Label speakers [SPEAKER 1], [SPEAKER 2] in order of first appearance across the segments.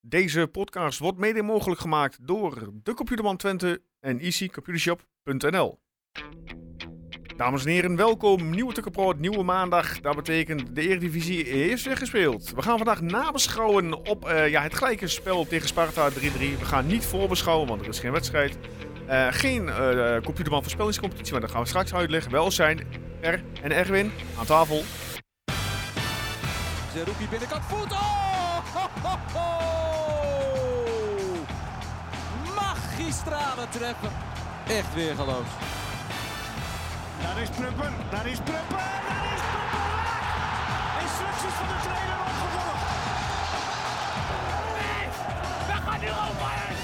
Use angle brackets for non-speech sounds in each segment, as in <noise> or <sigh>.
[SPEAKER 1] Deze podcast wordt mede mogelijk gemaakt door de Computerman Twente en easycomputershop.nl. Dames en heren, welkom. Nieuwe Tukkenproot, nieuwe maandag. Dat betekent de Eredivisie is weer gespeeld. We gaan vandaag nabeschouwen op eh, ja, het gelijke spel tegen Sparta 3-3. We gaan niet voorbeschouwen, want er is geen wedstrijd. Eh, geen eh Computerman voorspellingscompetitie, maar dat gaan we straks uitleggen. Wel zijn Per en Erwin aan tafel.
[SPEAKER 2] Zerouki binnenkant voet. Oh! Ho, ho, ho! Magistrale treppen. Echt weer geloof.
[SPEAKER 3] Daar is Prupper, daar is Prupper, daar is Prupper! Instructies van de trainer opgevolgd. We gaan nu over!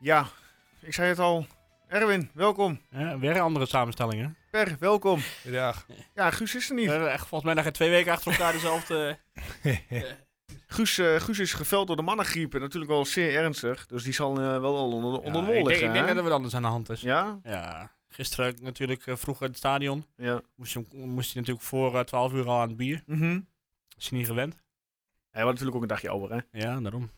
[SPEAKER 1] Ja, ik zei het al. Erwin, welkom.
[SPEAKER 4] Ja, weer een andere samenstelling, hè?
[SPEAKER 1] Per, welkom.
[SPEAKER 5] Goedendag.
[SPEAKER 1] Ja, Guus is er niet.
[SPEAKER 4] We hebben echt volgens mij nog geen twee weken achter elkaar <laughs> dezelfde...
[SPEAKER 1] Guus, eh, Guus is geveld door de mannengriep. En natuurlijk wel zeer ernstig. Dus die zal eh, wel al onder, onder de wol
[SPEAKER 4] Ja, ik denk,
[SPEAKER 1] liggen.
[SPEAKER 4] ik denk
[SPEAKER 1] hè?
[SPEAKER 4] dat er wat anders aan de hand is. Ja,
[SPEAKER 1] Ja?
[SPEAKER 4] gisteren natuurlijk eh, vroeg in het stadion.
[SPEAKER 1] Ja.
[SPEAKER 4] Moest hij, moest hij natuurlijk voor eh, 12 uur al aan het bier.
[SPEAKER 1] Mhm.
[SPEAKER 4] Is hij niet gewend?
[SPEAKER 1] Hij was natuurlijk ook een dagje ouder, hè?
[SPEAKER 4] Ja, daarom.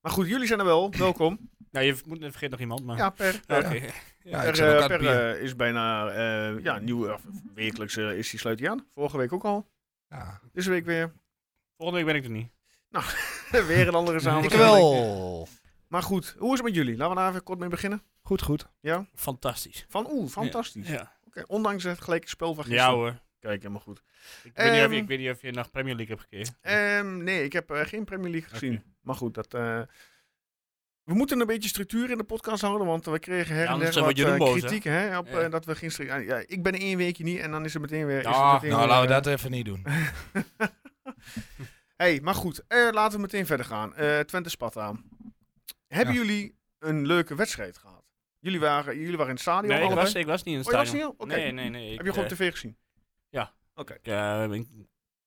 [SPEAKER 1] Maar goed, jullie zijn er wel. Welkom.
[SPEAKER 4] Nou, je moet, vergeet nog iemand, maar...
[SPEAKER 1] Ja, Per.
[SPEAKER 4] Ja,
[SPEAKER 1] Per,
[SPEAKER 4] oké.
[SPEAKER 5] Ja,
[SPEAKER 1] per,
[SPEAKER 5] ik zat ook
[SPEAKER 1] eh,
[SPEAKER 5] aan
[SPEAKER 1] Per,
[SPEAKER 5] het bier.
[SPEAKER 1] eh, is bijna eh, ja, nieuw. of wekelijks eh, is die sluit hij aan. Vorige week ook al.
[SPEAKER 5] Ja.
[SPEAKER 1] Deze week weer. <laughs>
[SPEAKER 4] Volgende week ben ik er niet.
[SPEAKER 1] weer een andere
[SPEAKER 5] Ik
[SPEAKER 1] samenstelling.
[SPEAKER 5] wel.
[SPEAKER 1] Maar goed, hoe is het met jullie? Laten we daar even kort mee beginnen.
[SPEAKER 5] Goed, goed.
[SPEAKER 1] Ja?
[SPEAKER 4] Fantastisch.
[SPEAKER 1] Van oeh, fantastisch.
[SPEAKER 4] Ja,
[SPEAKER 1] Oké, ondanks het gelijke spel van gisteren.
[SPEAKER 4] ja hoor.
[SPEAKER 1] Kijk, helemaal goed.
[SPEAKER 4] Ik, weet niet of,
[SPEAKER 1] Ehm.
[SPEAKER 4] je- ik weet niet of je naar Premier League hebt gekeken.
[SPEAKER 1] Ehm, nee, ik heb eh, geen Premier League gezien.
[SPEAKER 4] Oké.
[SPEAKER 1] Maar goed, dat, eh, we moeten een beetje structuur in de podcast houden. Want we kregen her
[SPEAKER 4] Ja,
[SPEAKER 1] en
[SPEAKER 4] anders
[SPEAKER 1] der
[SPEAKER 4] zijn we
[SPEAKER 1] wat eh,
[SPEAKER 4] Jeroen boos, hè?
[SPEAKER 1] kritiek. Hè, op,
[SPEAKER 4] Ja.
[SPEAKER 1] eh, dat we geen stru- ah, ja, ik ben één weekje niet en dan is het meteen weer... is
[SPEAKER 4] Ja,
[SPEAKER 1] het meteen
[SPEAKER 5] Nou,
[SPEAKER 1] weer,
[SPEAKER 5] laten we
[SPEAKER 1] eh,
[SPEAKER 5] dat even niet doen.
[SPEAKER 1] hey, maar goed, eh, laten we meteen verder gaan. Eh, Twente spat aan. Hebben
[SPEAKER 5] Ja.
[SPEAKER 1] jullie een leuke wedstrijd gehad? Jullie waren, jullie waren in het stadion
[SPEAKER 4] Nee, ik
[SPEAKER 1] allebei?
[SPEAKER 4] was, ik was niet in het
[SPEAKER 1] Oh, je was
[SPEAKER 4] stadion.
[SPEAKER 1] niet? Oké.
[SPEAKER 4] Nee, nee, nee. Ik,
[SPEAKER 1] Heb je gewoon
[SPEAKER 4] eh,
[SPEAKER 1] op tv gezien?
[SPEAKER 4] ik, eh, ik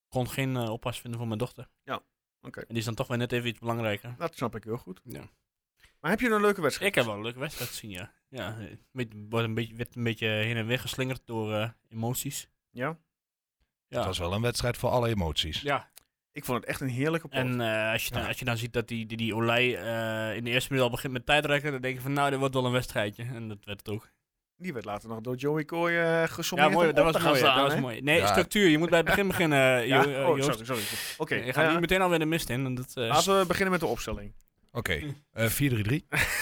[SPEAKER 4] kon geen eh, oppas vinden voor mijn dochter.
[SPEAKER 1] Ja, oké.
[SPEAKER 4] En die is dan toch wel net even iets belangrijker.
[SPEAKER 1] Dat snap ik heel goed.
[SPEAKER 4] Ja.
[SPEAKER 1] Maar heb je een leuke wedstrijd?
[SPEAKER 4] Ik heb wel een leuke wedstrijd gezien, ja. ja eh, met- wordt een beetje, werd een beetje heen en weer geslingerd door eh, emoties.
[SPEAKER 1] Ja.
[SPEAKER 4] Ja.
[SPEAKER 5] Het was wel een wedstrijd voor alle emoties.
[SPEAKER 4] ja.
[SPEAKER 1] Ik vond het echt een heerlijke pot.
[SPEAKER 4] En eh, als, je dan,
[SPEAKER 5] Ja.
[SPEAKER 4] als je dan ziet dat die, die, die Olij eh, in de eerste minuut al begint met tijdrekken, dan denk je van nou, dit wordt wel een wedstrijdje. En dat werd het ook.
[SPEAKER 1] Die werd later nog door Joey Kooi eh gesommeerd.
[SPEAKER 4] ja, mooi,
[SPEAKER 1] om
[SPEAKER 4] dat
[SPEAKER 1] op
[SPEAKER 4] was
[SPEAKER 1] te gaan
[SPEAKER 4] mooi. Dat
[SPEAKER 1] staan,
[SPEAKER 4] was
[SPEAKER 1] hè?
[SPEAKER 4] mooi. Nee,
[SPEAKER 5] Ja.
[SPEAKER 4] structuur. Je moet bij het begin beginnen, eh, Jo- eh,
[SPEAKER 1] Ja? Oh,
[SPEAKER 4] Joost.
[SPEAKER 1] sorry, sorry. Oké,
[SPEAKER 4] je gaat
[SPEAKER 1] eh,
[SPEAKER 4] niet meteen alweer de mist in. En dat, eh,
[SPEAKER 1] laten we beginnen met de opstelling.
[SPEAKER 5] Oké, eh, <laughs> 4-3-3.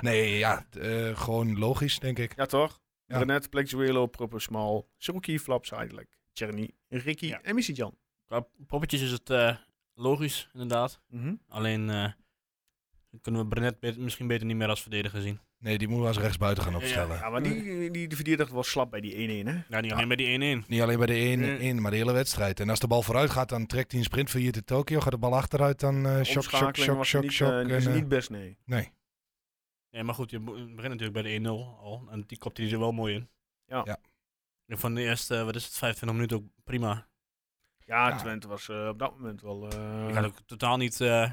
[SPEAKER 5] nee, ja, t- eh, gewoon logisch, denk ik.
[SPEAKER 1] Ja, toch?
[SPEAKER 5] Ja.
[SPEAKER 1] Brenet, Plexuelo, Proper Small, Suruki, Flaps, Eindelijk, Tjerni, Ricky
[SPEAKER 4] Ja.
[SPEAKER 1] en Missy Jan.
[SPEAKER 4] qua poppetjes is het eh, logisch, inderdaad.
[SPEAKER 1] Mhm.
[SPEAKER 4] Alleen eh, kunnen we Brenet bet- misschien beter niet meer als verdediger zien.
[SPEAKER 5] Nee, die moeten we als rechtsbuiten gaan
[SPEAKER 4] Ja,
[SPEAKER 5] opstellen.
[SPEAKER 1] Ja, maar die, die, die verdedigde was slap bij die 1-1, hè?
[SPEAKER 4] Ja, niet alleen bij die 1-1.
[SPEAKER 5] Niet alleen bij de 1,
[SPEAKER 4] Nee.
[SPEAKER 5] maar de hele wedstrijd. En als de bal vooruit gaat, dan trekt hij een sprint van hier te Tokio. Gaat de bal achteruit, dan eh shock, shock,
[SPEAKER 1] Omschakeling
[SPEAKER 5] shock,
[SPEAKER 1] was
[SPEAKER 5] shock,
[SPEAKER 1] niet,
[SPEAKER 5] shock.
[SPEAKER 1] eh,
[SPEAKER 5] en,
[SPEAKER 1] is
[SPEAKER 5] eh,
[SPEAKER 1] niet best, nee.
[SPEAKER 5] nee.
[SPEAKER 4] Nee, maar goed, je be- begint natuurlijk bij de 1-0 al. En die kopte hij er wel mooi in.
[SPEAKER 1] Ja.
[SPEAKER 5] Ja.
[SPEAKER 4] En van de eerste, eh, wat is het, 25 minuten ook prima.
[SPEAKER 1] Ja,
[SPEAKER 5] Ja.
[SPEAKER 1] Twente was eh, op dat moment wel... eh,
[SPEAKER 4] Ik had ook totaal niet eh,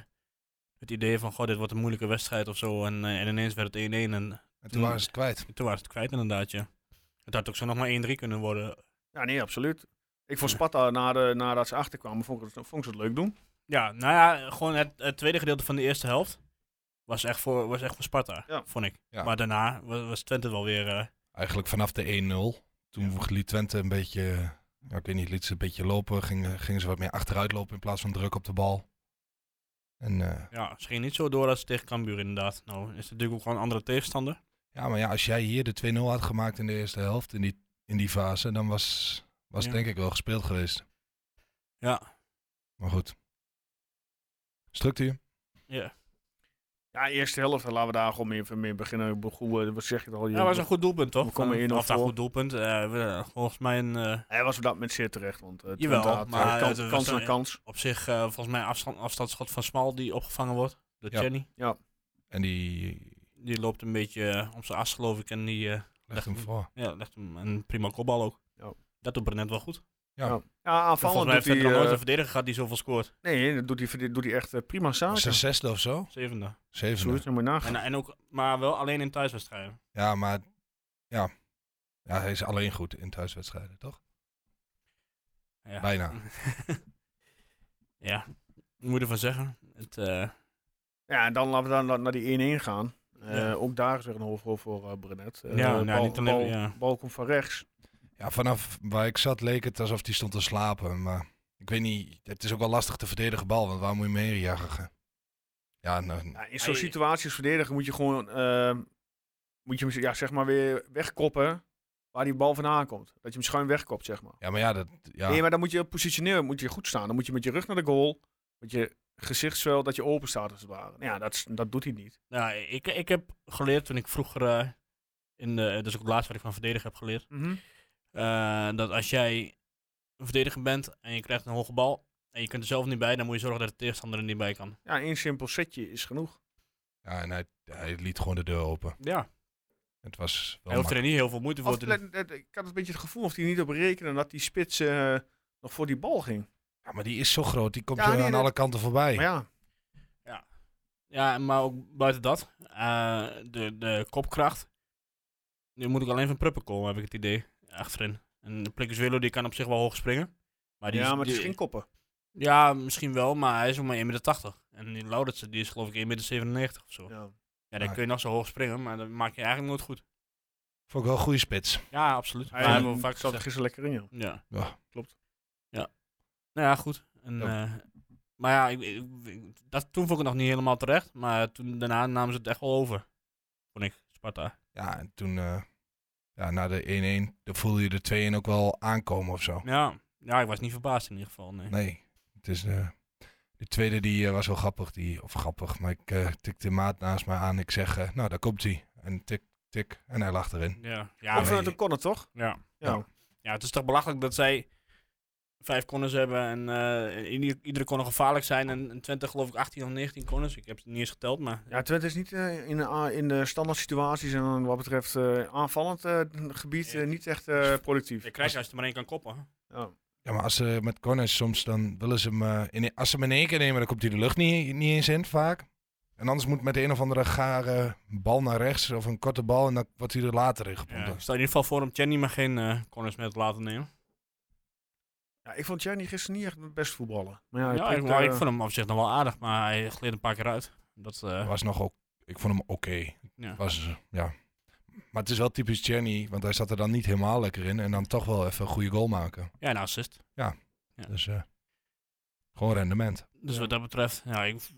[SPEAKER 4] het idee van, goh, dit wordt een moeilijke wedstrijd of zo. En, eh, en ineens werd het 1-1 en
[SPEAKER 5] En toen waren ze het kwijt.
[SPEAKER 4] toen waren ze het kwijt inderdaad, ja. Het had ook zo nog maar 1-3 kunnen worden.
[SPEAKER 1] Ja, nee, absoluut. Ik vond Sparta, na de, nadat ze achterkwamen, vond ik, het- vond ik ze het leuk doen.
[SPEAKER 4] Ja, nou ja, gewoon het, het tweede gedeelte van de eerste helft was echt voor, was echt voor Sparta,
[SPEAKER 1] Ja.
[SPEAKER 4] vond ik.
[SPEAKER 5] Ja.
[SPEAKER 4] Maar daarna was, was Twente wel weer... eh,
[SPEAKER 5] Eigenlijk vanaf de 1-0. Toen liet Twente een beetje, ja, ik weet niet, liet ze een beetje lopen. Gingen, gingen ze wat meer achteruit lopen in plaats van druk op de bal. En eh,
[SPEAKER 4] ja, ze gingen niet zo door als tegen Cambuur inderdaad. Nou, is het natuurlijk ook gewoon een andere tegenstander.
[SPEAKER 5] ja, maar ja, als jij hier de 2-0 had gemaakt in de eerste helft, in die, in die fase, dan was, was het
[SPEAKER 4] Ja.
[SPEAKER 5] denk ik wel gespeeld geweest.
[SPEAKER 4] Ja.
[SPEAKER 5] Maar goed. Structuur.
[SPEAKER 4] Ja,
[SPEAKER 1] Ja, eerste helft, eh, laten we daar gewoon mee, even mee beginnen. Ik bedoel, eh, Wat zeg je het al?
[SPEAKER 4] dat was een goed doelpunt, toch?
[SPEAKER 1] we komen hier nog
[SPEAKER 4] Of dat
[SPEAKER 1] voor.
[SPEAKER 4] goed doelpunt. eh, we- volgens mij een, eh,
[SPEAKER 1] Hij was op dat moment zeer terecht, want eh
[SPEAKER 4] Jawel,
[SPEAKER 1] Twente had, eh,
[SPEAKER 4] maar
[SPEAKER 1] kans,
[SPEAKER 4] het was
[SPEAKER 1] kans
[SPEAKER 4] een-
[SPEAKER 1] na kans.
[SPEAKER 4] op zich eh, volgens mij een afstand, afstandsschot van Smal die opgevangen wordt door
[SPEAKER 5] Ja.
[SPEAKER 4] Jenny.
[SPEAKER 5] En die
[SPEAKER 4] Die loopt een beetje eh, op zijn as, geloof ik. En die eh,
[SPEAKER 5] legt hem voor.
[SPEAKER 4] ja, legt hem een prima kopbal ook.
[SPEAKER 1] Ja.
[SPEAKER 4] Dat doet Brenet wel goed.
[SPEAKER 1] Ja,
[SPEAKER 4] volgens
[SPEAKER 1] aanvallend
[SPEAKER 4] mij
[SPEAKER 1] doet
[SPEAKER 4] heeft hij
[SPEAKER 1] hij...
[SPEAKER 4] nog nooit
[SPEAKER 1] eh,
[SPEAKER 4] een verdediger gehad die zoveel scoort.
[SPEAKER 1] nee, dat doet hij, verde- doet hij echt eh, prima
[SPEAKER 5] Was
[SPEAKER 1] zaken.
[SPEAKER 5] ze zesde of zo?
[SPEAKER 4] Zevende.
[SPEAKER 5] Zevende.
[SPEAKER 1] Zoiets, dan moet je nagaan.
[SPEAKER 4] En, en ook, maar wel alleen in thuiswedstrijden.
[SPEAKER 5] Ja, maar ja. ja, hij is alleen goed in thuiswedstrijden, toch?
[SPEAKER 4] Ja.
[SPEAKER 5] Bijna.
[SPEAKER 4] Ja, wat moet je ervan zeggen? Het, eh,
[SPEAKER 1] Ja, en dan laten we dan na- naar die 1-1 gaan. Eh,
[SPEAKER 4] Ja.
[SPEAKER 1] Ook daar is weer een hoofdrol voor eh Brenet. Eh,
[SPEAKER 4] Ja, nou, niet alleen-
[SPEAKER 1] bal,
[SPEAKER 4] ja.
[SPEAKER 1] bal komt van rechts.
[SPEAKER 5] Ja, vanaf waar ik zat leek het alsof hij stond te slapen. Maar ik weet niet, het is ook wel lastig te verdedigen bal, want waar moet je hem heen jagen? Ja, nou,
[SPEAKER 1] Ja, in zo'n
[SPEAKER 4] Hij-
[SPEAKER 1] situatie als verdediger moet je gewoon eh, moet je hem ja, zeg maar weer wegkoppen waar die bal vandaan komt. Dat je hem schuin wegkopt, zeg maar.
[SPEAKER 5] ja maar ja, dat, ja.
[SPEAKER 1] Nee, maar dan moet je positioneel moet je goed staan. Dan moet je met je rug naar de goal. Met je gezichtsvel dat je open staat als het ware. Nou Ja, dat, is- dat doet hij niet.
[SPEAKER 4] nou, ik, ik heb geleerd toen ik vroeger, eh, in de, dus ook het laatste wat ik van verdedigen heb geleerd, eh, dat als jij een verdediger bent en je krijgt een hoge bal en je kunt er zelf niet bij, dan moet je zorgen dat de tegenstander er niet bij kan.
[SPEAKER 1] Ja, één simpel setje is genoeg.
[SPEAKER 5] ja en hij, hij liet gewoon de deur open.
[SPEAKER 4] Ja,
[SPEAKER 5] Het was wel
[SPEAKER 4] hij hoeft er
[SPEAKER 5] makkelijk.
[SPEAKER 4] niet heel veel moeite voor
[SPEAKER 1] Of,
[SPEAKER 4] te doen.
[SPEAKER 1] let- let- ik had een beetje het gevoel of hij niet op rekenen dat die spits eh, nog voor die bal ging.
[SPEAKER 5] Ja, maar die is zo groot, die komt
[SPEAKER 1] Ja,
[SPEAKER 5] eh,
[SPEAKER 1] nee,
[SPEAKER 5] aan
[SPEAKER 1] dat-
[SPEAKER 5] alle kanten voorbij.
[SPEAKER 1] Maar ja,
[SPEAKER 4] Ja, maar ook buiten dat, eh, de, de kopkracht. Nu moet ik alleen van Pruppen komen, heb ik het idee, achterin. En Plikkers Willow, die kan op zich wel hoog springen. Maar die
[SPEAKER 1] ja,
[SPEAKER 4] is-
[SPEAKER 1] maar het is
[SPEAKER 4] die-
[SPEAKER 1] geen koppen.
[SPEAKER 4] Ja, misschien wel, maar hij is nog maar 1,80 meter. En die Lauritsen, die is geloof ik 1,97 meter of zo. Ja,
[SPEAKER 1] Ja.
[SPEAKER 4] dan
[SPEAKER 5] Ah.
[SPEAKER 4] kun je nog zo hoog springen, maar dan maak je eigenlijk nooit goed.
[SPEAKER 5] Vond ik wel een goede spits.
[SPEAKER 4] Ja, absoluut.
[SPEAKER 1] Hij
[SPEAKER 4] Maar hebben we vaak
[SPEAKER 1] zat er
[SPEAKER 4] gezegd.
[SPEAKER 1] gisteren lekker in, ja.
[SPEAKER 4] Ja.
[SPEAKER 5] Ja.
[SPEAKER 1] Klopt.
[SPEAKER 4] Ja. Nou ja, goed. En,
[SPEAKER 5] Ja.
[SPEAKER 4] eh, maar ja, ik, ik- ik- dat, toen vond ik het nog niet helemaal terecht. Maar toen, daarna namen ze het echt wel over. Vond ik, Sparta.
[SPEAKER 5] Ja, en toen, eh, ja, na de 1-1, dan voelde je de 2-1 ook wel aankomen of zo.
[SPEAKER 4] Ja. ja, ik was niet verbaasd in ieder geval. Nee.
[SPEAKER 5] Nee, het is. eh, de tweede die eh, was wel grappig, die, of grappig, maar ik eh tikte maat naast mij aan. Ik zeg, eh, nou daar komt hij. En tik, tik, en hij lag erin.
[SPEAKER 4] Ja.
[SPEAKER 1] ja
[SPEAKER 4] Ja,
[SPEAKER 1] of
[SPEAKER 5] nee.
[SPEAKER 1] vanuit de corner, toch?
[SPEAKER 4] ja.
[SPEAKER 1] Ja.
[SPEAKER 5] Ja.
[SPEAKER 4] Ja, het is toch belachelijk dat zij vijf corners hebben en eh, ieder- iedere corner gevaarlijk zijn. En, en Twente geloof ik 18 of 19 corners. Ik heb het niet eens geteld, maar
[SPEAKER 1] Ja, Twente is niet eh, in, de, a- in de standaard situaties en wat betreft eh, aanvallend eh, gebied eh, niet echt eh, productief.
[SPEAKER 4] je krijgt als je er maar één kan koppen.
[SPEAKER 1] Ja.
[SPEAKER 5] Ja, maar als ze met corners soms, dan willen ze hem, eh, in, als ze hem in één keer nemen, dan komt hij de lucht niet, niet eens in vaak. En anders moet met een of andere gare bal naar rechts of een korte bal en dan wordt hij er later in
[SPEAKER 4] Ja.
[SPEAKER 5] gepompt.
[SPEAKER 4] Ik stel in ieder geval voor om Jenny maar geen eh, corners met laten nemen.
[SPEAKER 1] Ja, ik vond Gianni gisteren niet echt het best voetballen. Maar ja,
[SPEAKER 4] Ja,
[SPEAKER 1] hij
[SPEAKER 4] ik,
[SPEAKER 1] prikt,
[SPEAKER 4] maar
[SPEAKER 1] eh,
[SPEAKER 4] ik vond hem op zich nog wel aardig, maar hij gleed een paar keer uit. Dat, eh,
[SPEAKER 5] was nog ook, ik vond hem oké.
[SPEAKER 4] ja.
[SPEAKER 5] Was, eh, ja. Maar het is wel typisch Jenny, want hij zat er dan niet helemaal lekker in en dan toch wel even een goede goal maken.
[SPEAKER 4] ja, een assist. Ja.
[SPEAKER 5] Dus eh, gewoon rendement.
[SPEAKER 4] Dus wat dat betreft, ja, ik v-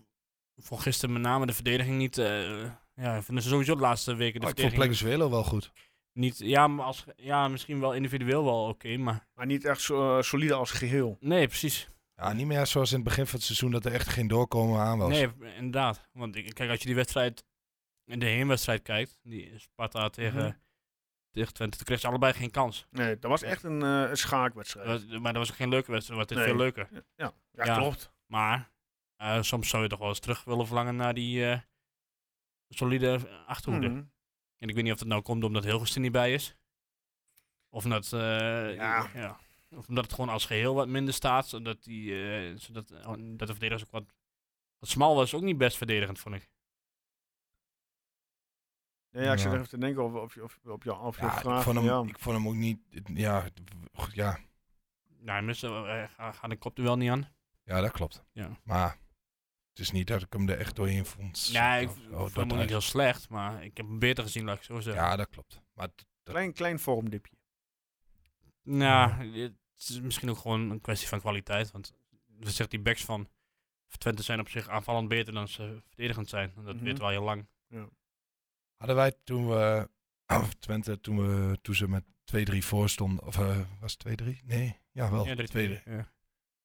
[SPEAKER 4] vond gisteren met name de verdediging niet... eh, ja, ik vind ze sowieso de laatste weken de
[SPEAKER 5] Oh, ik vond
[SPEAKER 4] verdediging
[SPEAKER 5] Plekens wel goed.
[SPEAKER 4] niet... Ja, maar als, ja, misschien wel individueel wel oké, maar...
[SPEAKER 1] Maar niet echt zo, eh, solide als geheel.
[SPEAKER 4] Nee, precies.
[SPEAKER 5] Ja, niet meer zoals in het begin van het seizoen dat er echt geen doorkomen aan was.
[SPEAKER 4] Nee, p- inderdaad. Want ik- kijk, als je die wedstrijd, de heenwedstrijd kijkt, die Sparta tegen,
[SPEAKER 1] Mhm.
[SPEAKER 4] tegen Twente, toen kreeg ze allebei geen kans.
[SPEAKER 1] Nee, dat was echt een, eh, een schaakwedstrijd.
[SPEAKER 4] Dat was- maar dat was ook geen leuke wedstrijd, maar het is
[SPEAKER 1] Nee.
[SPEAKER 4] veel leuker.
[SPEAKER 1] ja. Ja,
[SPEAKER 4] Ja.
[SPEAKER 1] klopt.
[SPEAKER 4] Maar eh, soms zou je toch wel eens terug willen verlangen naar die eh, solide achterhoede.
[SPEAKER 5] Hmm.
[SPEAKER 1] Mhm.
[SPEAKER 4] En ik weet niet of dat nou komt omdat Hilgers er niet bij is. Of omdat, eh,
[SPEAKER 1] Ja.
[SPEAKER 4] Of omdat het gewoon als geheel wat minder staat, zodat, die, eh, zodat eh, dat de verdedigers ook wat... Wat smal was ook niet best verdedigend, vond ik.
[SPEAKER 1] Nee, ja, ik zit
[SPEAKER 5] Ja.
[SPEAKER 1] even te denken of, of, je- of, op je, of je
[SPEAKER 5] Ja,
[SPEAKER 1] vraag.
[SPEAKER 5] ik, vond hem,
[SPEAKER 1] ja.
[SPEAKER 5] ik vond hem ook niet. Ja, goed, ja,
[SPEAKER 4] Nou, mensen gaan de kop er wel niet aan.
[SPEAKER 5] ja dat klopt.
[SPEAKER 4] Ja.
[SPEAKER 5] Maar het is niet dat ik hem er echt doorheen vond.
[SPEAKER 4] Nee, ik
[SPEAKER 5] Of
[SPEAKER 4] v-
[SPEAKER 5] zo,
[SPEAKER 4] vond
[SPEAKER 5] dat
[SPEAKER 4] hem ook niet
[SPEAKER 5] hij-
[SPEAKER 4] heel slecht, maar ik heb hem beter gezien, laat ik het zo zeggen.
[SPEAKER 5] Ja, dat klopt. Maar t-
[SPEAKER 1] klein, klein vormdipje.
[SPEAKER 4] Nou, het is misschien ook gewoon een kwestie van kwaliteit, want we zegt die backs van Twente zijn op zich aanvallend beter dan ze verdedigend zijn. En dat
[SPEAKER 1] Mhm.
[SPEAKER 4] weet wel heel lang.
[SPEAKER 5] hadden wij toen we. <clears throat> Of Twente, toen, we, toen ze met 2-3 voor stonden. Of eh, was het 2-3? Nee, ja, wel.
[SPEAKER 4] Ja, drie-
[SPEAKER 5] 2-3.
[SPEAKER 4] ja.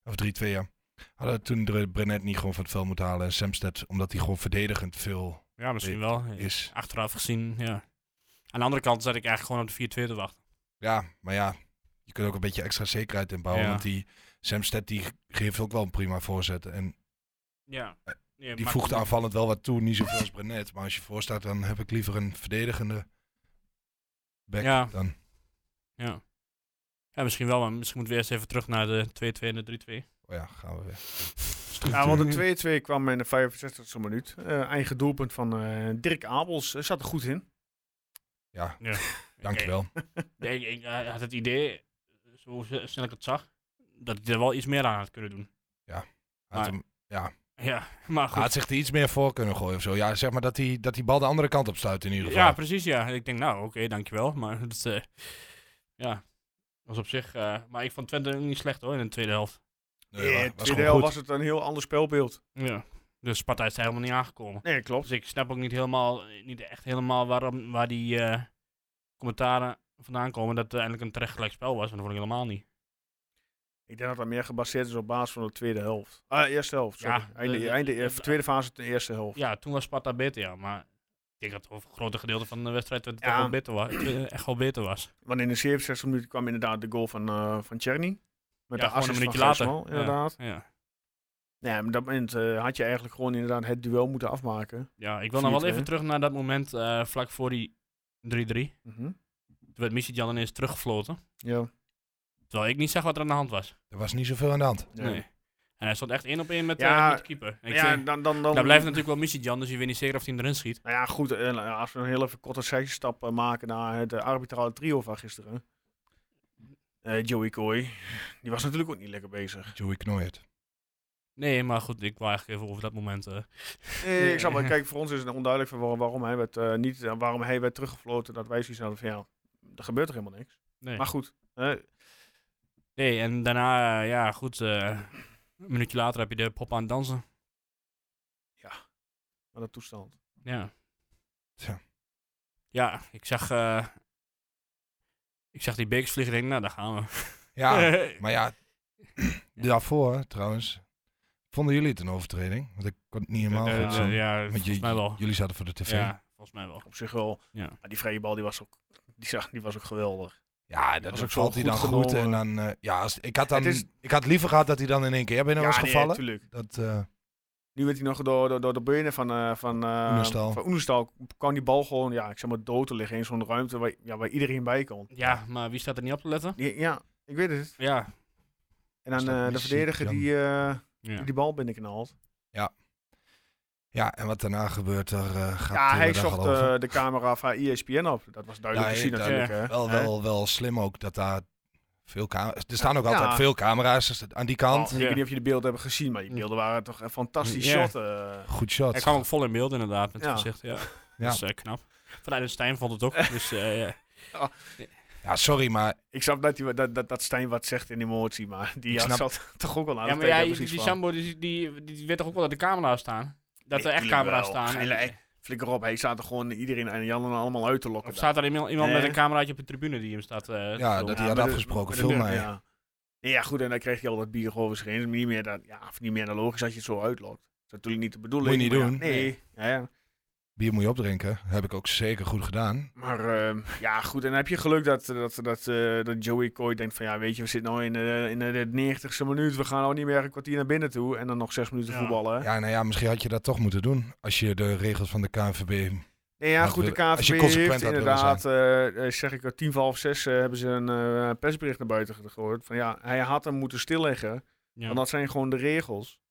[SPEAKER 5] Of 3-2, ja. Hadden we toen Dre- Brenet niet gewoon van het veld moeten halen. En Samsted, omdat hij gewoon verdedigend veel
[SPEAKER 4] Ja, misschien wel.
[SPEAKER 5] is.
[SPEAKER 4] Achteraf gezien, ja. Aan de andere kant zat ik eigenlijk gewoon op de 4-2 te wachten.
[SPEAKER 5] Ja, maar ja. Je kunt ook een beetje extra zekerheid inbouwen.
[SPEAKER 4] Ja.
[SPEAKER 5] Want die Samsted die geeft ook wel een prima voorzet. En
[SPEAKER 4] Ja.
[SPEAKER 5] die voegt aanvallend wel wat toe. Niet zoveel als Brenet. Maar als je voor staat, dan heb ik liever een verdedigende back
[SPEAKER 4] Ja.
[SPEAKER 5] dan.
[SPEAKER 4] Ja. ja, misschien wel, maar misschien moeten we eerst even terug naar de 2-2 en de 3-2.
[SPEAKER 5] Oh ja, gaan we weer.
[SPEAKER 1] Ja, want de 2-2 kwam in de 65e minuut. Eh, eigen doelpunt van eh, Dirk Abels. Eh, zat er goed in.
[SPEAKER 5] Ja,
[SPEAKER 4] Ja.
[SPEAKER 5] <laughs> dankjewel.
[SPEAKER 4] Nee, ik, ik, eh, had het idee, zo s- snel ik het zag, dat hij er wel iets meer aan had kunnen doen.
[SPEAKER 5] Had
[SPEAKER 4] Maar-
[SPEAKER 5] hem, ja.
[SPEAKER 4] Ja, maar goed.
[SPEAKER 5] Had zich er iets meer voor kunnen gooien of zo. Ja, zeg maar dat die, dat die bal de andere kant op stuit in ieder geval.
[SPEAKER 4] Ja, precies. Ja. Ik denk, nou, oké, dankjewel. Maar <laughs> dat, eh, ja, was op zich. eh, maar ik vond Twente niet slecht hoor in de tweede helft.
[SPEAKER 5] Nee, wa-
[SPEAKER 1] in de
[SPEAKER 5] was
[SPEAKER 1] tweede
[SPEAKER 5] gewoon
[SPEAKER 1] helft
[SPEAKER 5] goed.
[SPEAKER 1] was het een heel ander spelbeeld.
[SPEAKER 4] Ja. Dus Sparta is er helemaal niet aangekomen.
[SPEAKER 1] Nee, klopt.
[SPEAKER 4] Dus ik snap ook niet helemaal, niet echt helemaal waarom, waar die eh, commentaren vandaan komen dat het eigenlijk een terecht gelijk spel was. Want dat vond ik helemaal niet.
[SPEAKER 1] Ik denk dat dat meer gebaseerd is op basis van de tweede helft. Ah, eerste helft. Sorry.
[SPEAKER 4] Ja,
[SPEAKER 1] einde,
[SPEAKER 4] de-
[SPEAKER 1] einde,
[SPEAKER 4] de-
[SPEAKER 1] eh, tweede fase, de eerste helft.
[SPEAKER 4] Ja, toen was Sparta beter, ja. Maar ik denk dat het grote gedeelte van de wedstrijd Twente toch
[SPEAKER 1] Ja.
[SPEAKER 4] wel beter was, echt wel beter was.
[SPEAKER 1] Want in de 67 minuut kwam inderdaad de goal van, eh van Czerny. Met
[SPEAKER 4] Ja,
[SPEAKER 1] de
[SPEAKER 4] gewoon
[SPEAKER 1] assist
[SPEAKER 4] een minuutje
[SPEAKER 1] van
[SPEAKER 4] later.
[SPEAKER 1] Gijsmal,
[SPEAKER 4] Ja.
[SPEAKER 1] inderdaad.
[SPEAKER 4] Ja,
[SPEAKER 1] Nee, maar op dat moment eh, had je eigenlijk gewoon inderdaad het duel moeten afmaken.
[SPEAKER 4] ja ik wil nog wel
[SPEAKER 1] 4-2.
[SPEAKER 4] even terug naar dat moment eh, vlak voor die 3-3.
[SPEAKER 1] Mhm.
[SPEAKER 4] Toen werd Missy Jan ineens teruggefloten.
[SPEAKER 1] Ja.
[SPEAKER 4] Terwijl ik niet zag wat er aan de hand was.
[SPEAKER 5] Er was niet zoveel aan de hand.
[SPEAKER 1] Ja.
[SPEAKER 4] Nee. En hij stond echt één op één met, eh,
[SPEAKER 1] Ja,
[SPEAKER 4] met de keeper. En Ik
[SPEAKER 1] ja,
[SPEAKER 4] zei,
[SPEAKER 1] dan, dan, dan,
[SPEAKER 4] daar blijft natuurlijk wel Missy Jan, dus je weet niet zeker of hij hem erin schiet.
[SPEAKER 1] Nou ja, goed. eh, nou ja, als we een heel even korte zijstap eh, maken naar het eh, arbitrale trio van gisteren. Eh, Joey Coy, die was natuurlijk ook niet lekker bezig.
[SPEAKER 5] Joey Knoyert.
[SPEAKER 4] Nee, maar goed, ik wil eigenlijk even over dat moment. eh,
[SPEAKER 1] Nee, ik snap wel.
[SPEAKER 4] Ja.
[SPEAKER 1] Kijk, voor ons is het onduidelijk van waarom, waarom hij werd, eh, niet, eh, waarom hij werd teruggefloten. Dat wij zoiets hadden van, ja, er gebeurt er helemaal niks.
[SPEAKER 4] nee.
[SPEAKER 1] Maar goed, eh,
[SPEAKER 4] nee, en daarna, eh, ja, goed. eh, een minuutje later heb je de pop aan het dansen.
[SPEAKER 1] maar dat toestand.
[SPEAKER 4] Ja.
[SPEAKER 5] Tja.
[SPEAKER 4] Ja, ik zag. eh, ik zag die bekers vliegen en denk, nou, daar gaan we. <laughs>
[SPEAKER 5] Ja, maar ja, <clears throat> daarvoor trouwens. Vonden jullie het een overtreding? Want ik kon het niet helemaal
[SPEAKER 4] Eh,
[SPEAKER 5] goed zien.
[SPEAKER 4] ja,
[SPEAKER 5] Want
[SPEAKER 4] volgens mij wel.
[SPEAKER 5] jullie zaten voor de tv. Ja,
[SPEAKER 4] Ja, volgens mij wel.
[SPEAKER 1] Op zich wel.
[SPEAKER 4] Ja.
[SPEAKER 1] Maar die vrije bal, die was ook, die zag, die was ook geweldig.
[SPEAKER 5] dat
[SPEAKER 1] was ook
[SPEAKER 5] dat
[SPEAKER 1] zo
[SPEAKER 5] valt hij
[SPEAKER 1] goed
[SPEAKER 5] dan goed. En
[SPEAKER 1] genomen.
[SPEAKER 5] dan, eh, ja, als, ik, had dan,
[SPEAKER 1] Het is-
[SPEAKER 5] ik had liever gehad dat hij dan in één keer binnen was
[SPEAKER 1] nee,
[SPEAKER 5] gevallen.
[SPEAKER 1] tuurlijk.
[SPEAKER 5] dat, eh,
[SPEAKER 1] Nu werd hij nog door, door, door de benen van, eh van, eh,
[SPEAKER 5] Oenestal.
[SPEAKER 1] van Oenestal. Kwam die bal gewoon, ja, ik zeg maar, dood te liggen in zo'n ruimte waar, ja, waar iedereen bij kon.
[SPEAKER 4] Ja, maar wie staat er niet op te letten?
[SPEAKER 1] Die- ja, ik weet het.
[SPEAKER 4] Ja.
[SPEAKER 1] En dan
[SPEAKER 5] Is dat
[SPEAKER 1] eh, de
[SPEAKER 5] niet
[SPEAKER 1] verdediger
[SPEAKER 5] ziek,
[SPEAKER 1] die, eh,
[SPEAKER 4] ja.
[SPEAKER 1] die die bal binnenknalt.
[SPEAKER 5] ja, en wat daarna gebeurt, daar eh, gaat
[SPEAKER 1] Ja,
[SPEAKER 5] Tiller
[SPEAKER 1] hij
[SPEAKER 5] dan
[SPEAKER 1] zocht
[SPEAKER 5] geloven.
[SPEAKER 1] eh, de camera van ESPN op. Dat was duidelijk
[SPEAKER 5] Ja,
[SPEAKER 1] te zien
[SPEAKER 5] ja,
[SPEAKER 1] natuurlijk. hè.
[SPEAKER 5] wel,
[SPEAKER 1] eh, Hè?
[SPEAKER 5] wel, wel slim ook dat daar veel camera's... Er staan ook
[SPEAKER 1] Ja.
[SPEAKER 5] altijd veel camera's dus aan die kant.
[SPEAKER 1] Oh, ik
[SPEAKER 4] Ja.
[SPEAKER 1] weet niet of je de beelden hebben gezien, maar die
[SPEAKER 4] Ja.
[SPEAKER 1] beelden waren toch een fantastisch
[SPEAKER 4] Ja.
[SPEAKER 1] shot. eh.
[SPEAKER 5] Goed shot.
[SPEAKER 4] Hij kwam ook vol in beeld inderdaad, met
[SPEAKER 1] Ja.
[SPEAKER 4] het gezicht. <laughs> Ja.
[SPEAKER 5] Ja.
[SPEAKER 4] Dat is eh, knap. Vanuit de Stijn vond het ook. Dus, eh, <laughs> ja.
[SPEAKER 5] Ja, sorry, maar
[SPEAKER 1] Ik snap dat, die, dat, dat, dat Stijn wat zegt in emotie, maar die
[SPEAKER 5] Ik
[SPEAKER 1] had
[SPEAKER 5] snap-
[SPEAKER 1] zat <laughs> toch ook al aan
[SPEAKER 4] ja,
[SPEAKER 1] het
[SPEAKER 4] maar
[SPEAKER 1] tekenen,
[SPEAKER 4] jij, die,
[SPEAKER 1] precies
[SPEAKER 4] die
[SPEAKER 1] van.
[SPEAKER 4] Sambo die, die, die weet toch ook wel dat de camera's staan? Dat
[SPEAKER 1] Nee,
[SPEAKER 4] er echt
[SPEAKER 1] tuurlijk
[SPEAKER 4] camera's
[SPEAKER 1] wel.
[SPEAKER 4] staan.
[SPEAKER 1] Geile
[SPEAKER 4] En-
[SPEAKER 1] ei. Flikker op, hij staat er gewoon iedereen en Jan en allemaal uit te lokken.
[SPEAKER 4] Of
[SPEAKER 1] daar.
[SPEAKER 4] staat er iemand, iemand
[SPEAKER 1] Nee.
[SPEAKER 4] met een cameraatje op de tribune die hem staat eh, te
[SPEAKER 5] ja,
[SPEAKER 4] filmen?
[SPEAKER 1] Ja,
[SPEAKER 5] dat hij
[SPEAKER 1] met
[SPEAKER 5] had
[SPEAKER 1] de-
[SPEAKER 5] afgesproken.
[SPEAKER 1] met
[SPEAKER 5] Veel
[SPEAKER 1] de deur,
[SPEAKER 5] mij.
[SPEAKER 1] Ja. Nee, ja, goed, en dan kreeg je al dat bier gewoon over zich heen. Het is niet meer, dat, ja, of niet meer dan logisch dat je het zo uitlokt. Dat is natuurlijk niet de bedoeling.
[SPEAKER 5] Moet je niet
[SPEAKER 1] maar ja,
[SPEAKER 5] doen.
[SPEAKER 1] nee. Ja, ja.
[SPEAKER 5] Bier moet je opdrinken. Heb ik ook zeker goed gedaan.
[SPEAKER 1] Maar ehm, ja, goed. En dan heb je geluk dat, dat, dat, eh, dat Joey Coy denkt van... Ja, weet je, we zitten nu in, eh, in de 90ste minuut. We gaan al niet meer een kwartier naar binnen toe. En dan nog zes minuten
[SPEAKER 4] Ja.
[SPEAKER 1] voetballen.
[SPEAKER 5] Ja, nou ja, misschien had je dat toch moeten doen. Als je de regels van de KNVB...
[SPEAKER 1] Nee, ja,
[SPEAKER 5] Had
[SPEAKER 1] goed. De
[SPEAKER 5] willen- als je
[SPEAKER 1] KVB
[SPEAKER 5] consequent
[SPEAKER 1] heeft
[SPEAKER 5] had willen
[SPEAKER 1] inderdaad... eh, eh, zeg ik, eh, tien voor half zes eh, hebben ze een eh, persbericht naar buiten gegooid. Van ja, hij had hem moeten stilleggen.
[SPEAKER 4] Ja.
[SPEAKER 1] Want dat zijn gewoon de regels.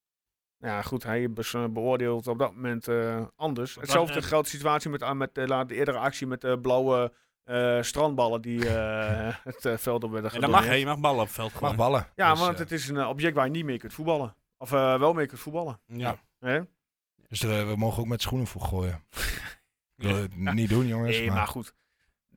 [SPEAKER 1] Nou Ja, goed, hij bes- beoordeelt op dat moment eh, anders.
[SPEAKER 4] Wat
[SPEAKER 1] Hetzelfde
[SPEAKER 4] was, eh,
[SPEAKER 1] geldt de situatie met, ah, met eh, la- de eerdere actie met de blauwe eh, strandballen die
[SPEAKER 4] <laughs>
[SPEAKER 1] eh, het eh, veld op werden
[SPEAKER 4] En dat
[SPEAKER 1] gedoneerd.
[SPEAKER 4] mag, hè, je mag ballen op het veld
[SPEAKER 5] Mag
[SPEAKER 4] gooien.
[SPEAKER 5] ballen.
[SPEAKER 1] Ja,
[SPEAKER 5] Dus,
[SPEAKER 1] want
[SPEAKER 5] eh,
[SPEAKER 1] het is een eh, object waar je niet mee kunt voetballen. Of eh, wel mee kunt voetballen.
[SPEAKER 4] Ja.
[SPEAKER 1] Hè?
[SPEAKER 5] Dus eh, we mogen ook met schoenen voor
[SPEAKER 4] <laughs>
[SPEAKER 5] gooien. Ik wil
[SPEAKER 4] Ja.
[SPEAKER 5] het niet doen, jongens.
[SPEAKER 1] Nee,
[SPEAKER 5] maar...
[SPEAKER 1] maar goed.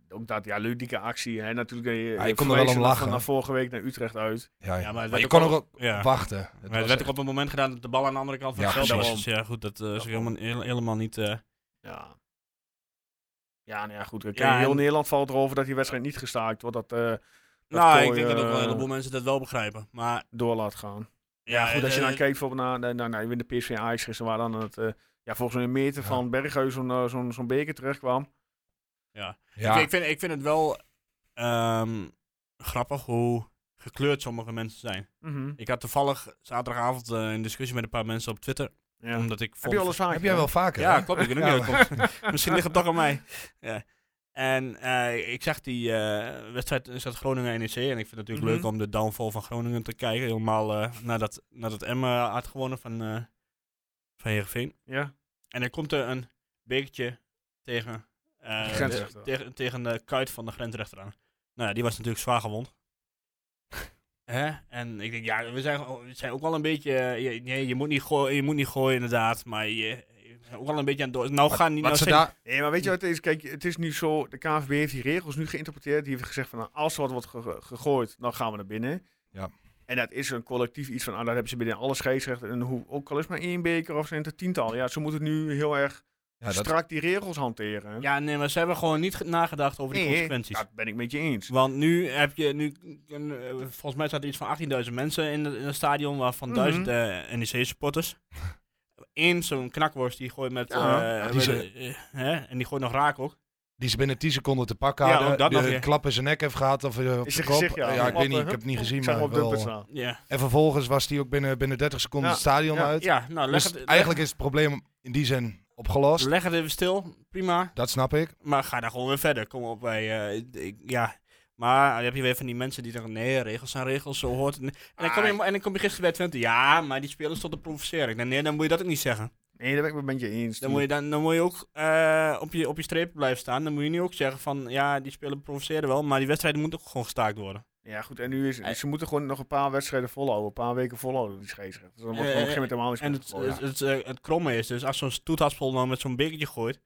[SPEAKER 1] Ook dat, ja, ludieke actie. Hè? Natuurlijk, eh,
[SPEAKER 5] kon er
[SPEAKER 1] verwijzen
[SPEAKER 5] wel om
[SPEAKER 1] nog
[SPEAKER 5] lachen.
[SPEAKER 1] Van naar vorige week naar Utrecht uit.
[SPEAKER 5] ja,
[SPEAKER 4] Ja, maar het
[SPEAKER 5] maar je
[SPEAKER 4] werd
[SPEAKER 5] kon
[SPEAKER 4] ook
[SPEAKER 5] er ook
[SPEAKER 4] Ja.
[SPEAKER 5] op wachten. Het
[SPEAKER 4] Maar
[SPEAKER 5] was
[SPEAKER 4] het werd ook
[SPEAKER 5] echt-
[SPEAKER 4] op het moment gedaan dat de bal aan de andere kant van
[SPEAKER 5] Ja,
[SPEAKER 4] het veld was.
[SPEAKER 1] precies.
[SPEAKER 4] Dus ja, goed, dat eh, is helemaal, heel- helemaal niet... eh,
[SPEAKER 1] Ja. Ja, nou ja, goed. Kijk,
[SPEAKER 4] Ja,
[SPEAKER 1] heel
[SPEAKER 4] en-
[SPEAKER 1] Nederland valt erover dat die wedstrijd niet gestaakt wordt. Dat, eh, dat
[SPEAKER 4] nou,
[SPEAKER 1] Kooi,
[SPEAKER 4] ik denk dat ook wel
[SPEAKER 1] eh,
[SPEAKER 4] een heleboel mensen dat wel begrijpen. Maar
[SPEAKER 1] door laat gaan.
[SPEAKER 4] ja,
[SPEAKER 1] Goed, als je
[SPEAKER 4] eh,
[SPEAKER 1] dan kijkt bijvoorbeeld naar, naar, naar, naar in de PSV Ajax gisteren, waar dan het, eh, ja, volgens mij een meter
[SPEAKER 5] Ja.
[SPEAKER 1] van Berghuis zo'n eh, zo'n zo'n beker terugkwam.
[SPEAKER 5] Ja,
[SPEAKER 4] Ik, ik, vind, ik vind het wel ehm, grappig hoe gekleurd sommige mensen zijn.
[SPEAKER 5] Mhm.
[SPEAKER 4] Ik had toevallig zaterdagavond eh, een discussie met een paar mensen op Twitter.
[SPEAKER 1] Ja.
[SPEAKER 4] Omdat ik
[SPEAKER 1] Heb je al
[SPEAKER 4] vond-
[SPEAKER 1] eens vaak?
[SPEAKER 5] heb jij wel vaker,
[SPEAKER 4] Ja,
[SPEAKER 5] hè?
[SPEAKER 1] <laughs>
[SPEAKER 4] klopt. Ik weet ook
[SPEAKER 5] Ja,
[SPEAKER 4] niet hoe dat komt. Misschien ligt het toch aan mij. Ja. En eh, ik zag die eh, wedstrijd is dat Groningen NEC. En ik vind het natuurlijk
[SPEAKER 1] Mhm.
[SPEAKER 4] leuk om de downfall van Groningen te kijken. Helemaal eh, nadat, nadat Emma had gewonnen van, eh van Heerenveen.
[SPEAKER 1] Ja.
[SPEAKER 4] En er komt er een bekertje tegen, eh,
[SPEAKER 1] De grensrechter.
[SPEAKER 5] <laughs>
[SPEAKER 4] de- tegen, tegen de kuit van de grensrechter aan. Nou ja, die was natuurlijk zwaar gewond. Hè? En ik denk, ja, we zijn, gewoon- we zijn ook wel een beetje. eh, je, nee, je moet niet gooien, je moet niet gooien inderdaad. Maar je, we zijn ook wel een beetje aan het door. Nou, gaan niet.
[SPEAKER 5] Wat ze
[SPEAKER 4] nou, zeggen-
[SPEAKER 5] daar,
[SPEAKER 1] Nee, maar weet je wat het is? Kijk, het is nu zo, de KNVB heeft die regels nu geïnterpreteerd. Die heeft gezegd van, nou, als er wat wordt ge- gegooid, dan gaan we naar binnen.
[SPEAKER 5] Ja.
[SPEAKER 1] En dat is een collectief iets van, ah, daar hebben ze binnen alle scheidsrechten. En hoe, ook al is maar één beker of zijn het er tiental. Ja, ze moeten nu heel erg
[SPEAKER 5] ja, dat,
[SPEAKER 1] strak die regels hanteren.
[SPEAKER 4] ja, nee, maar ze hebben gewoon niet ge- nagedacht over die
[SPEAKER 1] Nee,
[SPEAKER 4] consequenties.
[SPEAKER 1] dat ben ik met je eens.
[SPEAKER 4] Want nu heb je, nu, eh, volgens mij staat er iets van 18.000 mensen in, het- in het stadion, waarvan
[SPEAKER 1] Mhm.
[SPEAKER 4] 1000 eh, NEC-supporters. Eén zo'n knakworst die gooit met,
[SPEAKER 1] Ja.
[SPEAKER 4] eh,
[SPEAKER 5] Die
[SPEAKER 4] met-
[SPEAKER 5] ze-
[SPEAKER 4] eh, hè? en die gooit nog raak ook.
[SPEAKER 5] die ze binnen 10 seconden te pakken
[SPEAKER 4] Ja, ook
[SPEAKER 5] hadden.
[SPEAKER 4] dat
[SPEAKER 5] De
[SPEAKER 4] nog, ja.
[SPEAKER 5] klap in zijn nek heeft gehad of eh, op
[SPEAKER 1] Is
[SPEAKER 5] zijn
[SPEAKER 1] zijn
[SPEAKER 5] kop.
[SPEAKER 1] gezicht, ja.
[SPEAKER 5] ja, ik weet niet, ik
[SPEAKER 1] Huh?
[SPEAKER 5] heb het niet gezien,
[SPEAKER 1] Ik zag
[SPEAKER 5] maar
[SPEAKER 1] hem op
[SPEAKER 5] wel... eh,
[SPEAKER 1] de
[SPEAKER 4] Ja,
[SPEAKER 5] En vervolgens was hij ook binnen, binnen 30 seconden
[SPEAKER 1] Ja,
[SPEAKER 5] het stadion
[SPEAKER 1] ja,
[SPEAKER 5] uit.
[SPEAKER 4] ja nou leg
[SPEAKER 5] dus
[SPEAKER 4] het,
[SPEAKER 5] eigenlijk is het probleem in die zin
[SPEAKER 4] leg,
[SPEAKER 5] opgelost.
[SPEAKER 4] leg het even stil, prima.
[SPEAKER 5] Dat snap ik.
[SPEAKER 4] Maar ga daar gewoon weer verder, kom op bij, eh, ik- ja. Maar ah, dan heb je weer van die mensen die zeggen, nee, regels zijn regels, zo hoort het. niet. En dan kom
[SPEAKER 1] Ah,
[SPEAKER 5] Ah.
[SPEAKER 4] je, en dan kom je gisteren bij Twente, ja, maar die spelers tot de provoceren. Ik denk, nee, dan moet je dat ook niet zeggen.
[SPEAKER 1] Nee, daar ben ik met je eens.
[SPEAKER 4] Dan moet je, dan, dan moet je ook eh, op, je, op je streep blijven staan. Dan moet je nu ook zeggen van, ja, die spelen provoceren wel, maar die wedstrijden moeten ook gewoon gestaakt worden.
[SPEAKER 1] Ja, goed. En nu is Ze moeten gewoon nog een paar wedstrijden volhouden. Een paar weken volhouden, die scheidsrechter. Dus dan wordt
[SPEAKER 4] Eh,
[SPEAKER 1] gewoon op een gegeven moment
[SPEAKER 4] En
[SPEAKER 1] helemaal
[SPEAKER 4] het,
[SPEAKER 1] niet meer
[SPEAKER 4] het, het, eh, het kromme is dus, als zo'n stoethaspel nou met zo'n bekertje gooit,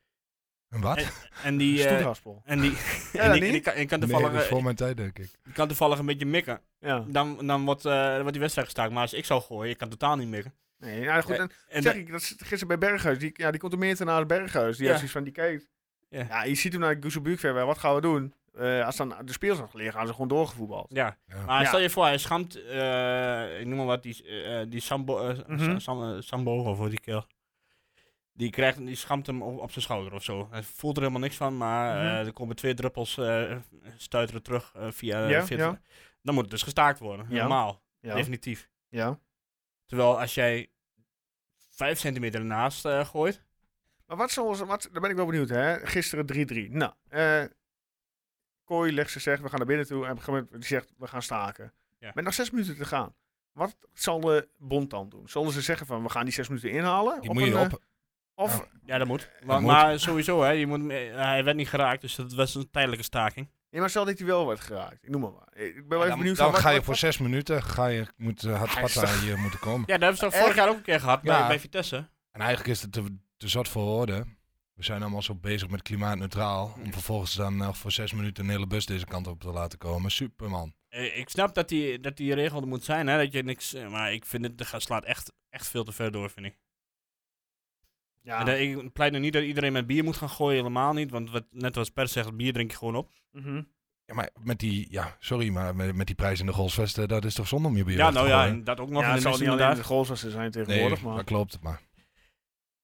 [SPEAKER 5] En wat?
[SPEAKER 4] En- en die... eh, <laughs>
[SPEAKER 1] Stoethaspel.
[SPEAKER 4] en
[SPEAKER 1] <laughs>
[SPEAKER 4] die, en
[SPEAKER 1] dat
[SPEAKER 4] die, en
[SPEAKER 1] niet?
[SPEAKER 4] die kan, en kan,
[SPEAKER 5] nee,
[SPEAKER 4] toevallig,
[SPEAKER 5] dat is
[SPEAKER 4] eh,
[SPEAKER 5] voor mijn tijd, denk ik.
[SPEAKER 4] die kan toevallig een beetje mikken.
[SPEAKER 1] Ja.
[SPEAKER 4] Dan, dan wordt, eh, wordt die wedstrijd gestaakt. Maar als ik zou gooien, ik kan totaal niet mikken.
[SPEAKER 1] Nee, nou goed.
[SPEAKER 4] Eh,
[SPEAKER 1] En
[SPEAKER 4] En
[SPEAKER 1] zeg
[SPEAKER 4] da-
[SPEAKER 1] ik, dat zit gisteren bij Berghuis. Die, ja, die komt er meer te naar het Berghuis. Die
[SPEAKER 4] Ja.
[SPEAKER 1] heeft zoiets van, die kijkt.
[SPEAKER 4] Ja.
[SPEAKER 1] Ja. je ziet hem naar Guzebuuk verder. Wat gaan we doen? Eh, als dan de speels nog liggen, gaan ze gewoon doorgevoetbald.
[SPEAKER 4] ja.
[SPEAKER 5] Ja.
[SPEAKER 4] maar
[SPEAKER 1] Ja.
[SPEAKER 4] stel je voor, hij schampt, eh, ik noem maar wat, die, eh, die Sambo, eh,
[SPEAKER 1] Mhm.
[SPEAKER 4] Sa- Sam, eh, Sambo of hoe die kerel. Die, krijgt, die schampt hem op, op zijn schouder of zo. Hij voelt er helemaal niks van, maar eh,
[SPEAKER 1] Mhm.
[SPEAKER 4] er komen twee druppels eh, stuiteren terug eh, via...
[SPEAKER 1] Ja,
[SPEAKER 4] via-
[SPEAKER 1] ja.
[SPEAKER 4] Dan moet het dus gestaakt worden,
[SPEAKER 1] Ja.
[SPEAKER 4] helemaal,
[SPEAKER 1] Ja.
[SPEAKER 4] definitief.
[SPEAKER 1] ja.
[SPEAKER 4] Terwijl als jij vijf centimeter ernaast eh, gooit...
[SPEAKER 1] Maar wat zal ze, wat, daar ben ik wel benieuwd, hè? Gisteren 3-3. Nou, eh Kooi legt ze zegt, we gaan naar binnen toe. En op een gegeven moment die zegt, we gaan staken.
[SPEAKER 4] Ja.
[SPEAKER 1] Met nog zes minuten te gaan. Wat zal de bond dan doen? Zullen ze zeggen van, we gaan die zes minuten inhalen?
[SPEAKER 5] Die
[SPEAKER 1] Op
[SPEAKER 5] moet je
[SPEAKER 1] een, eh,
[SPEAKER 5] op.
[SPEAKER 1] Of,
[SPEAKER 5] Ja.
[SPEAKER 4] Ja, dat moet. Maar,
[SPEAKER 5] moet.
[SPEAKER 4] maar sowieso, hè, je moet, hem- eh, hij werd niet geraakt, dus dat was een tijdelijke staking.
[SPEAKER 1] nee, maar stel dat hij wel werd geraakt. Ik noem maar maar. Ik ben wel
[SPEAKER 5] Ja,
[SPEAKER 1] even
[SPEAKER 5] dan
[SPEAKER 1] benieuwd.
[SPEAKER 5] dan
[SPEAKER 1] van, wat-
[SPEAKER 5] ga je
[SPEAKER 1] wat-
[SPEAKER 5] voor zes minuten, ga je, moet eh, hard
[SPEAKER 1] Hij is
[SPEAKER 5] patta hier moeten komen.
[SPEAKER 4] Ja, dat hebben ze toch vorig
[SPEAKER 1] Echt?
[SPEAKER 4] jaar ook een keer gehad bij,
[SPEAKER 5] Eh, Ja.
[SPEAKER 4] bij Vitesse.
[SPEAKER 5] En eigenlijk is het te, te zat voor woorden. We zijn allemaal zo bezig met klimaatneutraal. Om vervolgens dan nog voor zes minuten een hele bus deze kant op te laten komen. Superman.
[SPEAKER 4] Eh, Ik snap dat die, dat die regel er moet zijn, hè, dat je niks... eh, Maar ik vind het, dat gaat- slaat echt, echt veel te ver door, vind ik.
[SPEAKER 1] Ja.
[SPEAKER 4] En dat- ik pleit nu niet dat iedereen met bier moet gaan gooien, helemaal niet. Want wat, net als Per zegt, bier drink je gewoon op.
[SPEAKER 1] Mhm.
[SPEAKER 5] Ja, maar met die, ja, sorry, maar met, met die prijs in de golfsvesten, dat is toch zonde om je bier
[SPEAKER 4] ja,
[SPEAKER 5] weg te
[SPEAKER 4] nou ja,
[SPEAKER 5] gooien?
[SPEAKER 4] en dat ook nog
[SPEAKER 1] Ja,
[SPEAKER 4] in
[SPEAKER 1] het
[SPEAKER 4] de
[SPEAKER 1] zal
[SPEAKER 4] mist,
[SPEAKER 1] niet alleen de
[SPEAKER 4] inderdaad.
[SPEAKER 1] goalswassen zijn
[SPEAKER 5] Nee,
[SPEAKER 1] tegenwoordig, maar...
[SPEAKER 5] dat klopt. Maar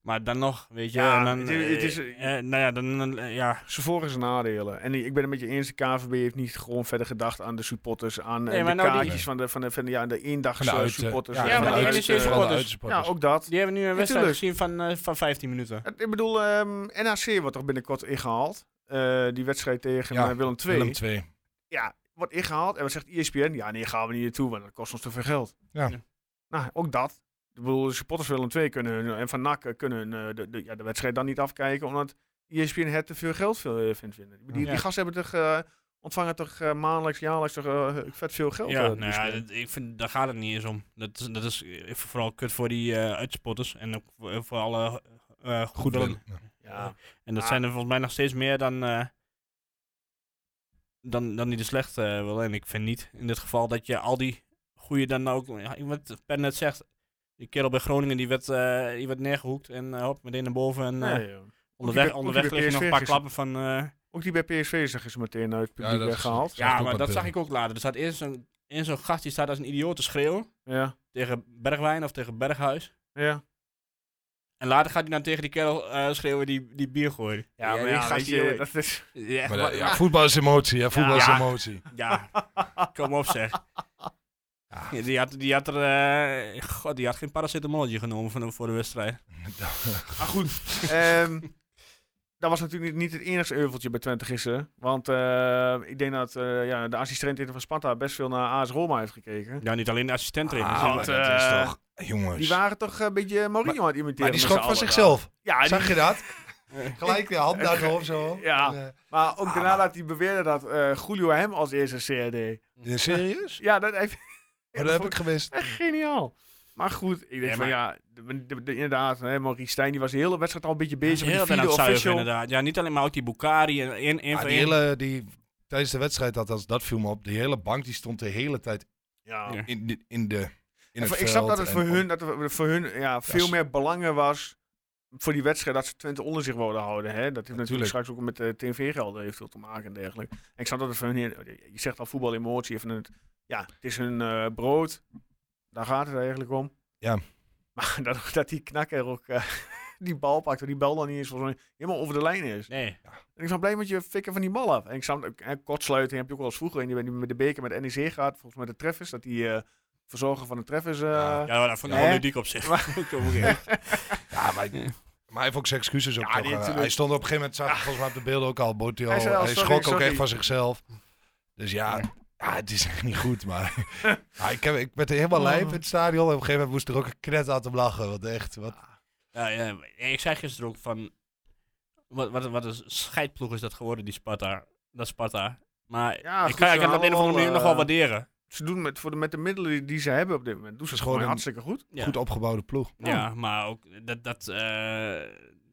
[SPEAKER 4] Maar dan nog, weet je.
[SPEAKER 1] Ja,
[SPEAKER 4] en dan,
[SPEAKER 1] het is- het
[SPEAKER 4] eh,
[SPEAKER 1] is-
[SPEAKER 4] eh, nou ja, dan, dan, eh, ja,
[SPEAKER 1] Ze voor en zijn nadelen. En ik ben het met je eens, de KVB heeft niet gewoon verder gedacht aan de supporters, aan eh,
[SPEAKER 4] Nee, maar
[SPEAKER 1] de
[SPEAKER 4] nou die-
[SPEAKER 1] kaartjes van de, van de, van de, ja, de eendags
[SPEAKER 5] van de
[SPEAKER 1] eh,
[SPEAKER 5] uit,
[SPEAKER 1] supporters.
[SPEAKER 4] ja,
[SPEAKER 1] van
[SPEAKER 4] maar
[SPEAKER 1] de
[SPEAKER 4] die
[SPEAKER 1] uit-
[SPEAKER 4] NEC
[SPEAKER 1] eh,
[SPEAKER 4] supporters.
[SPEAKER 1] Ja, ook dat.
[SPEAKER 4] die hebben nu een wedstrijd
[SPEAKER 1] tuurlijk.
[SPEAKER 4] gezien van, eh, van 15 minuten.
[SPEAKER 1] Het- Ik bedoel, ehm, NAC wordt toch binnenkort ingehaald. Eh, die wedstrijd tegen
[SPEAKER 5] Ja,
[SPEAKER 1] eh, Willem II.
[SPEAKER 5] Willem 2.
[SPEAKER 1] Ja, wordt ingehaald. En wat zegt E ESPN? Ja, nee, gaan we niet naartoe, want dat kost ons te veel geld.
[SPEAKER 5] Ja.
[SPEAKER 4] Ja.
[SPEAKER 1] Nou, ook dat. Ik bedoel, de supporters van Willem II kunnen hun- en van NAC kunnen hun, eh, de, de, ja, de wedstrijd dan niet afkijken, omdat E ESPN het te veel geld veel, eh, vindt vinden. Die, die
[SPEAKER 4] Ja.
[SPEAKER 1] gasten hebben toch, eh, ontvangen toch eh, maandelijks, jaarlijks toch eh, vet veel geld. eh,
[SPEAKER 4] Ja,
[SPEAKER 1] die
[SPEAKER 4] nou ja,
[SPEAKER 1] ESPN.
[SPEAKER 4] dat- ik vind, daar gaat het niet eens om. Dat is, dat is eh, vooral kut voor die eh, uitspotters en ook voor, eh, voor alle eh, eh,
[SPEAKER 5] Goed
[SPEAKER 4] goederen.
[SPEAKER 5] Willem. Ja.
[SPEAKER 1] ja.
[SPEAKER 4] Eh, En dat
[SPEAKER 1] Ah.
[SPEAKER 4] zijn er volgens mij nog steeds meer dan, eh, dan, dan die de slecht eh, willen. En ik vind niet in dit geval dat je al die goede dan ook... Ja, wat Per net zegt, die kerel bij Groningen die werd, eh, die werd neergehoekt en eh, hop, meteen naar boven. En eh,
[SPEAKER 1] Nee, joh.
[SPEAKER 4] onderweg,
[SPEAKER 1] bij- ook
[SPEAKER 4] onderweg
[SPEAKER 1] die bij
[SPEAKER 4] liggen nog een
[SPEAKER 1] PSV
[SPEAKER 4] paar klappen van... eh,
[SPEAKER 1] Ook die bij PSV zeggen ze meteen uit het
[SPEAKER 5] Ja,
[SPEAKER 1] publiek
[SPEAKER 5] dat is-
[SPEAKER 1] weggehaald.
[SPEAKER 5] Zag ik
[SPEAKER 4] ja,
[SPEAKER 5] ook
[SPEAKER 4] maar
[SPEAKER 5] wat,
[SPEAKER 4] dat
[SPEAKER 5] eh.
[SPEAKER 4] zag ik ook later. Er staat eerst zo'n eerst zo'n gast die staat als een idioot te schreeuwen
[SPEAKER 1] Ja,
[SPEAKER 4] tegen Bergwijn of tegen Berghuis.
[SPEAKER 1] ja.
[SPEAKER 4] En later gaat hij dan tegen die kerel eh, schreeuwen die, die bier gooit.
[SPEAKER 1] Ja, maar
[SPEAKER 4] die
[SPEAKER 1] ja,
[SPEAKER 4] gast
[SPEAKER 1] weet
[SPEAKER 4] die
[SPEAKER 1] je,
[SPEAKER 4] jongen.
[SPEAKER 1] dat is...
[SPEAKER 4] Ja,
[SPEAKER 5] Maar
[SPEAKER 4] maar-
[SPEAKER 5] dat- ja, voetbal is emotie, ja, voetbal is
[SPEAKER 4] Ja.
[SPEAKER 5] emotie. <laughs>
[SPEAKER 4] ja, kom op zeg.
[SPEAKER 5] Ja.
[SPEAKER 4] Ja, Die had, die had er, eh, god, die had geen paracetamolletje genomen van, voor de wedstrijd.
[SPEAKER 1] Maar goed, ehm, dat was natuurlijk niet het enige euveltje bij Twente gisteren. Want eh, ik denk dat eh, ja, de assistent van Sparta best veel naar AS Roma heeft gekeken.
[SPEAKER 4] Ja, niet alleen de assistent erin.
[SPEAKER 5] Ah,
[SPEAKER 1] want,
[SPEAKER 5] maar
[SPEAKER 1] eh,
[SPEAKER 5] dat is toch,
[SPEAKER 1] Die
[SPEAKER 5] jongens.
[SPEAKER 1] waren toch een beetje Mourinho aan het imiteren.
[SPEAKER 5] Maar
[SPEAKER 1] met
[SPEAKER 5] die schrok
[SPEAKER 1] z'n
[SPEAKER 5] van
[SPEAKER 1] allen
[SPEAKER 5] zichzelf.
[SPEAKER 1] daar. Ja, die-
[SPEAKER 5] Zag je dat? Gelijk de hand naar het hoofd zo.
[SPEAKER 1] Ja.
[SPEAKER 5] En,
[SPEAKER 1] maar
[SPEAKER 5] Ah,
[SPEAKER 1] ook daarna dat hij beweerde dat eh, Julio hem als eerste CRD.
[SPEAKER 5] eh, serieus?
[SPEAKER 1] Ja, dat heeft...
[SPEAKER 5] Maar dat heb ik
[SPEAKER 1] <laughs>
[SPEAKER 5] gewist.
[SPEAKER 1] Echt geniaal. Maar goed, ik denk
[SPEAKER 4] Ja,
[SPEAKER 1] van
[SPEAKER 4] maar-
[SPEAKER 1] ja, de- de- de- inderdaad, hè, Maurice Stijn die was de hele wedstrijd al een beetje bezig
[SPEAKER 4] Bezig
[SPEAKER 1] met die
[SPEAKER 4] aan
[SPEAKER 1] video
[SPEAKER 4] het zuigen,
[SPEAKER 1] official.
[SPEAKER 4] inderdaad. Ja, niet alleen maar ook Ah, die Bukari en in, in,
[SPEAKER 5] Ja, Ah, die hele, die, tijdens de wedstrijd, althans, dat viel me op. Die hele bank die stond de hele tijd
[SPEAKER 1] Ja.
[SPEAKER 4] Ja.
[SPEAKER 5] in, de, in, de, in
[SPEAKER 1] En
[SPEAKER 5] het
[SPEAKER 1] voor- ik snap
[SPEAKER 5] veld
[SPEAKER 1] dat het
[SPEAKER 5] en
[SPEAKER 1] voor
[SPEAKER 5] om-
[SPEAKER 1] hun, dat er voor hun ja, veel
[SPEAKER 5] s-
[SPEAKER 1] meer belangen was voor die wedstrijd dat ze Twente onder zich wilden houden. Hè? Dat heeft natuurlijk
[SPEAKER 5] Natuurlijk.
[SPEAKER 1] straks ook met eh, de TV-gelden heeft veel te maken en dergelijke. En ik snap dat het voor hun, je zegt al voetbal emotie, even het, ja, het is hun eh, brood. Daar gaat het eigenlijk om.
[SPEAKER 5] Ja.
[SPEAKER 1] Maar <laughs> dat, dat die knakker ook eh, <laughs> die bal pakt, en die bal dan niet eens volgens mij helemaal over de lijn is.
[SPEAKER 4] Nee,
[SPEAKER 1] En ik ben blij met je fikken van die bal af. En ik snap, en kortsluiting heb je ook wel eens vroeger. En die die met de beker met NEC gaat, volgens mij de treffers, dat die eh, verzorger van de treffers... eh,
[SPEAKER 5] Ja,
[SPEAKER 4] ja, dat vond ik
[SPEAKER 1] Nee.
[SPEAKER 4] wel ludiek op
[SPEAKER 1] <laughs>
[SPEAKER 4] zich. <laughs>
[SPEAKER 5] Ja, maar, maar hij heeft ook zijn excuses op.
[SPEAKER 1] Ja,
[SPEAKER 5] toch,
[SPEAKER 1] die
[SPEAKER 5] eh,
[SPEAKER 1] natuurlijk.
[SPEAKER 5] hij stond op een gegeven moment, zag ik volgens mij op de beelden ook al, bood hij
[SPEAKER 1] Hij
[SPEAKER 5] al.
[SPEAKER 1] zei
[SPEAKER 5] Hij,
[SPEAKER 1] al, sorry,
[SPEAKER 5] schrok ook
[SPEAKER 1] sorry.
[SPEAKER 5] echt van zichzelf. Dus ja, ja, het is echt niet goed, maar Ja, ik, heb, ik werd er helemaal lijp in het stadion. En op een gegeven moment moest er ook een knet aan te lachen. Want echt, wat,
[SPEAKER 4] Ja, ja, maar ik zei gisteren ook van. Wat, wat, wat een scheidploeg is dat geworden, die Sparta. Dat Sparta. Maar
[SPEAKER 1] Ja,
[SPEAKER 4] ik,
[SPEAKER 1] goed,
[SPEAKER 4] kan,
[SPEAKER 1] ze
[SPEAKER 4] ik kan dat op
[SPEAKER 1] hadden
[SPEAKER 4] een of
[SPEAKER 1] wel,
[SPEAKER 4] andere manier nog wel
[SPEAKER 1] eh,
[SPEAKER 4] waarderen.
[SPEAKER 1] ze doen met, voor de, met de middelen die, die ze hebben op dit moment. Doen ze het
[SPEAKER 5] Gewoon
[SPEAKER 1] gewoon
[SPEAKER 5] een-
[SPEAKER 1] hartstikke goed.
[SPEAKER 4] Ja,
[SPEAKER 5] goed opgebouwde ploeg.
[SPEAKER 1] Oh.
[SPEAKER 4] ja maar ook dat, dat, eh,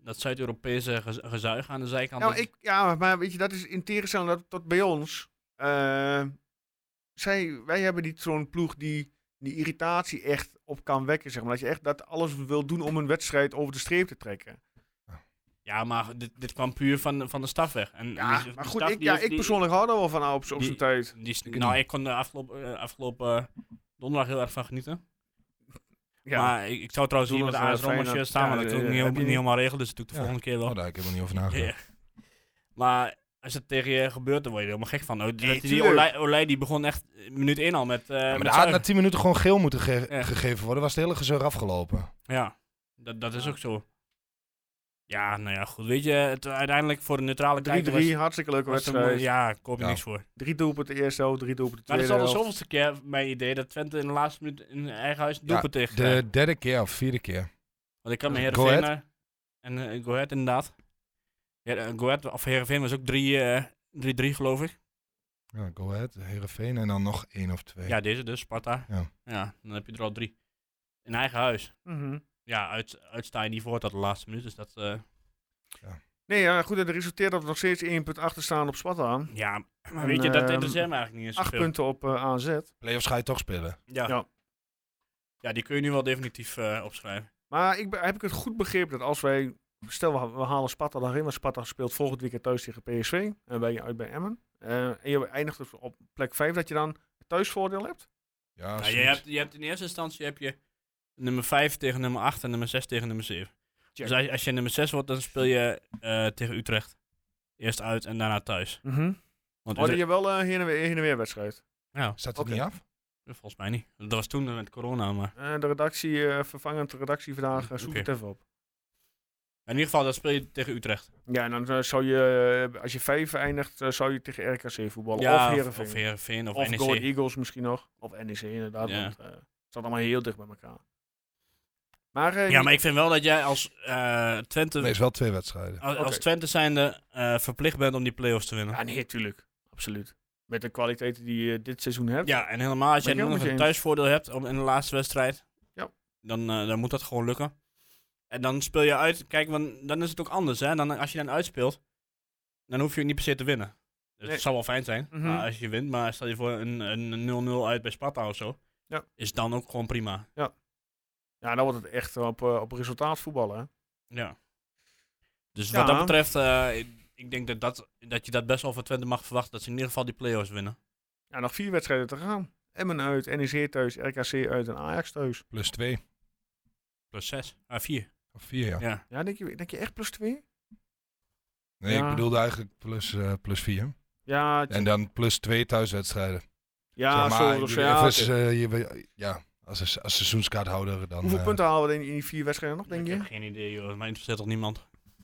[SPEAKER 4] dat Zuid-Europese gez- gezuig aan de zijkant.
[SPEAKER 1] Nou,
[SPEAKER 4] dat-
[SPEAKER 1] ik, ja, maar weet je, dat is in tegenstelling dat, tot bij ons. Eh, zij, wij hebben niet zo'n ploeg die die irritatie echt op kan wekken. Zeg maar. Dat je echt dat alles wil doen om een wedstrijd over de streep te trekken.
[SPEAKER 4] Ja, maar dit, dit kwam puur van, van de staf weg. En, en
[SPEAKER 1] Ja,
[SPEAKER 4] die- die
[SPEAKER 1] maar
[SPEAKER 4] staf
[SPEAKER 1] goed, ik,
[SPEAKER 4] die
[SPEAKER 1] ja,
[SPEAKER 4] heeft
[SPEAKER 1] ik
[SPEAKER 4] die-
[SPEAKER 1] persoonlijk hou er wel van op, z'n- op
[SPEAKER 4] die-
[SPEAKER 1] zijn tijd.
[SPEAKER 4] die is- nou, ik kon de afgelopen, eh, afgelopen donderdag heel erg van genieten.
[SPEAKER 1] Ja.
[SPEAKER 4] Maar ik, ik zou trouwens hier met de
[SPEAKER 1] Donderdag,
[SPEAKER 4] AS
[SPEAKER 1] eh,
[SPEAKER 4] Roma
[SPEAKER 1] Feyenoord,
[SPEAKER 4] shirt staan, maar
[SPEAKER 1] ja,
[SPEAKER 4] dat kan ik
[SPEAKER 1] eh,
[SPEAKER 4] niet,
[SPEAKER 1] heb
[SPEAKER 4] helemaal-
[SPEAKER 1] je
[SPEAKER 4] niet
[SPEAKER 1] niet.
[SPEAKER 4] helemaal regelen, dus dat doe ik de
[SPEAKER 5] Ja.
[SPEAKER 4] volgende keer wel.
[SPEAKER 5] Oh, daar heb ik helemaal niet over nagedacht.
[SPEAKER 4] Ja. Maar als het tegen je gebeurt, dan word je er helemaal gek van. Oh, Dat-
[SPEAKER 1] Nee,
[SPEAKER 4] die
[SPEAKER 1] tuurlijk.
[SPEAKER 4] Olij, Olij die begon echt eh, minuut 1 al met. eh
[SPEAKER 5] Ja, maar
[SPEAKER 4] met
[SPEAKER 5] daar had na
[SPEAKER 4] zuigen.
[SPEAKER 5] 10 minuten gewoon geel moeten ge-
[SPEAKER 4] Ja.
[SPEAKER 5] gegeven worden. Was het hele gezeur afgelopen.
[SPEAKER 4] Ja, dat, dat is ook zo. Ja, nou ja, goed. Weet je, het, uiteindelijk voor de neutrale kijker was,
[SPEAKER 1] 3-3, hartstikke leuke
[SPEAKER 4] was het een
[SPEAKER 1] wedstrijd.
[SPEAKER 4] moe- Ja, koop je
[SPEAKER 5] Ja.
[SPEAKER 4] niks voor.
[SPEAKER 1] Drie doelpunten eerste helft, drie doelpunten
[SPEAKER 4] Maar dat is
[SPEAKER 1] tweede
[SPEAKER 4] al de
[SPEAKER 1] helft.
[SPEAKER 4] zoveelste keer, mijn idee, dat Twente in de laatste minuut in eigen huis een
[SPEAKER 5] Ja,
[SPEAKER 4] doelpunt tegen krijgt.
[SPEAKER 5] De derde keer of vierde keer.
[SPEAKER 4] Want ik kan me
[SPEAKER 5] Go
[SPEAKER 4] Heerenveen... eh, En eh, Go Ahead inderdaad. Ja, eh, Go Ahead, of Heerenveen was ook 3-3 geloof ik.
[SPEAKER 5] Ja, go ahead, Heerenveen en dan nog één of twee.
[SPEAKER 4] Ja, deze dus, Sparta.
[SPEAKER 5] Ja.
[SPEAKER 4] ja, dan heb je er al drie. In eigen huis.
[SPEAKER 1] Mhm.
[SPEAKER 4] ja, uit, uitsta je niet voor tot de laatste minuut. Dus dat, eh,
[SPEAKER 1] Nee, ja, goed, en dat resulteert dat we nog steeds één punt achter staan op Sparta.
[SPEAKER 4] ja, maar
[SPEAKER 1] En,
[SPEAKER 4] weet je, dat
[SPEAKER 1] ehm,
[SPEAKER 4] interesseert me eigenlijk niet eens
[SPEAKER 1] Acht
[SPEAKER 4] zoveel.
[SPEAKER 1] punten op eh, AZ.
[SPEAKER 5] Playoffs ga je toch spelen.
[SPEAKER 4] Ja.
[SPEAKER 1] Ja.
[SPEAKER 4] Ja. die kun je nu wel definitief eh, opschrijven.
[SPEAKER 1] Maar ik, be- heb ik het goed begrepen dat als wij... Stel, we ha- we halen Sparta dan in. Maar Sparta speelt volgend weekend thuis tegen PSV. En ben je uit bij Emmen. Eh, en je eindigt dus op plek 5 dat je dan thuisvoordeel hebt.
[SPEAKER 5] Ja,
[SPEAKER 4] Nou, je,
[SPEAKER 5] zoiets.
[SPEAKER 4] hebt, je hebt in eerste instantie heb je nummer 5 tegen nummer 8 en nummer 6 tegen nummer 7. Dus als, als je nummer 6 wordt, dan speel je eh, tegen Utrecht. Eerst uit en daarna thuis. Want
[SPEAKER 1] Mhm. Hadden
[SPEAKER 4] Utrecht-
[SPEAKER 1] je wel eh heen, en weer, heen en weer wedstrijd?
[SPEAKER 4] ja,
[SPEAKER 5] Staat het
[SPEAKER 1] Oké.
[SPEAKER 5] niet af?
[SPEAKER 4] volgens mij niet. Dat was toen met corona, maar...
[SPEAKER 1] Eh, de redactie, eh, vervangend redactie vandaag, eh, zoek
[SPEAKER 4] Oké.
[SPEAKER 1] het even op.
[SPEAKER 4] In ieder geval, dan speel je tegen Utrecht.
[SPEAKER 1] Ja, en dan eh, zou je, eh, als je 5 eindigt, eh, zou je tegen RKC voetballen.
[SPEAKER 4] ja,
[SPEAKER 1] of
[SPEAKER 4] of,
[SPEAKER 1] Heerenveen.
[SPEAKER 4] of Heerenveen, of, E
[SPEAKER 1] Of,
[SPEAKER 4] NEC.
[SPEAKER 1] Go Ahead Eagles misschien nog. Of NEC inderdaad.
[SPEAKER 4] Ja.
[SPEAKER 1] Want, eh, het staat allemaal heel dicht bij elkaar. Maar, eh,
[SPEAKER 4] Ja, maar ik vind wel dat jij als eh, Twente...
[SPEAKER 5] Nee, is wel twee wedstrijden.
[SPEAKER 4] Als,
[SPEAKER 1] Oké.
[SPEAKER 4] als Twente zijnde eh, verplicht bent om die play-offs te winnen.
[SPEAKER 1] Ja, nee, tuurlijk. Absoluut. Met de kwaliteiten die je dit seizoen hebt.
[SPEAKER 4] Ja, en helemaal
[SPEAKER 1] Ben
[SPEAKER 4] als jij
[SPEAKER 1] ik
[SPEAKER 4] nu
[SPEAKER 1] helemaal
[SPEAKER 4] nog
[SPEAKER 1] met je
[SPEAKER 4] een
[SPEAKER 1] eens.
[SPEAKER 4] thuisvoordeel hebt om, in de laatste wedstrijd,
[SPEAKER 1] Ja.
[SPEAKER 4] dan, eh, dan moet dat gewoon lukken. En dan speel je uit. Kijk, want dan is het ook anders. Hè? Dan, als je dan uitspeelt, dan hoef je ook niet per se te winnen. Dus
[SPEAKER 1] Nee.
[SPEAKER 4] Het zou wel fijn zijn
[SPEAKER 1] Mhm.
[SPEAKER 4] maar als je wint, maar stel je voor een een 0-0 uit bij Sparta of zo.
[SPEAKER 1] Ja.
[SPEAKER 4] Is dan ook gewoon prima.
[SPEAKER 1] Ja, dan wordt het echt op, eh, op resultaat voetballen. hè.
[SPEAKER 4] Ja. Dus
[SPEAKER 1] Ja.
[SPEAKER 4] wat dat betreft, eh, ik, ik denk dat, dat, dat je dat best wel van Twente mag verwachten. Dat ze in ieder geval die play-offs winnen.
[SPEAKER 1] Ja, nog vier wedstrijden te gaan. Emmen uit, NEC thuis, RKC uit en Ajax thuis.
[SPEAKER 5] Plus twee.
[SPEAKER 4] Plus 6, ah 4.
[SPEAKER 5] Of vier, ja.
[SPEAKER 4] ja.
[SPEAKER 1] Ja, denk je, denk je echt plus twee?
[SPEAKER 5] Nee,
[SPEAKER 1] Ja.
[SPEAKER 5] ik bedoelde eigenlijk plus, eh, plus vier.
[SPEAKER 1] Ja, t-
[SPEAKER 5] En dan plus twee thuiswedstrijden.
[SPEAKER 1] ja,
[SPEAKER 5] Zeg
[SPEAKER 1] zo. zo,
[SPEAKER 5] je-
[SPEAKER 1] ja,
[SPEAKER 5] of als,
[SPEAKER 1] oké.
[SPEAKER 5] eh, je- ja, als, een se- als seizoenskaarthouder dan...
[SPEAKER 1] Hoeveel
[SPEAKER 5] eh,
[SPEAKER 1] punten halen we in, in die vier wedstrijden nog, denk
[SPEAKER 4] ik
[SPEAKER 1] je?
[SPEAKER 4] heb geen idee, joh. Mij interesseert toch niemand?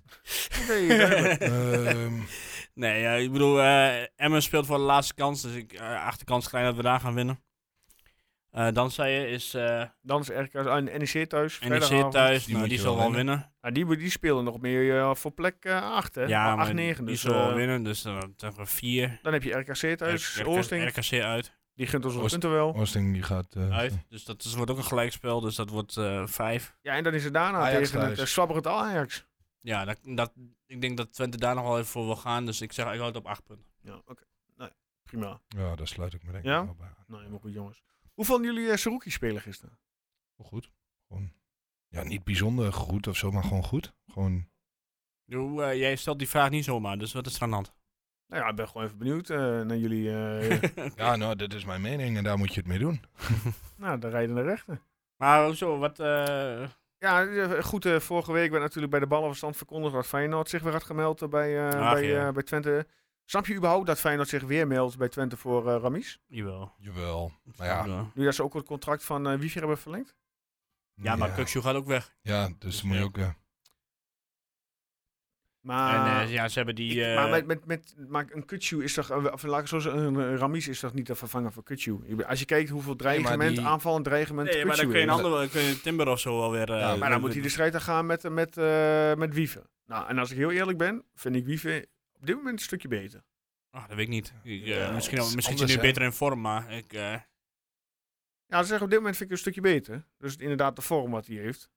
[SPEAKER 4] <laughs>
[SPEAKER 1] <laughs> Oké,
[SPEAKER 5] <laughs>
[SPEAKER 1] duidelijk.
[SPEAKER 5] ehm,
[SPEAKER 4] nee, ja, ik bedoel, eh Emmen speelt voor de laatste kans. Dus ik eh, achterkans klein dat we daar gaan winnen. Eh dan zei je, is eh
[SPEAKER 1] Dan is RKC ah, en NEC thuis.
[SPEAKER 4] NEC
[SPEAKER 1] vrijdagavond.
[SPEAKER 4] E thuis.
[SPEAKER 5] Die
[SPEAKER 4] Die, nou,
[SPEAKER 5] moet
[SPEAKER 4] die
[SPEAKER 5] je
[SPEAKER 4] zal
[SPEAKER 5] wel
[SPEAKER 4] wel winnen.
[SPEAKER 1] Ah, die, die spelen nog meer eh, voor plek 8, hè?
[SPEAKER 4] Ja, maar
[SPEAKER 1] 8, 9.
[SPEAKER 4] die
[SPEAKER 1] Dus,
[SPEAKER 4] zal wel
[SPEAKER 1] eh,
[SPEAKER 4] winnen. Dus dan hebben we 4.
[SPEAKER 1] dan heb je RKC thuis, Oosting.
[SPEAKER 4] RKC uit.
[SPEAKER 1] Die gunt ons onze
[SPEAKER 5] Oost-
[SPEAKER 1] punten wel.
[SPEAKER 5] Oosting die gaat... eh,
[SPEAKER 4] uit. Dus dat is, wordt ook een gelijkspel, dus dat wordt eh, vijf.
[SPEAKER 1] Ja, en dan is het daarna
[SPEAKER 5] Ajax
[SPEAKER 1] tegen het
[SPEAKER 5] thuis.
[SPEAKER 1] uh, slapperend Ajax.
[SPEAKER 4] Ja, dat, dat, ik denk dat Twente daar nog wel even voor wil gaan. Dus ik zeg, ik houd het op acht punten.
[SPEAKER 1] Ja, oké. Nee, prima.
[SPEAKER 5] Ja, daar sluit ik me denk ik
[SPEAKER 1] Ja?
[SPEAKER 5] wel bij aan.
[SPEAKER 1] Nou, helemaal goed, jongens. Hoe vonden jullie eh Saruki spelen gisteren?
[SPEAKER 5] Wel goed. Gewoon, ja, niet bijzonder goed of zo, maar gewoon goed. Gewoon,
[SPEAKER 4] Hoe, eh, jij stelt die vraag niet zomaar, dus wat is er aan de hand?
[SPEAKER 1] Nou ja, ik ben gewoon even benieuwd eh, naar jullie.
[SPEAKER 5] <laughs>
[SPEAKER 1] eh,
[SPEAKER 5] ja, nou, dit is mijn mening en daar moet je het mee doen.
[SPEAKER 1] nou, de rijdende rechten.
[SPEAKER 4] Maar hoezo, wat... eh,
[SPEAKER 1] Ja, eh, goed, eh, vorige week werd natuurlijk bij de ballenverstand verkondigd dat Feyenoord zich weer had gemeld eh, bij, eh,
[SPEAKER 4] Ach,
[SPEAKER 1] bij,
[SPEAKER 4] ja.
[SPEAKER 1] eh, bij Twente. Snap je überhaupt dat Feyenoord zich weer meldt bij Twente voor eh Ramis?
[SPEAKER 4] jawel.
[SPEAKER 5] Jawel. Maar ja,
[SPEAKER 4] ja.
[SPEAKER 1] Nu dat ze ook het contract van eh Wiever hebben verlengd?
[SPEAKER 4] Ja, maar Kukzu gaat ook weg.
[SPEAKER 5] Ja, dus dan moet je ook... eh,
[SPEAKER 1] Maar,
[SPEAKER 4] en eh, ja, ze hebben die...
[SPEAKER 1] Ah. ik-
[SPEAKER 4] eh,
[SPEAKER 1] maar, met, met, met, maar een Kutsu is toch, eh, of laat ik het zo zeggen, een, een Ramis is toch niet te vervangen voor Kutsu? Ik ben- Als je kijkt hoeveel dreigement,
[SPEAKER 5] die-
[SPEAKER 1] aanvallend dreigement
[SPEAKER 4] nee, maar dan
[SPEAKER 1] Kutsu
[SPEAKER 4] kun je een
[SPEAKER 1] is.
[SPEAKER 4] ander, dan kun je Timber of zo alweer... eh
[SPEAKER 5] Ja,
[SPEAKER 1] Maar dan moet hij de strijd aan gaan met, eh, met, eh, met Wieven. Nou, en als ik heel eerlijk ben, vind ik Wieven op dit moment een stukje beter. dus-
[SPEAKER 4] Ah, dat weet ik niet. Ik, eh,
[SPEAKER 5] Ja,
[SPEAKER 4] misschien
[SPEAKER 5] het is
[SPEAKER 4] misschien
[SPEAKER 5] anders,
[SPEAKER 4] zit hij
[SPEAKER 5] hè?
[SPEAKER 4] nu beter in vorm, maar ik... eh,
[SPEAKER 1] Ja, ze zeggen op dit moment vind ik een stukje beter. Dus inderdaad de vorm wat hij heeft.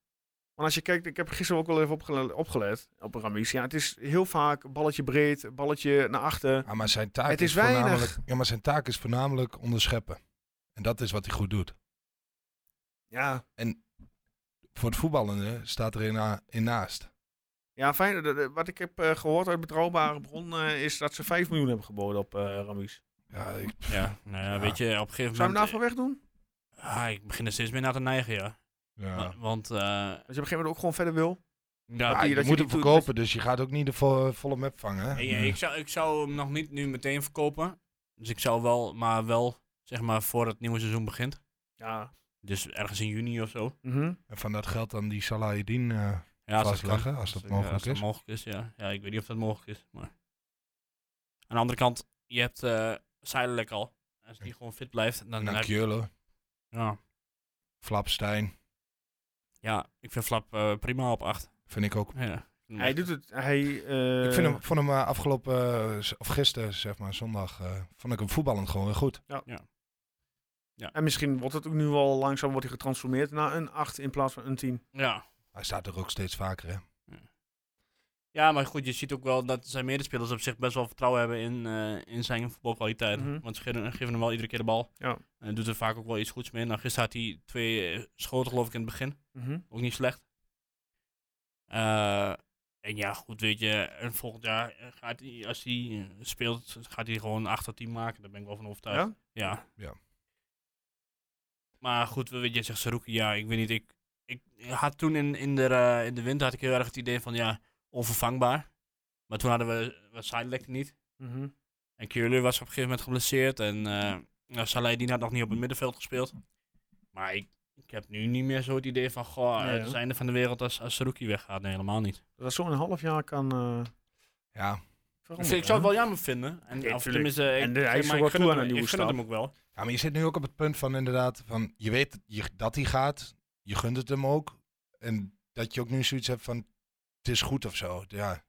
[SPEAKER 1] Want als je kijkt, ik heb gisteren ook al even opgele- opgelet op Ramis. Ja, het is heel vaak balletje breed, balletje naar achter.
[SPEAKER 5] Ja, maar zijn taak
[SPEAKER 1] Het is
[SPEAKER 5] is,
[SPEAKER 1] weinig.
[SPEAKER 5] voornamelijk... Ja, maar zijn taak is voornamelijk onderscheppen. En dat is wat hij goed doet.
[SPEAKER 1] Ja,
[SPEAKER 5] Voor het voetballen staat er in, na- in naast.
[SPEAKER 1] ja fijn. de- de- Wat ik heb eh, gehoord uit betrouwbare bron eh, is dat ze 5 miljoen hebben geboden op eh Ramis.
[SPEAKER 5] Ja, ik,
[SPEAKER 4] ja, nou ja,
[SPEAKER 5] Ja.
[SPEAKER 4] weet je, op een gegeven
[SPEAKER 1] Zou je hem nou-
[SPEAKER 4] moment...
[SPEAKER 1] daarvoor wegdoen?
[SPEAKER 4] Ah, ik begin er steeds meer naar te neigen, ja.
[SPEAKER 5] ja.
[SPEAKER 4] Wa- Want, eh
[SPEAKER 1] Als je op een gegeven moment ook gewoon verder wil.
[SPEAKER 4] ja,
[SPEAKER 5] Ja,
[SPEAKER 1] die-
[SPEAKER 5] je,
[SPEAKER 1] dat je
[SPEAKER 5] moet
[SPEAKER 1] die
[SPEAKER 5] hem
[SPEAKER 1] doet-
[SPEAKER 5] verkopen, dus je gaat ook niet de vo- volle map vangen. hè?
[SPEAKER 4] ik- ik, zou, ik zou hem nog niet nu meteen verkopen. Dus ik zou wel, maar wel, zeg maar, voor het nieuwe seizoen begint.
[SPEAKER 1] Ja.
[SPEAKER 4] Dus ergens in juni of zo.
[SPEAKER 1] Mhm.
[SPEAKER 5] En van dat geld dan die Salahidin eh,
[SPEAKER 4] Ja, als dat kan.
[SPEAKER 5] vastleggen, als dat
[SPEAKER 4] Ja,
[SPEAKER 5] mogelijk
[SPEAKER 4] als dat
[SPEAKER 5] is.
[SPEAKER 4] mogelijk is, ja. Ja, ik weet niet of dat mogelijk is, maar... Aan de andere kant, je hebt eh Seidelijk al. Als die gewoon fit blijft, dan
[SPEAKER 5] Naar
[SPEAKER 4] heb je...
[SPEAKER 5] Keulen,
[SPEAKER 4] Ja,
[SPEAKER 5] Flapstein,
[SPEAKER 4] ja, ik vind Flap eh, prima op 8.
[SPEAKER 5] vind ik ook.
[SPEAKER 4] Ja.
[SPEAKER 1] Hij doet het. Hij, eh,
[SPEAKER 5] ik vind hem, vond hem eh, afgelopen, eh, z- of gisteren zeg maar, zondag, eh, vond ik hem voetballend gewoon weer goed.
[SPEAKER 1] En misschien wordt het ook nu al langzaam wordt hij getransformeerd naar een 8 in plaats van een 10.
[SPEAKER 4] ja.
[SPEAKER 5] Hij staat er ook steeds vaker, hè.
[SPEAKER 4] Ja, maar goed, je ziet ook wel dat zijn medespelers op zich best wel vertrouwen hebben in, eh, in zijn voetbalkwaliteit.
[SPEAKER 1] Mhm.
[SPEAKER 4] Want ze geven, geven hem wel iedere keer de bal.
[SPEAKER 1] Ja.
[SPEAKER 4] En doet er vaak ook wel iets goeds mee. Nou, gisteren had hij twee eh, schoten geloof ik in het begin.
[SPEAKER 1] Mhm.
[SPEAKER 4] Ook niet slecht. Eh, en ja, goed, weet je, en volgend jaar eh, gaat hij, als hij eh, speelt, gaat hij gewoon 8 tot 10 maken. Daar ben ik wel van overtuigd.
[SPEAKER 1] Ja?
[SPEAKER 4] Ja.
[SPEAKER 5] Ja.
[SPEAKER 4] Maar goed, weet je, zegt Saruki, ja, ik weet niet, ik, ik had toen in, in, de, eh, in de winter had ik heel erg het idee van, ja, onvervangbaar. Maar toen hadden we, we Sidelec niet.
[SPEAKER 1] Mhm.
[SPEAKER 4] En Keuler was op een gegeven moment geblesseerd. En eh nou, Saladin had nog niet op het middenveld gespeeld. Maar ik, ik heb nu niet meer zo het idee van, goh, eh,
[SPEAKER 1] Nee,
[SPEAKER 4] het is
[SPEAKER 1] hè?
[SPEAKER 4] het einde van de wereld als, als Saruki weggaat. Nee, helemaal niet.
[SPEAKER 1] Dat dat zo in een half jaar kan eh,
[SPEAKER 5] Ja,
[SPEAKER 4] Ik,
[SPEAKER 1] veranderen.
[SPEAKER 4] vind- Dus ik zou het wel jammer vinden. En,
[SPEAKER 1] Ja, tuurlijk.
[SPEAKER 4] of tenminste, ik,
[SPEAKER 1] En de- hij
[SPEAKER 4] zeg
[SPEAKER 1] is
[SPEAKER 4] maar,
[SPEAKER 1] wel
[SPEAKER 4] ik gun
[SPEAKER 1] toe aan
[SPEAKER 4] het
[SPEAKER 1] een
[SPEAKER 4] hem-
[SPEAKER 1] nieuwe
[SPEAKER 4] ik gun
[SPEAKER 1] stap.
[SPEAKER 4] het hem ook wel.
[SPEAKER 5] Ja, maar je zit nu ook op het punt van inderdaad, van je weet je, dat hij gaat, je gunt het hem ook. En dat je ook nu zoiets hebt van, het is goed of zo. Ja,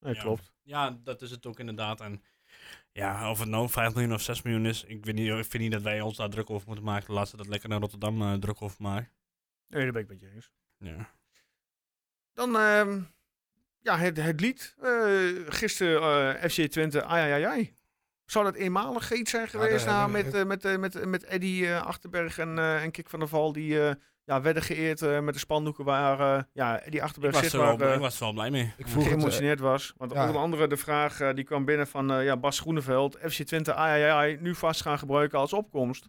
[SPEAKER 1] Nee,
[SPEAKER 4] Ja.
[SPEAKER 1] klopt.
[SPEAKER 4] Ja, dat is het ook inderdaad. En ja, of het nou 5 miljoen of 6 miljoen is, ik, weet niet, ik vind niet dat wij ons daar druk over moeten maken. Laat ze dat lekker naar Rotterdam eh, druk over maken.
[SPEAKER 1] Nee, daar ben ik met je eens.
[SPEAKER 4] Ja.
[SPEAKER 1] Dan ehm, ja, het, het lied. eh, gisteren eh, FC Twente, ai, ai, ai, ai. Zou dat eenmalig iets zijn geweest
[SPEAKER 5] daar
[SPEAKER 1] na
[SPEAKER 5] hebben we-
[SPEAKER 1] met, eh, met, eh, met, eh, met Eddie eh, Achterberg en, eh, en Kik van der Val? Die eh, ja, werden geëerd eh, met de spandoeken waar eh, ja, Eddie
[SPEAKER 4] Ik,
[SPEAKER 1] Achterberg
[SPEAKER 4] was er wel,
[SPEAKER 1] zichtbaar eh,
[SPEAKER 4] ik was er wel blij mee.
[SPEAKER 5] ik vroeg het, eh,
[SPEAKER 1] geëmotioneerd was. Want
[SPEAKER 5] ja.
[SPEAKER 1] onder andere de vraag eh, die kwam binnen van eh, ja, Bas Groeneveld. FC Twente, ai, ai, ai, nu vast gaan gebruiken als opkomst.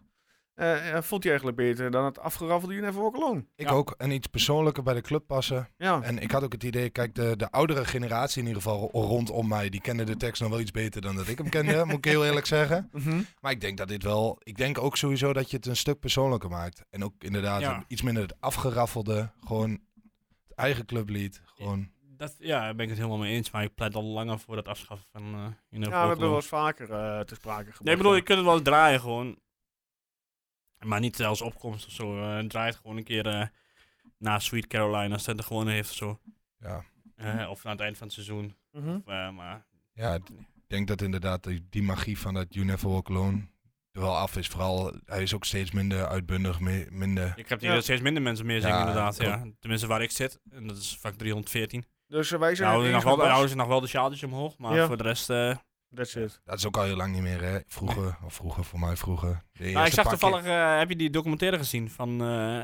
[SPEAKER 1] Eh, eh, voelt hij eigenlijk beter dan het afgeraffelde Unifor Cologne?
[SPEAKER 5] ik
[SPEAKER 4] Ja.
[SPEAKER 5] ook. En iets persoonlijker bij de club passen.
[SPEAKER 1] Ja.
[SPEAKER 5] En ik had ook het idee, kijk, de, de oudere generatie in ieder geval ro- rondom mij, die kende de tekst nog wel iets beter dan dat ik hem kende, <laughs> moet ik heel eerlijk zeggen.
[SPEAKER 1] Mhm.
[SPEAKER 5] Maar ik denk dat dit wel, ik denk ook sowieso dat je het een stuk persoonlijker maakt. En ook inderdaad
[SPEAKER 4] Ja.
[SPEAKER 5] iets minder het afgeraffelde, gewoon het eigen clublied. Gewoon,
[SPEAKER 4] Dat, ja, daar ben ik het helemaal mee eens. Maar ik pleit al langer voor het afschaffen van eh in
[SPEAKER 1] Ja, we hebben wel eens vaker eh, te sprake gebracht.
[SPEAKER 4] Nee, ik bedoel, je kunt het wel draaien gewoon. Maar niet als opkomst of zo. eh, draai het gewoon een keer eh, na Sweet Caroline als het er gewoon heeft of zo.
[SPEAKER 5] ja.
[SPEAKER 4] Eh, of aan het eind van het seizoen.
[SPEAKER 1] Mhm.
[SPEAKER 4] Eh, maar
[SPEAKER 5] Ja, d- denk dat inderdaad die, die magie van dat You Never Walk Alone er wel af is. Vooral, hij is ook steeds minder uitbundig, me- minder...
[SPEAKER 4] Ik heb
[SPEAKER 1] Ja.
[SPEAKER 4] hier dat steeds minder mensen meer zingen,
[SPEAKER 5] Ja,
[SPEAKER 4] inderdaad.
[SPEAKER 5] klopt.
[SPEAKER 4] Ja. Tenminste, waar ik zit. En dat is vaak 314.
[SPEAKER 1] Dus eh, wij
[SPEAKER 4] Nou,
[SPEAKER 1] zijn het
[SPEAKER 4] houden ze nog
[SPEAKER 1] eens
[SPEAKER 4] wel,
[SPEAKER 1] met Bas.
[SPEAKER 4] houden ze nog wel de sjaaltjes omhoog, maar
[SPEAKER 1] Ja.
[SPEAKER 4] voor de rest... eh,
[SPEAKER 1] That's it.
[SPEAKER 5] Dat is ook al heel lang niet meer, hè? Vroeger, of vroeger, voor mij vroeger. De
[SPEAKER 4] nou, ik
[SPEAKER 5] eerste
[SPEAKER 4] zag
[SPEAKER 5] paar keer-
[SPEAKER 4] toevallig... eh, heb je die documentaire gezien van... eh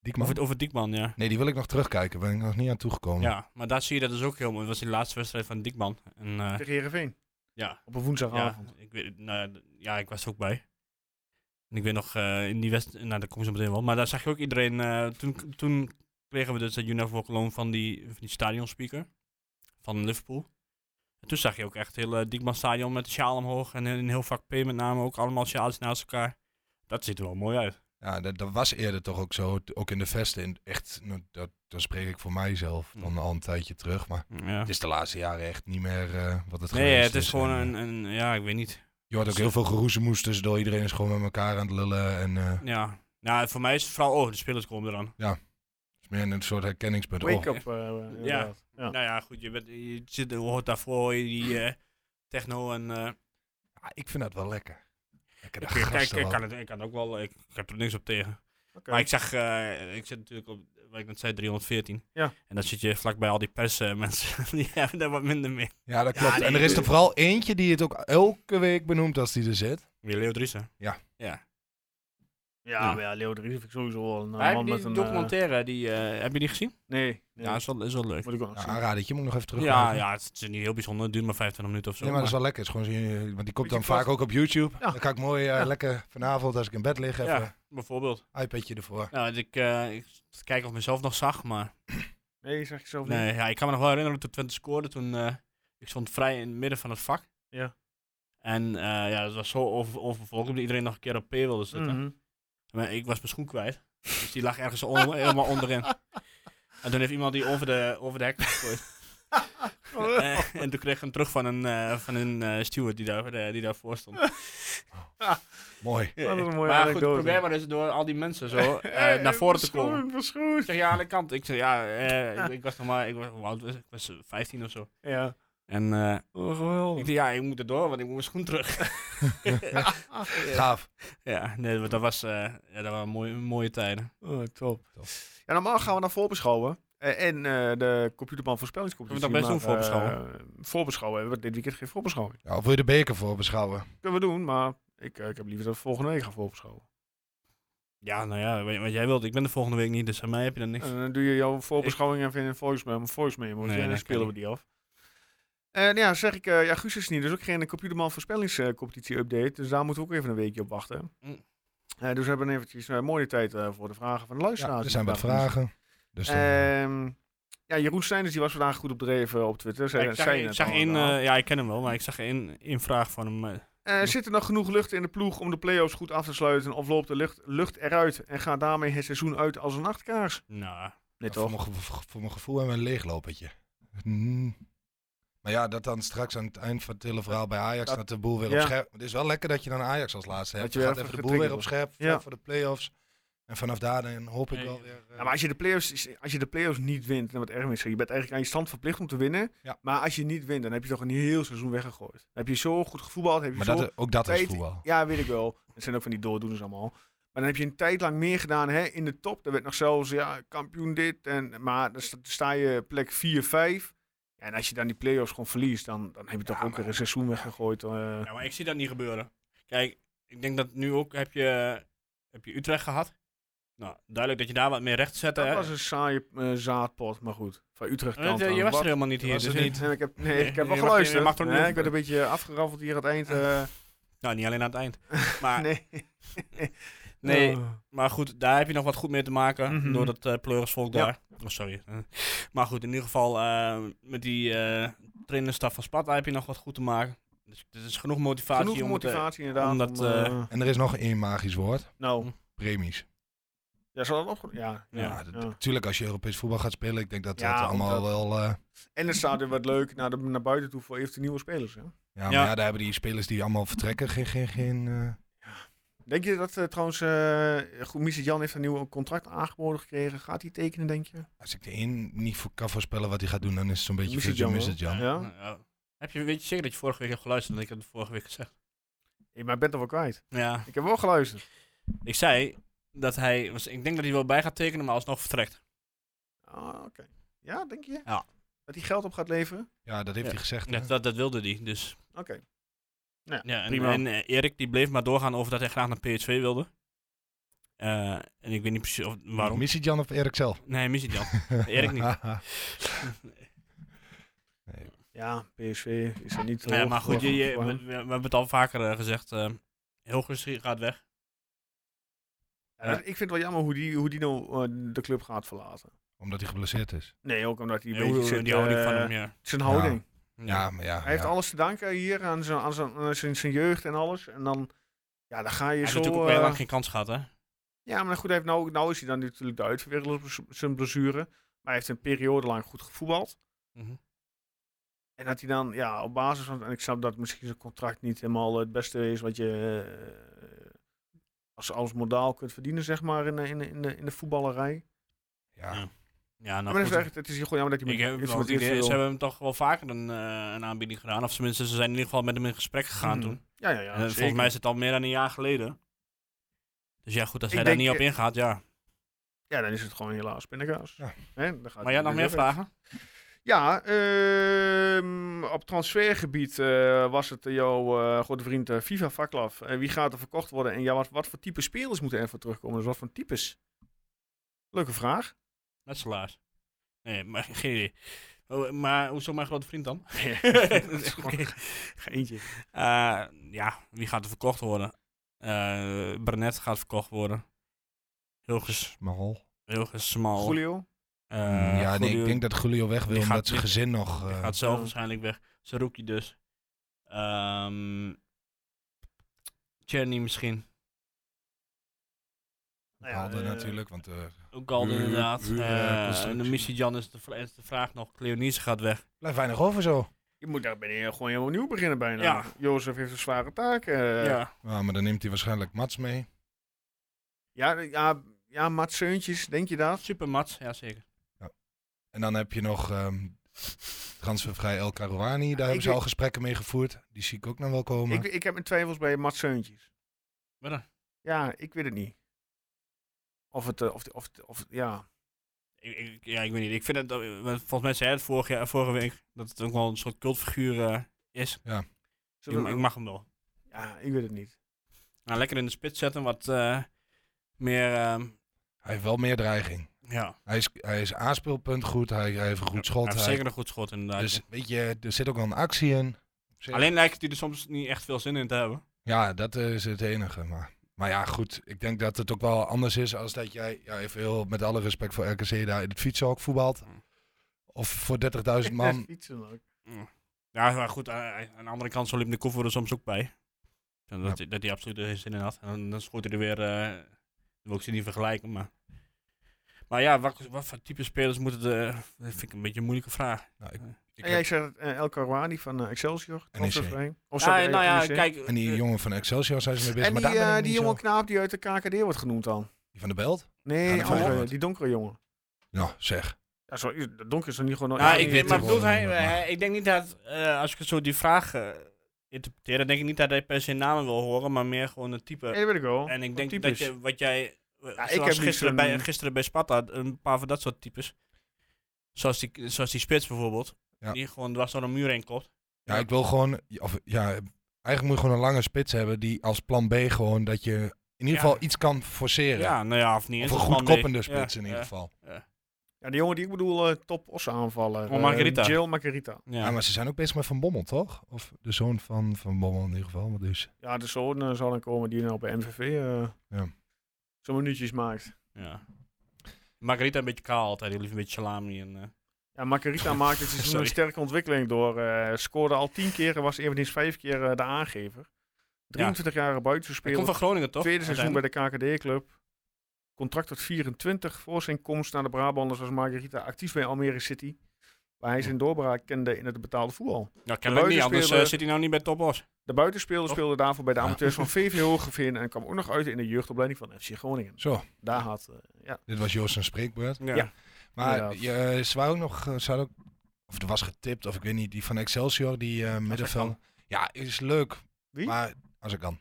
[SPEAKER 5] Diekman?
[SPEAKER 4] over, over Diekman, ja.
[SPEAKER 5] Nee, die wil ik nog terugkijken. Ben ik nog niet aan toegekomen.
[SPEAKER 4] Ja, maar daar zie je dat dus ook heel mooi. Dat was die laatste wedstrijd van Diekman. En, eh,
[SPEAKER 1] Tegen Heerenveen.
[SPEAKER 4] ja,
[SPEAKER 1] Op een
[SPEAKER 4] ja,
[SPEAKER 1] woensdagavond.
[SPEAKER 4] ik weet, nou, ja, d- ja, ik was er ook bij. En ik weet nog, eh, in die wedstrijd... Nou, daar kom ik zo meteen wel. Maar daar zag je ook iedereen... eh, toen, toen kregen we dus dat Unifor Walk Alone van die, van die stadionspeaker. Van Liverpool. En toen zag je ook echt heel eh, Diekman stadion met de sjaal omhoog. En een heel vak P met name ook allemaal sjaals naast elkaar. Dat ziet er wel mooi uit.
[SPEAKER 5] Ja, dat, dat was eerder toch ook zo. t- Ook in de vesten. in- echt, nou, dat, dat spreek ik voor mijzelf
[SPEAKER 4] Hm.
[SPEAKER 5] dan al een tijdje terug. Maar
[SPEAKER 4] Ja.
[SPEAKER 5] het is de laatste jaren echt niet meer eh, wat het
[SPEAKER 4] Nee,
[SPEAKER 5] geweest
[SPEAKER 4] het is gewoon
[SPEAKER 5] En,
[SPEAKER 4] een,
[SPEAKER 5] eh,
[SPEAKER 4] een... Ja, ik weet niet.
[SPEAKER 5] Je hoort ook heel veel geroezemoes tussendoor. Iedereen is gewoon met elkaar aan het lullen. En eh, het
[SPEAKER 4] Ja. Nou, voor mij is het vooral, oh, de spelers komen eraan.
[SPEAKER 5] is meer een soort herkenningspunt. Oh,
[SPEAKER 1] Wake up. eh, inderdaad. Ja.
[SPEAKER 4] Nou ja, goed, je, bent, je zit, je hoort daarvoor hoor je die eh, techno en... eh,
[SPEAKER 5] ja, ah, ik vind dat wel lekker. Lekker
[SPEAKER 4] ik,
[SPEAKER 5] dat
[SPEAKER 4] kijk,
[SPEAKER 5] gasten
[SPEAKER 4] ik,
[SPEAKER 5] wel.
[SPEAKER 4] kan het, ik kan het ook wel, ik, ik heb er niks op tegen.
[SPEAKER 1] Oké.
[SPEAKER 4] Maar ik zag, eh, ik zit natuurlijk op, wat ik net zei, 314.
[SPEAKER 1] Ja.
[SPEAKER 4] En dan zit je vlakbij al die <laughs> persmensen, die hebben daar wat minder mee.
[SPEAKER 5] Ja, dat klopt.
[SPEAKER 4] nee,
[SPEAKER 5] en er is er
[SPEAKER 4] tuurlijk.
[SPEAKER 5] vooral eentje die het ook elke week benoemt als die er zit. Nou,
[SPEAKER 4] Weer Leo Driessen.
[SPEAKER 1] Ja,
[SPEAKER 4] Ja.
[SPEAKER 1] maar ja, Leo de Vries vind ik sowieso wel een eh,
[SPEAKER 4] Hij
[SPEAKER 1] man
[SPEAKER 4] die
[SPEAKER 1] met een... eh,
[SPEAKER 4] documentaire, die, eh, heb je die gezien?
[SPEAKER 1] nee, nee.
[SPEAKER 4] Ja, is wel, is wel leuk.
[SPEAKER 1] Moet ik wel nog
[SPEAKER 5] Ja,
[SPEAKER 1] zien.
[SPEAKER 5] aanradertje moet ik nog even terug.
[SPEAKER 4] Ja, ja, het is niet heel bijzonder, het duurt maar 25 minuten of zo.
[SPEAKER 5] Nee, maar dat is wel
[SPEAKER 4] maar-
[SPEAKER 5] lekker. Het is gewoon, zo- want die komt dan
[SPEAKER 1] Beetje
[SPEAKER 5] vaak ook op YouTube.
[SPEAKER 1] Ja.
[SPEAKER 5] Dan kan ik mooi eh, lekker vanavond als ik in bed lig even
[SPEAKER 4] ja, bijvoorbeeld.
[SPEAKER 5] iPadje ervoor.
[SPEAKER 4] Nou, ik, eh ik kijk of ik mezelf nog zag, maar...
[SPEAKER 1] Nee, zeg ik zelf niet. Mhm.
[SPEAKER 4] Nee, ja, ik kan me nog wel herinneren toen Twente scoorde. Toen, eh, ik stond vrij in het midden van het vak.
[SPEAKER 1] Ja.
[SPEAKER 4] En eh, ja, het was zo over, overvolgd dat iedereen nog een keer op P wilde zitten.
[SPEAKER 1] Mhm.
[SPEAKER 4] Maar ik was mijn schoen kwijt. Dus die lag ergens on- helemaal
[SPEAKER 1] <laughs>
[SPEAKER 4] onderin. En toen heeft iemand die over de, over de hek gegooid. <laughs>
[SPEAKER 1] Oh.
[SPEAKER 4] Eh, en toen kreeg ik hem terug van een, eh, van een eh, steward die, daar, eh, die daarvoor
[SPEAKER 1] <laughs>
[SPEAKER 4] stond.
[SPEAKER 5] Mooi.
[SPEAKER 1] Wat een mooie
[SPEAKER 4] maar goed,
[SPEAKER 1] anekdote.
[SPEAKER 4] probeer maar eens dus door al die mensen zo
[SPEAKER 1] <laughs>
[SPEAKER 4] eh,
[SPEAKER 1] Hey,
[SPEAKER 4] naar voren te
[SPEAKER 1] verschoen,
[SPEAKER 4] komen. Ik
[SPEAKER 1] verschoen.
[SPEAKER 4] zeg, ja, aan de kant. Ik zeg, ja, eh, ik, ik was nog maar, ik was, hoe oud was ik? Ik was eh, 15 of zo.
[SPEAKER 1] Ja.
[SPEAKER 4] En eh,
[SPEAKER 1] Oh,
[SPEAKER 4] Ik
[SPEAKER 1] geweldig.
[SPEAKER 4] dacht, ja, ik moet erdoor, want ik moet mijn
[SPEAKER 1] <laughs>
[SPEAKER 4] schoen terug.
[SPEAKER 5] Gaaf.
[SPEAKER 4] <laughs> Ja, nee, maar dat, was, eh, ja, dat waren mooie, mooie tijden.
[SPEAKER 1] Oh, top.
[SPEAKER 5] Top.
[SPEAKER 1] Ja, normaal gaan we naar voorbeschouwen. Eh, en eh, de computerman voorspellingscompetitie.
[SPEAKER 4] Kunnen we dat best
[SPEAKER 1] maar,
[SPEAKER 4] doen, voorbeschouwen?
[SPEAKER 1] eh, voorbeschouwen hebben we dit weekend geen voorbeschouwing.
[SPEAKER 5] Ja, of wil je de beker voor beschouwen?
[SPEAKER 1] Kunnen we doen, maar ik, eh, ik heb liever dat we volgende week gaan voorbeschouwen.
[SPEAKER 4] Ja, nou ja, weet je wat jij wilt. Ik ben de volgende week niet, dus aan mij heb je dan niks.
[SPEAKER 1] En dan doe je jouw voorbeschouwing even in een voice memo. Voice memo
[SPEAKER 4] Nee,
[SPEAKER 1] en dan
[SPEAKER 4] dat
[SPEAKER 1] spelen
[SPEAKER 4] kan
[SPEAKER 1] we die af. En ja, zeg ik, eh ja, Guus is niet, dus ook geen computerman voorspellingscompetitie update. Dus daar moeten we ook even een weekje op wachten.
[SPEAKER 4] Mm.
[SPEAKER 1] Eh, dus we hebben eventjes eh, mooie tijd eh, voor de vragen van de
[SPEAKER 5] Ja,
[SPEAKER 1] luisteraars.
[SPEAKER 5] er zijn wat
[SPEAKER 1] Vandaag.
[SPEAKER 5] vragen. Dus dan-
[SPEAKER 1] Ehm, ja, Jeroen Steinders die was vandaag goed op dreven op Twitter. Zij,
[SPEAKER 4] Ja, ik zag,
[SPEAKER 1] zei
[SPEAKER 4] ik
[SPEAKER 1] net
[SPEAKER 4] zag
[SPEAKER 1] al
[SPEAKER 4] één,
[SPEAKER 1] inderdaad.
[SPEAKER 4] eh, ja, ik ken hem wel, maar ik zag één, één vraag van hem. eh,
[SPEAKER 1] Eh, zit er nog genoeg lucht in de ploeg om de play-offs goed af te sluiten? Of loopt de lucht, lucht eruit en gaat daarmee het seizoen uit als een nachtkaars?
[SPEAKER 4] nou,
[SPEAKER 1] Nee
[SPEAKER 5] voor,
[SPEAKER 1] toch?
[SPEAKER 5] mijn gevo- voor mijn gevoel hebben we een leeglopertje. Hmm. Maar ja, dat dan straks aan het eind van het hele verhaal bij Ajax,
[SPEAKER 1] Dat-
[SPEAKER 5] dat, de boel weer
[SPEAKER 1] ja.
[SPEAKER 5] op scherp... Het is wel lekker dat je dan Ajax als laatste
[SPEAKER 1] Dat
[SPEAKER 5] hebt.
[SPEAKER 1] je
[SPEAKER 5] Je
[SPEAKER 1] weer
[SPEAKER 5] gaat
[SPEAKER 1] even
[SPEAKER 5] even de boel weer op
[SPEAKER 1] getriggerd
[SPEAKER 5] scherp
[SPEAKER 1] Ja.
[SPEAKER 5] voor- voor de play-offs. En vanaf daar dan hoop ik
[SPEAKER 4] Nee.
[SPEAKER 5] wel weer... eh,
[SPEAKER 1] Ja, maar als je, de playoffs, als je de play-offs niet wint, dan wordt het erg mis. Je bent eigenlijk aan je stand verplicht om te winnen.
[SPEAKER 5] Ja.
[SPEAKER 1] Maar als je niet wint, dan heb je toch een heel seizoen weggegooid. Dan heb je zo goed gevoetbald. Heb je
[SPEAKER 5] maar
[SPEAKER 1] zo...
[SPEAKER 5] dat, ook dat is
[SPEAKER 1] weet-
[SPEAKER 5] voetbal.
[SPEAKER 1] Ja, weet ik wel. Dat zijn ook van die doordoeners allemaal. Maar dan heb je een tijd lang meer gedaan hè, in de top. Daar werd nog zelfs ja, kampioen dit. En, maar dan sta, dan sta je plek 4-5. Ja, en als je dan die play-offs gewoon verliest, dan, dan heb je toch ook weer een seizoen weggegooid. eh.
[SPEAKER 4] ja, maar ik zie dat niet gebeuren. Kijk, ik denk dat nu ook heb je, heb je Utrecht gehad. Nou, duidelijk dat je daar wat meer recht zette.
[SPEAKER 1] dat
[SPEAKER 4] hè.
[SPEAKER 1] was een saaie eh, zaadpot, maar goed. Van Utrecht
[SPEAKER 4] Eh,
[SPEAKER 1] kant
[SPEAKER 4] je- je
[SPEAKER 1] dan.
[SPEAKER 4] was
[SPEAKER 1] Wat
[SPEAKER 4] er helemaal niet hier,
[SPEAKER 5] was
[SPEAKER 4] dus
[SPEAKER 5] er
[SPEAKER 4] niet.
[SPEAKER 1] Nee, ik heb, nee, ik heb
[SPEAKER 4] Je
[SPEAKER 1] wel
[SPEAKER 4] mag- je
[SPEAKER 1] geluisterd.
[SPEAKER 4] mag toch niet
[SPEAKER 1] Nee,
[SPEAKER 4] op-
[SPEAKER 1] ik werd een beetje afgeraffeld hier aan het eind. eh.
[SPEAKER 4] Nou, niet alleen aan het
[SPEAKER 1] <laughs>
[SPEAKER 4] eind. Maar nee,
[SPEAKER 1] nee. Oh.
[SPEAKER 4] Maar goed, daar heb je nog wat goed mee te maken.
[SPEAKER 1] Mhm.
[SPEAKER 4] Door dat eh pleurisvolk
[SPEAKER 1] Ja.
[SPEAKER 4] daar. Oh, sorry. Eh, Maar goed, in ieder geval eh, met die eh trainerstaf van Sparta heb je nog wat goed te maken. Dus er is genoeg motivatie
[SPEAKER 1] Genoeg
[SPEAKER 4] om het, eh,
[SPEAKER 1] motivatie inderdaad.
[SPEAKER 4] om dat,
[SPEAKER 1] eh,
[SPEAKER 4] eh,
[SPEAKER 5] En er is nog één magisch woord.
[SPEAKER 1] nou,
[SPEAKER 5] Premies.
[SPEAKER 1] ja, zal dat opge... Ja, ja.
[SPEAKER 5] Ja,
[SPEAKER 4] Ja,
[SPEAKER 5] dat-
[SPEAKER 1] ja.
[SPEAKER 5] natuurlijk als je Europees voetbal gaat spelen, ik denk dat
[SPEAKER 1] Ja,
[SPEAKER 5] dat allemaal
[SPEAKER 1] omdat-
[SPEAKER 5] wel... eh,
[SPEAKER 1] En het staat weer wat leuk naar, de, naar buiten toe voor eventueel nieuwe spelers. Hè?
[SPEAKER 5] ja, maar
[SPEAKER 4] Ja.
[SPEAKER 5] ja, daar hebben die spelers die allemaal vertrekken geen... geen, geen eh,
[SPEAKER 1] Denk je dat eh, trouwens, eh goed, Mies Jan heeft een nieuw contract aangeboden gekregen. Gaat hij tekenen, denk je?
[SPEAKER 5] Als ik de één niet voor kan voorspellen wat hij gaat doen, dan is het zo'n beetje
[SPEAKER 1] Mr.
[SPEAKER 5] Virgil
[SPEAKER 1] Jan,
[SPEAKER 5] Mr. Jan.
[SPEAKER 1] Ja?
[SPEAKER 4] ja. Heb je, weet je zeker dat je vorige week hebt geluisterd en ik heb het vorige week gezegd?
[SPEAKER 1] Ik maar ik ben toch wel kwijt.
[SPEAKER 4] Ja.
[SPEAKER 1] Ik heb wel geluisterd.
[SPEAKER 4] Ik zei dat hij, was- ik denk dat hij wel bij gaat tekenen, maar alsnog vertrekt.
[SPEAKER 1] Ah, oké. Ja, denk je?
[SPEAKER 4] Ja.
[SPEAKER 1] Dat hij geld op gaat leveren?
[SPEAKER 5] Ja, dat heeft
[SPEAKER 4] Ja.
[SPEAKER 5] hij gezegd. hè.
[SPEAKER 4] Dat, dat, dat wilde hij, dus.
[SPEAKER 1] Oké.
[SPEAKER 4] Ja, en,
[SPEAKER 1] Prima.
[SPEAKER 4] en eh, Erik die bleef maar doorgaan over dat hij graag naar PSV wilde. Eh, en ik weet niet precies of, waarom.
[SPEAKER 5] Missie Jan of Erik zelf?
[SPEAKER 4] Nee, mis hij dan.
[SPEAKER 5] <laughs>
[SPEAKER 4] Erik niet.
[SPEAKER 1] Ja, PSV is er niet.
[SPEAKER 4] Ja,
[SPEAKER 1] hoog
[SPEAKER 4] maar goed,
[SPEAKER 1] voor
[SPEAKER 4] je, je- we,
[SPEAKER 1] opgewarmd.
[SPEAKER 4] we- we hebben het al vaker eh, gezegd. eh Hilgers gaat weg.
[SPEAKER 1] Ja, dat- ik vind het wel jammer hoe die, hoe die nou eh, de club gaat verlaten.
[SPEAKER 5] Omdat hij geblesseerd is.
[SPEAKER 1] Nee, ook omdat hij een
[SPEAKER 4] Eh, hoe-
[SPEAKER 1] beetje
[SPEAKER 4] hoe-
[SPEAKER 1] zit,
[SPEAKER 4] die houden niet van
[SPEAKER 1] eh,
[SPEAKER 4] hem, ja.
[SPEAKER 1] zijn houding.
[SPEAKER 5] Ja, maar ja.
[SPEAKER 1] Hij heeft
[SPEAKER 5] ja.
[SPEAKER 1] alles te danken hier aan zijn, aan zijn, aan zijn, zijn jeugd en alles. En dan, ja, dan ga je
[SPEAKER 4] Hij heeft
[SPEAKER 1] zo...
[SPEAKER 4] natuurlijk ook heel
[SPEAKER 1] eh,
[SPEAKER 4] lang geen kans gehad, hè?
[SPEAKER 1] Ja, maar goed, hij heeft nou, nou is hij dan natuurlijk de uitverwereld op z- zijn blessure. Maar hij heeft een periode lang goed gevoetbald.
[SPEAKER 4] Mhm.
[SPEAKER 1] En dat hij dan, ja, op basis van... En ik snap dat misschien zijn contract niet helemaal het beste is wat je eh, als, als modaal kunt verdienen, zeg maar, in, de- in, de- in, de, in de voetballerij.
[SPEAKER 5] Ja.
[SPEAKER 4] Ja. Ja,
[SPEAKER 1] maar
[SPEAKER 4] nou
[SPEAKER 1] dat is
[SPEAKER 4] goed.
[SPEAKER 1] echt, het is hier gewoon jammer dat hij
[SPEAKER 4] Ik heb
[SPEAKER 1] met,
[SPEAKER 4] wel
[SPEAKER 1] is met
[SPEAKER 4] het idee,
[SPEAKER 1] Israël-
[SPEAKER 4] ze hebben hem toch wel vaker een, eh, een aanbieding gedaan. Of tenminste, ze zijn in ieder geval met hem in gesprek gegaan
[SPEAKER 1] Mhm.
[SPEAKER 4] toen.
[SPEAKER 1] Ja, ja, ja.
[SPEAKER 4] En, eh,
[SPEAKER 1] zeker.
[SPEAKER 4] volgens mij is het al meer dan een jaar geleden. Dus ja, goed, als
[SPEAKER 1] Ik
[SPEAKER 4] hij daar
[SPEAKER 1] denk,
[SPEAKER 4] niet op
[SPEAKER 1] eh,
[SPEAKER 4] ingaat, ja.
[SPEAKER 1] Ja, dan is het gewoon helaas pindakaas.
[SPEAKER 5] Ja.
[SPEAKER 1] Hè, dan gaat
[SPEAKER 4] Maar jij
[SPEAKER 1] het
[SPEAKER 4] nog
[SPEAKER 1] weer
[SPEAKER 4] meer
[SPEAKER 1] weg.
[SPEAKER 4] vragen?
[SPEAKER 1] Ja, ehm, op transfergebied eh, was het eh, jouw eh goede vriend eh, Viva Vaklav. Eh, wie gaat er verkocht worden? En ja, wat, wat voor type spelers moeten er voor terugkomen? Dus wat voor types? Leuke vraag.
[SPEAKER 4] Metselaars. Nee, maar <laughs> geen idee. Oh, maar hoezo mijn grote vriend
[SPEAKER 1] <laughs>
[SPEAKER 4] dan? <laughs>
[SPEAKER 1] Dat is gewoon een Eentje.
[SPEAKER 4] Eh, ja, wie gaat er verkocht worden? Eh Brenet gaat verkocht worden. Hilgers,
[SPEAKER 5] Smal.
[SPEAKER 4] Hilgers Smal.
[SPEAKER 1] Julio?
[SPEAKER 4] Eh,
[SPEAKER 5] ja, nee,
[SPEAKER 4] Goelie
[SPEAKER 5] ik denk dat Julio weg wil
[SPEAKER 4] Die
[SPEAKER 5] omdat
[SPEAKER 4] gaat-
[SPEAKER 5] zijn gezin nog... eh,
[SPEAKER 4] gaat zelf
[SPEAKER 1] Ja.
[SPEAKER 4] waarschijnlijk weg. Zijn rookie dus. Ehm Cherny misschien.
[SPEAKER 1] Nou ja,
[SPEAKER 5] Haalde
[SPEAKER 1] eh,
[SPEAKER 5] natuurlijk, want... eh,
[SPEAKER 4] Ook al
[SPEAKER 5] Huur-
[SPEAKER 4] inderdaad.
[SPEAKER 5] huur- eh,
[SPEAKER 4] Eh, en de
[SPEAKER 5] constructie.
[SPEAKER 4] missie Jan is de, vra- is de vraag nog. Cleonice gaat weg.
[SPEAKER 5] blijft weinig over zo.
[SPEAKER 1] Je moet daar ben je gewoon helemaal nieuw beginnen bijna.
[SPEAKER 4] Ja.
[SPEAKER 1] Jozef heeft een zware taak. eh. ja.
[SPEAKER 4] ja.
[SPEAKER 5] Ja, maar dan neemt hij waarschijnlijk Mats mee.
[SPEAKER 1] Ja, ja, Mats Seuntjes, denk je dat?
[SPEAKER 4] Super Mats, ja zeker.
[SPEAKER 5] En dan heb je nog ehm, transfervrij El Karouani. Daar hebben ze
[SPEAKER 1] weet-
[SPEAKER 5] al gesprekken mee gevoerd. Die zie ik ook nog wel komen.
[SPEAKER 1] Ik, ik heb mijn twijfels bij Mats Seuntjes.
[SPEAKER 4] Maar dan,
[SPEAKER 1] Ja, ik weet het niet. Of het, eh, of, of, of, ja.
[SPEAKER 4] ik, ik- ja, ik weet niet. Ik vind het, eh, want volgens mij zei hij het vorige, jaar- vorige week, dat het ook wel een soort cultfiguur eh, is. Ik,
[SPEAKER 1] Zullen we- nou
[SPEAKER 4] ik mag hem wel.
[SPEAKER 1] ja, ik weet het niet.
[SPEAKER 4] Nou, lekker in de spits zetten, wat eh, meer, ehm,
[SPEAKER 5] Hij heeft wel meer dreiging.
[SPEAKER 4] ja.
[SPEAKER 5] Hij is, hij is aanspeelpunt goed. Hij, hij heeft een goed schot.
[SPEAKER 4] Hij heeft
[SPEAKER 5] hij-
[SPEAKER 4] zeker een goed schot inderdaad.
[SPEAKER 5] dus weet je, er zit ook wel een actie in. Op zich-
[SPEAKER 4] Alleen lijkt hij er soms niet echt veel zin in te hebben.
[SPEAKER 5] Ja, dat is het enige. Maar, maar ja, goed. Ik denk dat het ook wel anders is als dat jij, ja, even heel, met alle respect voor RKC, daar in het fietshok voetbalt. Of voor 30.000 man.
[SPEAKER 4] <laughs>
[SPEAKER 1] Fietsen ook.
[SPEAKER 4] Ja, maar goed, eh, aan de andere kant zo liep de koffer er soms ook bij. En Dat, dat hij absoluut er geen zin in had. En dan, dan schoot hij er weer, eh, dat wil ik ze niet vergelijken, maar... Maar ja, wat, wat voor type spelers moeten de... Dat vind ik een beetje een moeilijke vraag.
[SPEAKER 5] Nou, ik, ik
[SPEAKER 1] en jij
[SPEAKER 5] heb-
[SPEAKER 1] zegt eh, El Karouani van eh, Excelsior. transfervrij. Of
[SPEAKER 4] Ja,
[SPEAKER 1] sorry, eh,
[SPEAKER 4] nou ja,
[SPEAKER 1] NEC.
[SPEAKER 4] kijk...
[SPEAKER 5] en die
[SPEAKER 4] eh,
[SPEAKER 5] jongen van Excelsior zijn ze mee bezig.
[SPEAKER 1] En die,
[SPEAKER 5] maar daar ben
[SPEAKER 1] eh,
[SPEAKER 5] ik
[SPEAKER 1] die
[SPEAKER 5] niet
[SPEAKER 1] jonge
[SPEAKER 5] zo-
[SPEAKER 1] knaap die uit de KKD wordt genoemd dan.
[SPEAKER 5] Die van de Belt?
[SPEAKER 1] Nee,
[SPEAKER 5] Ja,
[SPEAKER 1] die,
[SPEAKER 5] dat weet ik
[SPEAKER 1] andere,
[SPEAKER 5] niet.
[SPEAKER 1] die donkere jongen.
[SPEAKER 5] Nou, zeg.
[SPEAKER 1] Ja, sorry, de donker is dan niet gewoon...
[SPEAKER 4] nou,
[SPEAKER 1] Ja,
[SPEAKER 4] ik,
[SPEAKER 5] die
[SPEAKER 4] weet,
[SPEAKER 5] witte
[SPEAKER 4] maar bedoelt
[SPEAKER 5] rollen,
[SPEAKER 4] hij,
[SPEAKER 5] dat mag.
[SPEAKER 4] hij- ik denk niet dat, eh, als ik zo die vraag eh, interpreteer, dan denk ik niet dat hij per se namen wil horen, maar meer gewoon een type.
[SPEAKER 1] Ja, dat weet ik wel.
[SPEAKER 4] en ik denk
[SPEAKER 1] types.
[SPEAKER 4] dat je, wat jij, eh,
[SPEAKER 1] ik
[SPEAKER 4] zoals
[SPEAKER 1] heb niet
[SPEAKER 4] gisteren,
[SPEAKER 1] zo'n-
[SPEAKER 4] bij, gisteren bij Sparta, een paar van dat soort types, zoals die, zoals die spits bijvoorbeeld,
[SPEAKER 5] Ja.
[SPEAKER 4] die gewoon dwars door een muur heen komt.
[SPEAKER 5] Ja, ik wil gewoon. Of, ja, eigenlijk moet je gewoon een lange spits hebben die als plan B gewoon dat je in ieder
[SPEAKER 4] Ja.
[SPEAKER 5] geval iets kan forceren.
[SPEAKER 4] Ja, nou ja, of niet.
[SPEAKER 5] Of
[SPEAKER 4] eens
[SPEAKER 5] een
[SPEAKER 4] plan
[SPEAKER 5] goed
[SPEAKER 4] B.
[SPEAKER 5] koppende
[SPEAKER 4] Ja,
[SPEAKER 5] spits in
[SPEAKER 4] ja,
[SPEAKER 5] ieder geval.
[SPEAKER 1] Ja, die jongen die ik bedoel, eh, top os aanvallen.
[SPEAKER 4] Oh, Margarita.
[SPEAKER 1] Jill Margarita.
[SPEAKER 4] Ja.
[SPEAKER 5] Ja. maar ze zijn ook bezig met Van Bommel, toch? Of de zoon van Van Bommel in ieder geval. Maar dus.
[SPEAKER 1] Ja, de zoon eh, zal dan komen die nou bij MVV eh
[SPEAKER 5] Ja.
[SPEAKER 1] zo'n minuutjes maakt.
[SPEAKER 4] ja. Margarita een beetje kaal altijd, die lief een beetje salami. En, eh,
[SPEAKER 1] Ja,
[SPEAKER 4] <laughs>
[SPEAKER 1] Margarita maakte het seizoen een
[SPEAKER 4] Sorry.
[SPEAKER 1] sterke ontwikkeling door. eh scoorde al tien keer en was eveneens vijf keer eh, de aangever. 23-jarige
[SPEAKER 4] hij komt van
[SPEAKER 1] buitenspeler.
[SPEAKER 4] Groningen toch?
[SPEAKER 1] Tweede seizoen bij
[SPEAKER 4] Uiteindelijk.
[SPEAKER 1] de KKD-club. Contract tot 24. Voor zijn komst naar de Brabanders was Margarita actief bij Almere City. Waar hij zijn doorbraak kende in het betaalde voetbal.
[SPEAKER 4] Ja, kennelijk niet, anders
[SPEAKER 1] buitenspeler-
[SPEAKER 4] eh, zit hij nou niet bij Topos.
[SPEAKER 1] De buitenspeler
[SPEAKER 4] Toch?
[SPEAKER 1] speelde daarvoor bij de
[SPEAKER 5] Ja.
[SPEAKER 1] amateurs van VV Hogeveen. En kwam ook nog uit in de jeugdopleiding van FC Groningen.
[SPEAKER 5] Zo,
[SPEAKER 1] Daar had, eh, ja.
[SPEAKER 5] dit was Joost een spreekbeurt.
[SPEAKER 4] Ja.
[SPEAKER 1] Ja.
[SPEAKER 5] Maar
[SPEAKER 1] Inderdaad.
[SPEAKER 5] je, eh, ze waren ook nog. eh, Ze hadden ook Of er was getipt, of ik weet niet. Die van Excelsior, die eh middenveld. Ja, is leuk.
[SPEAKER 1] Wie?
[SPEAKER 5] Maar als ik kan.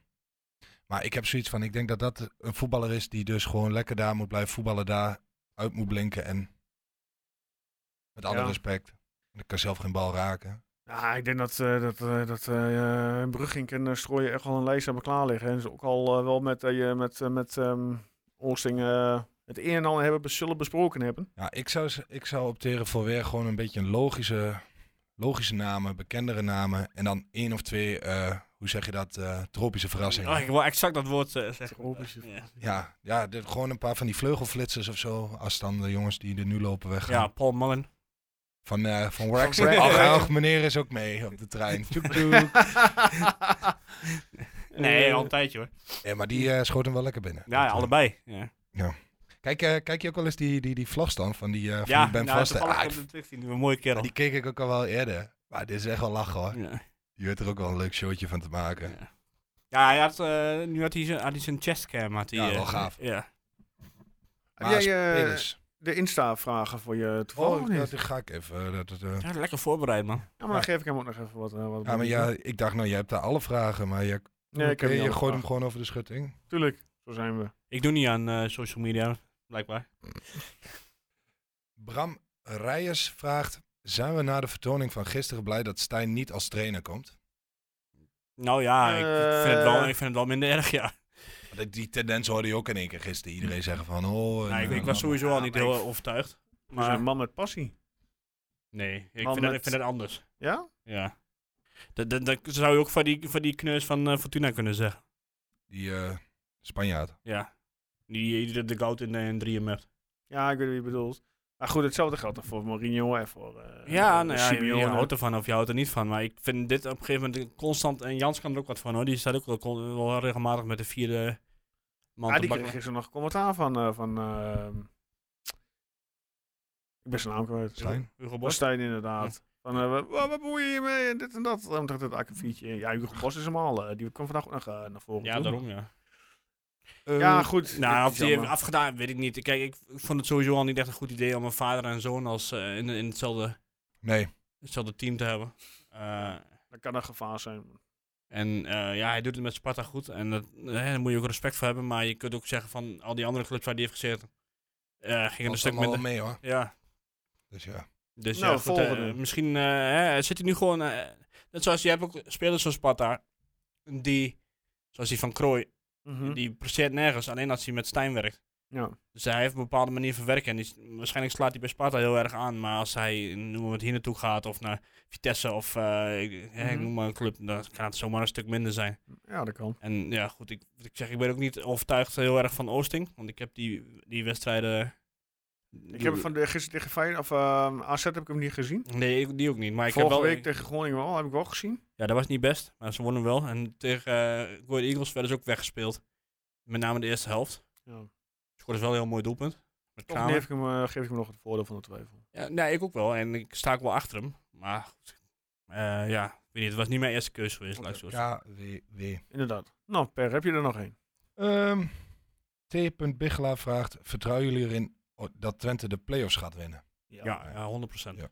[SPEAKER 5] Maar ik heb zoiets van, ik denk dat dat een voetballer is die dus gewoon lekker daar moet blijven voetballen, daar uit moet blinken en met alle
[SPEAKER 1] Ja.
[SPEAKER 5] respect. Want Ik kan zelf geen bal raken.
[SPEAKER 1] Ja, ik denk dat, eh dat, eh, dat eh, Brugink en eh, Strooijen echt wel een lijst hebben klaar liggen. En ze ook al eh, wel met, eh, je- met, eh, met ehm, Oosting eh, het een en ander hebben bes- zullen besproken hebben.
[SPEAKER 5] Ja, ik zou, ze- ik zou opteren voor weer gewoon een beetje een logische, logische namen, bekendere namen. En dan één of twee, eh, hoe zeg je dat, eh, tropische verrassingen.
[SPEAKER 4] Oh, ik wil exact dat woord eh,
[SPEAKER 1] <laughs>
[SPEAKER 4] zeggen.
[SPEAKER 1] Tropische
[SPEAKER 4] Ja.
[SPEAKER 5] Ja, ja dit- gewoon een paar van die vleugelflitsers of zo. Als dan de jongens die er nu lopen weggaan.
[SPEAKER 4] ja, Paul Mullen.
[SPEAKER 5] Van, eh van Wax.
[SPEAKER 1] Wax.
[SPEAKER 5] Ach, ach, meneer is ook mee op de trein. Tjoek, tjoek.
[SPEAKER 4] Nee,
[SPEAKER 1] Eh,
[SPEAKER 4] al een tijdje hoor.
[SPEAKER 5] ja, maar die eh schoot hem wel lekker binnen.
[SPEAKER 4] Ja, ja,
[SPEAKER 5] Dat, eh,
[SPEAKER 4] allebei. Ja,
[SPEAKER 5] Kijk, eh, kijk je ook wel eens die, die, die vlogstand van die, eh van
[SPEAKER 4] ja
[SPEAKER 5] die Ben
[SPEAKER 4] nou,
[SPEAKER 5] Vasten?
[SPEAKER 4] toevallig
[SPEAKER 5] Ah,
[SPEAKER 4] heb
[SPEAKER 5] ik-
[SPEAKER 4] ik hem terugzien. Een mooie kerel.
[SPEAKER 5] die keek ik ook al wel eerder. Maar dit is echt wel lachen hoor.
[SPEAKER 4] Ja.
[SPEAKER 5] Je weet er ook wel een leuk showtje van te maken.
[SPEAKER 4] Ja. Ja, hij had, eh, nu had hij, zijn, had hij zijn chestcam. Had hij,
[SPEAKER 5] Ja,
[SPEAKER 4] eh,
[SPEAKER 5] wel gaaf.
[SPEAKER 4] Ja.
[SPEAKER 1] Heb
[SPEAKER 5] Maar
[SPEAKER 1] jij eh,
[SPEAKER 5] spelers.
[SPEAKER 1] de Insta-vragen voor je toevallig?
[SPEAKER 5] Oh,
[SPEAKER 1] of niet?
[SPEAKER 5] dat ga ik even. eh, Dat, dat, eh.
[SPEAKER 4] ja, lekker voorbereid, man.
[SPEAKER 1] Ja, maar dan geef ik hem ook nog even wat. eh, wat
[SPEAKER 5] Ja, maar ja, ik dacht, nou, jij hebt daar alle vragen, maar je,
[SPEAKER 1] nee, ik heb
[SPEAKER 5] oké,
[SPEAKER 1] niet alle
[SPEAKER 5] je gooit hem
[SPEAKER 1] vragen.
[SPEAKER 5] gewoon over de schutting.
[SPEAKER 1] Tuurlijk, zo zijn we.
[SPEAKER 4] Ik doe niet aan eh, social media, blijkbaar.
[SPEAKER 5] Bram Rijers vraagt: Zijn we na de vertoning van gisteren blij dat Stijn niet als trainer komt?
[SPEAKER 4] Nou ja, ik, ik vind het wel,
[SPEAKER 1] Eh.
[SPEAKER 4] ik vind het wel minder erg, ja.
[SPEAKER 5] Want Die tendens hoorde je ook in één keer gisteren. Iedereen zeggen van: Oh,
[SPEAKER 4] Nou,
[SPEAKER 5] en,
[SPEAKER 4] ik,
[SPEAKER 5] eh,
[SPEAKER 4] ik was sowieso al niet
[SPEAKER 1] maar
[SPEAKER 4] heel
[SPEAKER 1] ik-
[SPEAKER 4] eh, overtuigd.
[SPEAKER 1] Maar... Dus
[SPEAKER 4] Maar
[SPEAKER 1] een man met passie.
[SPEAKER 4] nee, ik
[SPEAKER 1] man
[SPEAKER 4] vind, het,
[SPEAKER 1] met-
[SPEAKER 4] ik vind het anders.
[SPEAKER 1] Ja?
[SPEAKER 4] Ja. Dat, dat, dat zou je ook van die, van die knus van eh, Fortuna kunnen zeggen.
[SPEAKER 5] die eh, Spanjaard.
[SPEAKER 4] Ja. Die, die de goud in, eh, in drieën met.
[SPEAKER 1] Ja, ik weet wie je bedoelt. Maar goed, hetzelfde geldt toch voor Mourinho en voor eh
[SPEAKER 4] Ja,
[SPEAKER 1] eh,
[SPEAKER 4] nou ja, je, je
[SPEAKER 1] Simeone.
[SPEAKER 4] houdt ervan of je houdt er niet van. Maar ik vind dit op een gegeven moment constant... En Jans kan er ook wat van hoor. Die staat ook wel, con- wel regelmatig met de vierde man
[SPEAKER 1] Ja, Ah,
[SPEAKER 4] te
[SPEAKER 1] die kreeg
[SPEAKER 4] bakken.
[SPEAKER 1] gisteren nog commentaar van... eh, van eh, ik ben zijn naam kwijt.
[SPEAKER 5] Stijn.
[SPEAKER 4] Hugo Bos.
[SPEAKER 1] Bostijn inderdaad. Van, eh, wa- wa- wat bemoei je hiermee en dit en dat. Dan dacht ik, dat akkefietje. Ja, Hugo Bos is hem al. eh, die kwam vandaag ook nog eh, naar voren
[SPEAKER 4] Ja,
[SPEAKER 1] toe.
[SPEAKER 4] daarom ja.
[SPEAKER 1] Ja, Eh, goed.
[SPEAKER 4] Nou,
[SPEAKER 1] dat
[SPEAKER 4] of
[SPEAKER 1] is
[SPEAKER 4] die heeft
[SPEAKER 1] jammer.
[SPEAKER 4] afgedaan, weet ik niet. Kijk, ik vond het sowieso al niet echt een goed idee om een vader en zoon als eh, in, in hetzelfde,
[SPEAKER 5] Nee,
[SPEAKER 4] hetzelfde team te hebben. Eh,
[SPEAKER 1] Dat kan een gevaar zijn.
[SPEAKER 4] en eh, ja, hij doet het met Sparta goed. En dat, eh, daar moet je ook respect voor hebben. Maar je kunt ook zeggen van al die andere clubs waar die heeft gezeten, eh gingen een
[SPEAKER 5] dat
[SPEAKER 4] stuk
[SPEAKER 5] allemaal wel mee
[SPEAKER 4] minder.
[SPEAKER 5] hoor.
[SPEAKER 4] Ja,
[SPEAKER 5] Dus ja.
[SPEAKER 4] dus
[SPEAKER 1] Nou,
[SPEAKER 4] ja, goed, eh,
[SPEAKER 1] volgende.
[SPEAKER 4] misschien eh, hè, zit hij nu gewoon... eh, net zoals, je hebt ook spelers zoals Sparta, die, zoals die van Krooi,
[SPEAKER 1] Mhm.
[SPEAKER 4] die presteert nergens. Alleen als hij met Stijn werkt.
[SPEAKER 1] Ja.
[SPEAKER 4] Dus hij heeft een bepaalde manier van werken. En die, waarschijnlijk slaat hij bij Sparta heel erg aan. Maar als hij noem maar, wat hier naartoe gaat of naar Vitesse of eh, ik, hè, ik
[SPEAKER 1] Mhm.
[SPEAKER 4] noem maar een club, dan kan het zomaar een stuk minder zijn.
[SPEAKER 1] ja, dat kan.
[SPEAKER 4] En ja, goed, ik, wat ik zeg, ik ben ook niet overtuigd heel erg van Oosting. Want ik heb die, die wedstrijden.
[SPEAKER 1] Ik heb hem van de, gisteren tegen Feyenoord, of ehm, AZ heb ik hem niet gezien.
[SPEAKER 4] Nee, ik- die ook niet. Maar ik heb
[SPEAKER 1] Vorige
[SPEAKER 4] wel,
[SPEAKER 1] week tegen Groningen wel, heb ik wel gezien.
[SPEAKER 4] Ja, dat was niet best. Maar ze wonnen wel. En tegen eh Go Ahead Eagles werden ze ook weggespeeld. Met name de eerste helft.
[SPEAKER 1] Ja.
[SPEAKER 4] Scoorde wel een heel mooi doelpunt. Met
[SPEAKER 1] Toch
[SPEAKER 4] Kramer.
[SPEAKER 1] geef ik, hem, eh, geef ik hem nog het voordeel van de twijfel.
[SPEAKER 4] Ja, nee, ik ook wel. En ik sta ook wel achter hem. Maar goed. Eh, ja, ik weet niet. Het was niet mijn eerste keuze geweest. laat ik zo zeggen.
[SPEAKER 5] Ja, weer. weer.
[SPEAKER 1] Inderdaad. Nou, Per, heb je er nog één?
[SPEAKER 5] Ehm, T. Bigela vraagt: Vertrouwen jullie erin dat Twente de play-offs gaat winnen?
[SPEAKER 4] ja, ja, 100 procent.
[SPEAKER 5] Ja.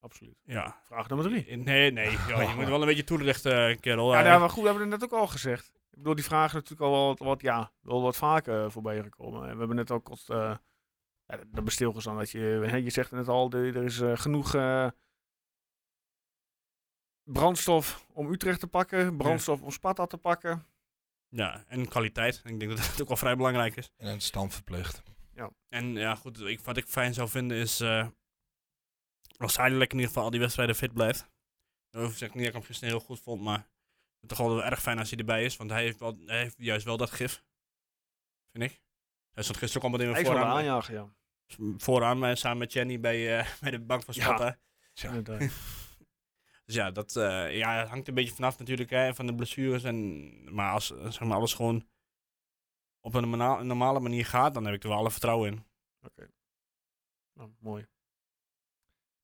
[SPEAKER 1] Absoluut.
[SPEAKER 4] Ja.
[SPEAKER 1] Vraag nummer drie.
[SPEAKER 4] Nee, nee. joh, je moet wel een beetje toelichten, eh, kerel.
[SPEAKER 1] Ja,
[SPEAKER 4] Eh,
[SPEAKER 1] nou, maar goed, we hebben het net ook al gezegd. Ik bedoel, die vraag is natuurlijk al wel wat, wat, ja, wel wat vaker eh, voorbij gekomen. En we hebben net ook kort, eh ja, dat bestilgestaan dat je, hè, je zegt net al, de- er is eh, genoeg eh, brandstof om Utrecht te pakken, brandstof om Sparta te pakken.
[SPEAKER 4] ja, en kwaliteit. Ik denk dat <laughs> dat ook wel vrij belangrijk is.
[SPEAKER 5] En een stand verplicht.
[SPEAKER 4] En ja, goed. Ik, wat ik fijn zou vinden is... eh, als Heidelijk in ieder geval al die wedstrijden fit blijft. Dan zeg ik niet dat ik hem gisteren heel goed vond, maar... Het is toch wel erg fijn als hij erbij is. Want hij heeft, wel, hij heeft juist wel dat gif. Vind ik. Hij stond gisteren ook al meteen
[SPEAKER 1] Hij
[SPEAKER 4] weer
[SPEAKER 1] is wel de
[SPEAKER 4] vooraan. maar-
[SPEAKER 1] aanjager, ja.
[SPEAKER 4] vooraan maar samen met Jenny bij, eh, <laughs> bij de bank van
[SPEAKER 1] Ja.
[SPEAKER 4] Sparta.
[SPEAKER 5] Ja.
[SPEAKER 1] Inderdaad.
[SPEAKER 4] <laughs> Dus ja, dat eh, ja, het hangt een beetje vanaf natuurlijk hè, van de blessures. En, maar als eh, zeg maar, alles gewoon op een norma- een normale manier gaat, dan heb ik er wel alle vertrouwen in.
[SPEAKER 1] Nou, mooi.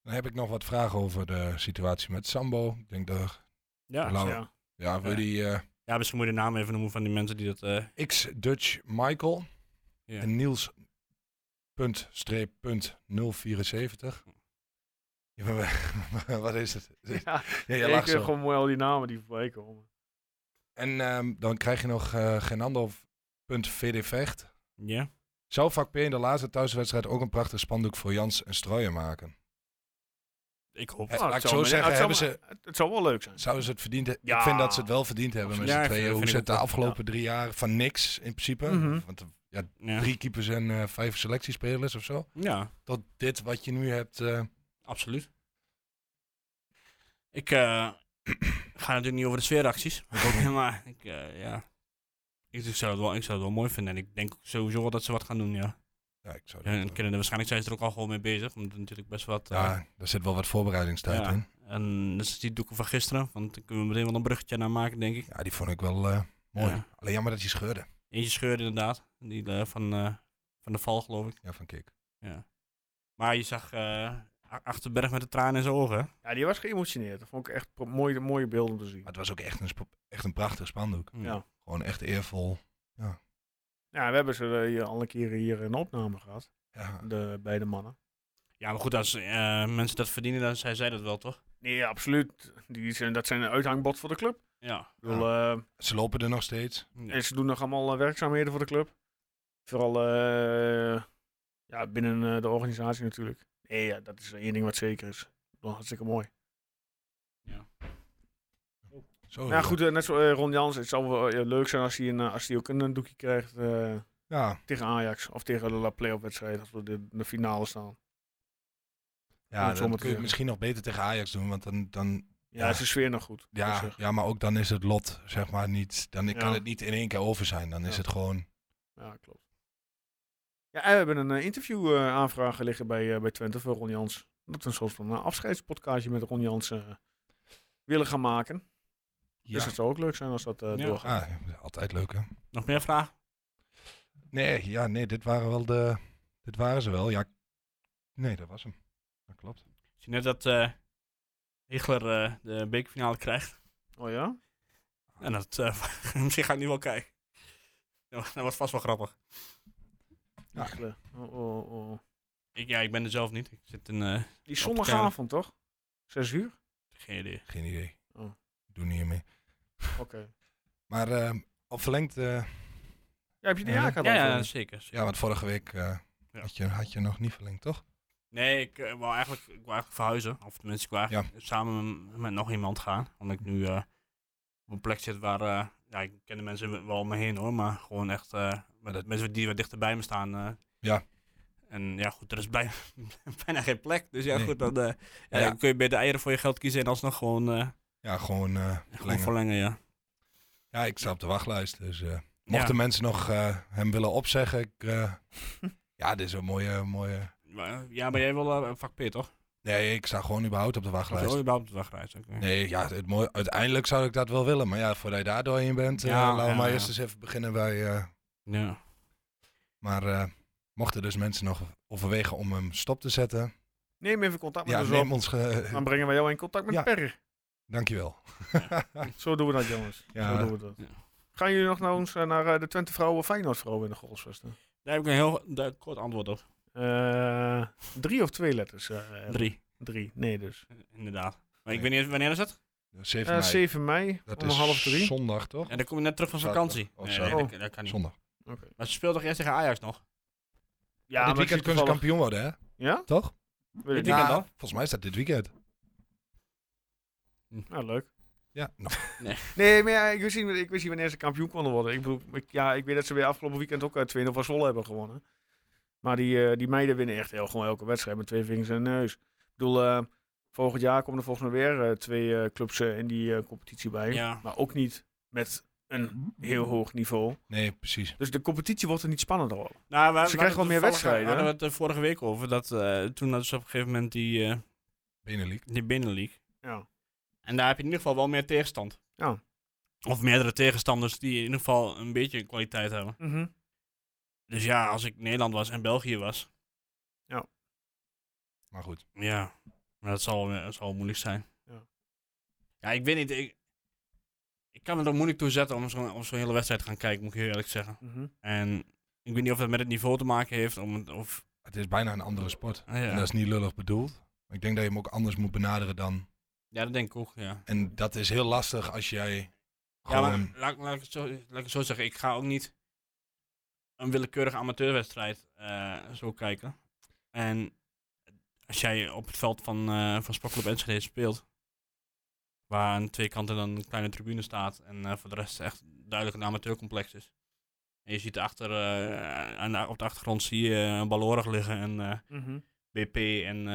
[SPEAKER 5] Dan heb ik nog wat vragen over de situatie met Sambo. Ik denk dat.
[SPEAKER 4] Ja,
[SPEAKER 5] Lau-
[SPEAKER 1] Ja.
[SPEAKER 5] Ja, wil
[SPEAKER 4] Ja.
[SPEAKER 5] die. eh,
[SPEAKER 4] ja misschien moet je de naam even noemen van die mensen die dat... eh,
[SPEAKER 5] X-Dutch Michael
[SPEAKER 4] Ja.
[SPEAKER 5] en Niels punt, streep, punt 074. Ja, maar <laughs> wat is het?
[SPEAKER 1] Ja,
[SPEAKER 5] Ja, je
[SPEAKER 1] ik eh,
[SPEAKER 5] lacht
[SPEAKER 1] vind
[SPEAKER 5] zo.
[SPEAKER 1] gewoon mooi al die namen die voorbij komen.
[SPEAKER 5] En ehm, dan krijg je nog eh Genandel.vd Vecht.
[SPEAKER 4] Ja.
[SPEAKER 5] Zou vak P in de laatste thuiswedstrijd ook een prachtig spandoek voor Jans en Strooijen maken?
[SPEAKER 4] Ik
[SPEAKER 5] Eh,
[SPEAKER 4] hoop het.
[SPEAKER 5] laat
[SPEAKER 1] het
[SPEAKER 5] ik
[SPEAKER 1] zou
[SPEAKER 5] zo
[SPEAKER 1] me-
[SPEAKER 5] zeggen,
[SPEAKER 1] het zou
[SPEAKER 5] hebben
[SPEAKER 1] me- het- het zou wel leuk zijn.
[SPEAKER 5] Zouden ze het verdiend hebben?
[SPEAKER 1] Ja.
[SPEAKER 5] Ik vind dat ze het wel verdiend hebben met
[SPEAKER 4] Ja,
[SPEAKER 5] z'n
[SPEAKER 4] ik
[SPEAKER 5] tweeën.
[SPEAKER 4] vind-
[SPEAKER 5] Hoe
[SPEAKER 4] vind
[SPEAKER 5] ze het
[SPEAKER 4] ik
[SPEAKER 5] de
[SPEAKER 4] ook wel.
[SPEAKER 5] afgelopen drie jaar van niks in principe.
[SPEAKER 1] Mhm.
[SPEAKER 5] Want eh, ja,
[SPEAKER 4] Ja.
[SPEAKER 5] drie keepers en eh, vijf selectiespelers of zo.
[SPEAKER 4] ja,
[SPEAKER 5] Tot dit wat je nu hebt. eh,
[SPEAKER 4] absoluut. Ik eh, <clears throat> ga natuurlijk niet over de sfeeracties. <laughs> maar ik, eh, ja. Ik, ik zou het wel, ik zou het wel mooi vinden. En ik denk sowieso wel dat ze wat gaan doen, ja.
[SPEAKER 5] ja, ik zou
[SPEAKER 4] Ja,
[SPEAKER 5] dat, eh,
[SPEAKER 4] En kinderen, waarschijnlijk zijn ze er ook al gewoon mee bezig. Omdat er natuurlijk best wat... eh,
[SPEAKER 5] ja, daar zit wel wat voorbereidingstijd
[SPEAKER 4] Ja.
[SPEAKER 5] in.
[SPEAKER 4] En dat is die doeken van gisteren. Want daar kunnen we meteen wel een bruggetje naar maken, denk ik.
[SPEAKER 5] Ja, die vond ik wel eh, mooi.
[SPEAKER 4] Ja.
[SPEAKER 5] Alleen jammer dat hij scheurde.
[SPEAKER 4] Eentje scheurde inderdaad. Die eh, van, eh, van de val, geloof ik.
[SPEAKER 5] Ja, van Kik.
[SPEAKER 4] Ja. Maar je zag eh, A- Achterberg met de tranen in zijn ogen. hè?
[SPEAKER 1] Ja, die was geëmotioneerd. Dat vond ik echt pro- mooie, mooie beelden om te zien.
[SPEAKER 5] Maar het was ook echt een, sp- echt een prachtig spandoek.
[SPEAKER 1] Ja.
[SPEAKER 5] Gewoon echt eervol.
[SPEAKER 1] Ja, we hebben ze eh, hier al een keer hier een opname gehad.
[SPEAKER 5] Ja.
[SPEAKER 1] De beide mannen.
[SPEAKER 4] Ja, maar goed, als eh, mensen dat verdienen, dan zijn zij dat wel, toch?
[SPEAKER 1] Nee, absoluut. Die zijn, dat zijn een uithangbod voor de club. Ik
[SPEAKER 4] Ja.
[SPEAKER 1] bedoel, eh,
[SPEAKER 5] Ze lopen er nog steeds.
[SPEAKER 1] En ze doen nog allemaal eh, werkzaamheden voor de club. Vooral eh, ja, binnen eh, de organisatie natuurlijk. Nee, ja, dat is één ding wat zeker is. Dat hartstikke mooi.
[SPEAKER 5] Zo,
[SPEAKER 1] ja, goed, eh, net zo eh, Ron Jans. Het zou wel eh, leuk zijn als hij, een, eh, als hij ook een, eh, doekje krijgt eh,
[SPEAKER 5] Ja,
[SPEAKER 1] tegen Ajax. Of tegen de la- play-off wedstrijd. Als we de, de finale staan.
[SPEAKER 5] ja
[SPEAKER 1] het zo maar te
[SPEAKER 5] dat kun je
[SPEAKER 1] zeggen.
[SPEAKER 5] misschien nog beter tegen Ajax doen. Want dan, dan,
[SPEAKER 1] Ja,
[SPEAKER 5] Ja.
[SPEAKER 1] is de sfeer nog goed. Dus, eh, moet ik
[SPEAKER 5] ja,
[SPEAKER 1] zeggen.
[SPEAKER 5] ja, maar ook dan is het lot, zeg maar, niet. Dan
[SPEAKER 1] Ja.
[SPEAKER 5] kan het niet in één keer over zijn. Dan is
[SPEAKER 1] Ja.
[SPEAKER 5] het gewoon.
[SPEAKER 1] ja, klopt. Ja, en we hebben een eh, interview eh, aanvraag liggen bij, eh, bij Twente voor Ron Jans. Dat we een soort van eh, afscheidspodcastje met Ron Jans eh, willen gaan maken. Dus
[SPEAKER 5] Ja.
[SPEAKER 1] het zou ook leuk zijn als dat eh,
[SPEAKER 4] Ja.
[SPEAKER 1] doorgaat.
[SPEAKER 5] Ah, altijd leuk, hè?
[SPEAKER 4] Nog meer vragen?
[SPEAKER 5] Nee, ja, nee, dit waren wel de. Dit waren ze wel. Ja, nee, dat was hem. Dat klopt.
[SPEAKER 4] Ik zie net dat eh Higler eh, de bekerfinale krijgt.
[SPEAKER 1] Oh ja?
[SPEAKER 4] En dat, eh, <laughs> misschien ga ik nu wel kijken. Ja, Dat was vast wel grappig.
[SPEAKER 5] Ja.
[SPEAKER 1] Echt, eh, Oh, oh, oh.
[SPEAKER 4] Ik, ja, ik ben er zelf niet. Ik zit in... eh
[SPEAKER 1] Die zondagavond toch? Zes uur?
[SPEAKER 4] geen idee.
[SPEAKER 5] Geen idee.
[SPEAKER 1] Oh.
[SPEAKER 5] Doe niet mee.
[SPEAKER 1] Oké.
[SPEAKER 5] Maar ehm, al verlengd. eh,
[SPEAKER 1] Ja, heb je de
[SPEAKER 5] Ja.
[SPEAKER 1] jaak aan
[SPEAKER 4] Ja,
[SPEAKER 1] al
[SPEAKER 4] ja,
[SPEAKER 1] verlengd?
[SPEAKER 4] zeker. zeker.
[SPEAKER 5] ja, want vorige week eh,
[SPEAKER 4] Ja.
[SPEAKER 5] had, je, had je nog niet verlengd, toch?
[SPEAKER 4] Nee, ik, eh, wou eigenlijk, ik wou eigenlijk verhuizen. Of tenminste, ik wou eigenlijk samen m- met nog iemand gaan. Omdat ik nu eh, op een plek zit waar... eh, ja, ik ken de mensen wel om me heen hoor. Maar gewoon echt eh, met
[SPEAKER 5] Dat-
[SPEAKER 4] mensen die wat dichter bij me staan. eh.
[SPEAKER 5] Ja.
[SPEAKER 4] En ja, goed, er is bij, <laughs> bijna geen plek. Dus ja,
[SPEAKER 5] Nee.
[SPEAKER 4] goed, dan, eh, ja,
[SPEAKER 5] Ja.
[SPEAKER 4] dan kun je bij de eieren voor je geld kiezen. En alsnog gewoon, eh,
[SPEAKER 5] Ja, gewoon. eh,
[SPEAKER 4] gewoon
[SPEAKER 5] verlengen.
[SPEAKER 4] verlengen, ja.
[SPEAKER 5] Ja, ik sta op de wachtlijst. Dus, eh, mochten
[SPEAKER 4] ja.
[SPEAKER 5] mensen nog eh, hem willen opzeggen, ik, eh, ja, dit is een mooie, mooie.
[SPEAKER 4] Maar, ja, maar jij wil eh, vak P, toch?
[SPEAKER 5] Nee, ik sta gewoon überhaupt op de
[SPEAKER 4] Of wil
[SPEAKER 5] wachtlijst.
[SPEAKER 4] je überhaupt op de wachtlijst? Oké.
[SPEAKER 5] Nee, ja, het mooie, uiteindelijk zou ik dat wel willen. Maar ja, voordat je daar doorheen bent, eh,
[SPEAKER 4] Ja,
[SPEAKER 5] laten we
[SPEAKER 4] ja,
[SPEAKER 5] maar
[SPEAKER 4] ja.
[SPEAKER 5] eerst eens even beginnen bij. eh,
[SPEAKER 4] Ja.
[SPEAKER 5] maar eh, mochten dus mensen nog overwegen om hem stop te zetten,
[SPEAKER 1] Neem even contact met
[SPEAKER 5] ja,
[SPEAKER 1] ons
[SPEAKER 5] neem
[SPEAKER 1] dus op.
[SPEAKER 5] ons. ge-
[SPEAKER 1] Dan brengen wij jou in contact met
[SPEAKER 5] Ja.
[SPEAKER 1] Per.
[SPEAKER 5] <laughs> Dankjewel. <laughs>
[SPEAKER 1] Zo doen we dat, jongens.
[SPEAKER 5] Ja.
[SPEAKER 1] Zo doen we dat.
[SPEAKER 4] Ja.
[SPEAKER 1] Gaan jullie nog naar, ons, eh, naar eh, de Twente Vrouwen Feyenoord Vrouwen in de Golfsvesten?
[SPEAKER 4] Daar heb ik een heel du- kort antwoord op.
[SPEAKER 1] Eh drie of twee letters? eh, eh,
[SPEAKER 4] Drie,
[SPEAKER 1] Drie. Nee, dus.
[SPEAKER 4] inderdaad. Maar
[SPEAKER 5] Nee.
[SPEAKER 4] ik weet niet, eens- wanneer is dat?
[SPEAKER 5] 7
[SPEAKER 1] Eh
[SPEAKER 5] Dus mei.
[SPEAKER 1] 7 mei,
[SPEAKER 5] dat
[SPEAKER 1] om
[SPEAKER 5] is
[SPEAKER 1] half drie.
[SPEAKER 5] zondag, toch?
[SPEAKER 4] En dan kom je net terug van
[SPEAKER 5] Zaterdag.
[SPEAKER 4] vakantie.
[SPEAKER 5] Of
[SPEAKER 4] Nee,
[SPEAKER 5] zaterdag.
[SPEAKER 4] dat, dat kan niet.
[SPEAKER 5] Zondag.
[SPEAKER 4] Maar ze speelt toch eerst tegen Ajax nog?
[SPEAKER 1] Ja, maar
[SPEAKER 5] dit
[SPEAKER 1] het is
[SPEAKER 5] weekend kunnen ze
[SPEAKER 1] toevallig-
[SPEAKER 5] kampioen worden, hè?
[SPEAKER 1] Ja?
[SPEAKER 5] Toch?
[SPEAKER 1] Weet ik
[SPEAKER 4] Dit weekend
[SPEAKER 5] Ja,
[SPEAKER 4] al?
[SPEAKER 5] Volgens mij is dat dit weekend.
[SPEAKER 4] Hm.
[SPEAKER 1] niet. Nou, leuk.
[SPEAKER 5] Ja, nou,
[SPEAKER 1] Nee, maar ja, ik, wist niet, ik wist niet wanneer ze kampioen konden worden. Ik, bedoel, ik, ja, ik weet dat ze weer afgelopen weekend ook uit 2-0 van Zwolle hebben gewonnen. Maar die, eh, die meiden winnen echt heel, gewoon elke wedstrijd met twee vingers en neus. Ik bedoel, eh, volgend jaar komen er volgens mij weer eh, twee eh, clubs eh, in die eh, competitie bij.
[SPEAKER 4] Ja.
[SPEAKER 1] Maar ook niet met een <laughs> heel hoog niveau.
[SPEAKER 5] Nee, precies.
[SPEAKER 1] Dus de competitie wordt er niet spannender op.
[SPEAKER 4] Nou, we,
[SPEAKER 1] Ze krijgen wel meer wedstrijden,
[SPEAKER 4] We hadden
[SPEAKER 1] hè?
[SPEAKER 4] het er vorige week over. Dat, eh, toen hadden ze op een gegeven moment die, eh
[SPEAKER 5] Benelink.
[SPEAKER 4] die binnenleague.
[SPEAKER 1] Ja.
[SPEAKER 4] En daar heb je in ieder geval wel meer tegenstand.
[SPEAKER 1] Ja.
[SPEAKER 4] Of meerdere tegenstanders die in ieder geval een beetje kwaliteit hebben.
[SPEAKER 1] Mhm,
[SPEAKER 4] Dus ja, als ik Nederland was en België was.
[SPEAKER 5] Maar goed.
[SPEAKER 4] Ja, maar dat zal, wel- dat zal wel moeilijk zijn.
[SPEAKER 1] Ja.
[SPEAKER 4] Ja, ik weet niet. Ik, ik kan me er moeilijk toe zetten om zo'n om zo'n hele wedstrijd te gaan kijken, moet ik heel eerlijk zeggen.
[SPEAKER 1] Mhm.
[SPEAKER 4] En ik weet niet of dat met het niveau te maken heeft. Om het, of,
[SPEAKER 5] Het is bijna een andere sport.
[SPEAKER 4] Ah, ja.
[SPEAKER 5] En dat is niet lullig bedoeld. Maar ik denk dat je hem ook anders moet benaderen dan.
[SPEAKER 4] Ja, dat denk ik ook, ja.
[SPEAKER 5] En dat is heel lastig als jij
[SPEAKER 4] Ja,
[SPEAKER 5] gewoon...
[SPEAKER 4] maar laat, laat, ik het zo, laat ik het zo zeggen. Ik ga ook niet een willekeurige amateurwedstrijd eh, zo kijken. En als jij op het veld van, eh van Sportclub Enschede speelt, waar aan twee kanten dan een kleine tribune staat en eh, voor de rest echt duidelijk een amateurcomplex is. En je ziet achter, eh, aan de- op de achtergrond zie je een balorig liggen en eh,
[SPEAKER 1] mhm.
[SPEAKER 4] BP en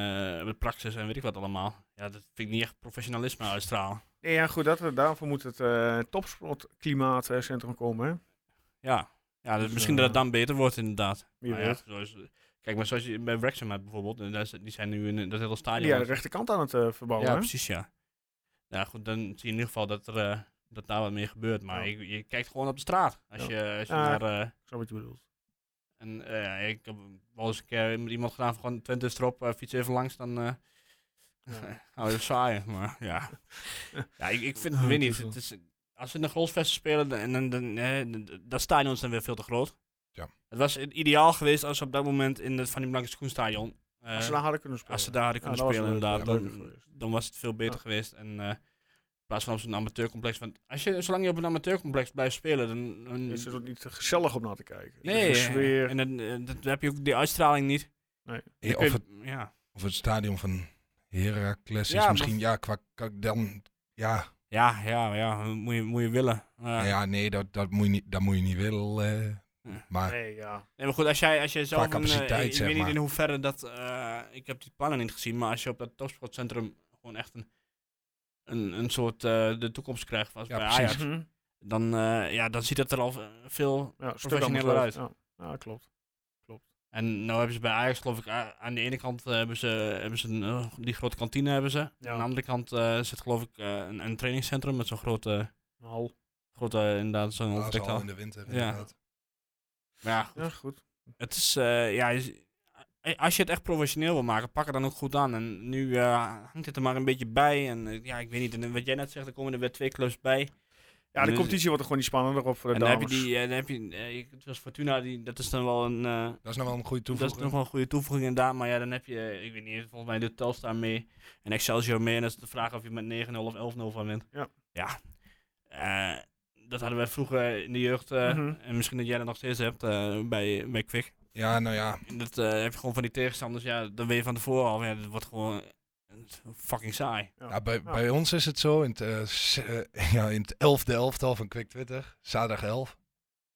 [SPEAKER 4] eh, Praxis en weet ik wat allemaal. Ja, dat vind ik niet echt professionalisme uitstralen.
[SPEAKER 1] Nee, ja, goed, dat, daarvoor moet het eh topsportklimaatcentrum komen. Hè?
[SPEAKER 4] Ja, ja dat,
[SPEAKER 1] Dus,
[SPEAKER 4] misschien
[SPEAKER 1] eh,
[SPEAKER 4] dat het dan beter wordt inderdaad.
[SPEAKER 1] Wie
[SPEAKER 4] Maar Nou ja,
[SPEAKER 1] weet.
[SPEAKER 4] zoals, eh, kijk, maar zoals je bij Wrexham hebt bijvoorbeeld, en daar is- die zijn nu in dat hele stadion.
[SPEAKER 1] Ja,
[SPEAKER 4] aan
[SPEAKER 1] de
[SPEAKER 4] het-
[SPEAKER 1] rechterkant aan het eh, verbouwen.
[SPEAKER 4] ja,
[SPEAKER 1] hè?
[SPEAKER 4] precies, ja. Nou goed, dan zie je in ieder geval dat, er, eh, dat daar wat mee gebeurt. Maar
[SPEAKER 1] Ja.
[SPEAKER 4] je, je kijkt gewoon op de straat. Als je, als je
[SPEAKER 1] Ja.
[SPEAKER 4] naar... eh,
[SPEAKER 1] Ik snap wat je bedoelt.
[SPEAKER 4] en, eh, ik heb wel eens een keer met iemand gedaan van gewoon Twente is erop, eh, fiets even langs, dan... eh <laughs> hou je saai, maar
[SPEAKER 1] <laughs>
[SPEAKER 4] ja. ja, ik, ik
[SPEAKER 1] Oh,
[SPEAKER 4] vind, weet niet, het is, als ze in de Grolsvesten spelen, dan, dan, dan, eh, dan- dat stadion is dan weer veel te groot.
[SPEAKER 5] Ja.
[SPEAKER 4] Het was i- ideaal geweest als ze op dat moment in het Van die Blanke Schoenstadion, eh,
[SPEAKER 1] Als ze daar hadden kunnen spelen.
[SPEAKER 4] als ze daar hadden kunnen
[SPEAKER 1] Ja, dat was
[SPEAKER 4] spelen,
[SPEAKER 1] leuk,
[SPEAKER 4] inderdaad,
[SPEAKER 1] ja, leuker
[SPEAKER 4] dan,
[SPEAKER 1] geweest.
[SPEAKER 4] dan was het veel beter
[SPEAKER 1] Ja.
[SPEAKER 4] geweest. En eh, in plaats van op zo'n amateurcomplex, want als je, zolang je op een amateurcomplex blijft spelen, dan... dan
[SPEAKER 1] Is het ook niet gezellig om naar te kijken? Dus
[SPEAKER 4] nee,
[SPEAKER 1] De sfeer.
[SPEAKER 4] en dan, eh, dan heb je ook die uitstraling niet.
[SPEAKER 5] Eh,
[SPEAKER 4] Dan kun
[SPEAKER 5] of,
[SPEAKER 4] je-
[SPEAKER 5] het,
[SPEAKER 4] ja.
[SPEAKER 5] of het stadion van Heracles
[SPEAKER 4] Ja,
[SPEAKER 5] is
[SPEAKER 4] maar-
[SPEAKER 5] misschien... Ja, qua, qua- dan... Ja,
[SPEAKER 4] Ja, ja, ja, moet je, moet je willen. Eh,
[SPEAKER 5] nou ja nee, dat, dat, moet je niet, dat moet je niet willen. eh.
[SPEAKER 4] Ja.
[SPEAKER 5] Maar
[SPEAKER 1] Nee, ja.
[SPEAKER 4] Nee, maar goed, als jij, als jij zelf... Een, eh,
[SPEAKER 5] capaciteit,
[SPEAKER 4] ik ik
[SPEAKER 5] zeg
[SPEAKER 4] weet
[SPEAKER 5] maar.
[SPEAKER 4] niet in hoeverre dat... eh, ik heb die plannen niet gezien, maar als je op dat topsportcentrum gewoon echt een, een, een soort eh, de toekomst krijgt, zoals
[SPEAKER 5] Ja,
[SPEAKER 4] bij
[SPEAKER 5] precies.
[SPEAKER 4] Ajax,
[SPEAKER 1] Mhm.
[SPEAKER 4] dan, eh, ja, dan ziet het er al eh, veel...
[SPEAKER 1] ja stuk
[SPEAKER 4] Professioneler
[SPEAKER 1] anders
[SPEAKER 4] uit.
[SPEAKER 1] Ja. ja, klopt.
[SPEAKER 4] En nou hebben ze bij Ajax, geloof ik, a- aan de ene kant eh, hebben ze, hebben ze een, eh, die grote kantine hebben ze.
[SPEAKER 1] Ja.
[SPEAKER 4] Aan de andere kant eh, zit geloof ik eh, een, een trainingscentrum met zo'n grote,
[SPEAKER 1] Nou,
[SPEAKER 4] grote, inderdaad, zo'n
[SPEAKER 5] dat is
[SPEAKER 4] overdekte
[SPEAKER 5] al
[SPEAKER 4] hal.
[SPEAKER 5] in de winter.
[SPEAKER 4] Ja.
[SPEAKER 5] inderdaad.
[SPEAKER 4] Maar ja, goed.
[SPEAKER 1] ja, goed.
[SPEAKER 4] Het is, eh, ja, is- eh, als je het echt professioneel wil maken, pak het dan ook goed aan. En nu eh, hangt het er maar een beetje bij. En eh, ja, ik weet niet, en wat jij net zegt, er komen er weer twee clubs bij.
[SPEAKER 1] Ja, de
[SPEAKER 4] Dus-
[SPEAKER 1] competitie wordt er gewoon niet spannender op voor de
[SPEAKER 4] En dan heb je
[SPEAKER 1] dames.
[SPEAKER 4] die, eh, dan heb je, eh, ik- het was Fortuna, die, dat is dan wel een, eh,
[SPEAKER 5] Dat is nog wel een goede
[SPEAKER 4] dat is
[SPEAKER 5] toevoeging.
[SPEAKER 4] nog wel een goede toevoeging inderdaad. Maar ja, dan heb je, eh, ik weet niet, volgens mij doet Telstar mee en Excelsior mee. En dat is de vraag of je met 9-0 of 11-0 van wint.
[SPEAKER 1] Ja.
[SPEAKER 4] Ja. Eh, dat hadden wij vroeger in de jeugd, eh,
[SPEAKER 1] Mhm.
[SPEAKER 4] en misschien dat jij dat nog steeds hebt, eh, bij, bij Kwik.
[SPEAKER 5] Ja, nou ja.
[SPEAKER 4] Dat eh, heb je gewoon van die tegenstanders, ja, dan weet je van tevoren al, ja, dat wordt gewoon eh, fucking saai.
[SPEAKER 5] Ja, Nou, bij, bij ons is het zo, in het, eh, s- eh, <laughs> ja, in het elfde elftal van Quick Twitter, zaterdag 11.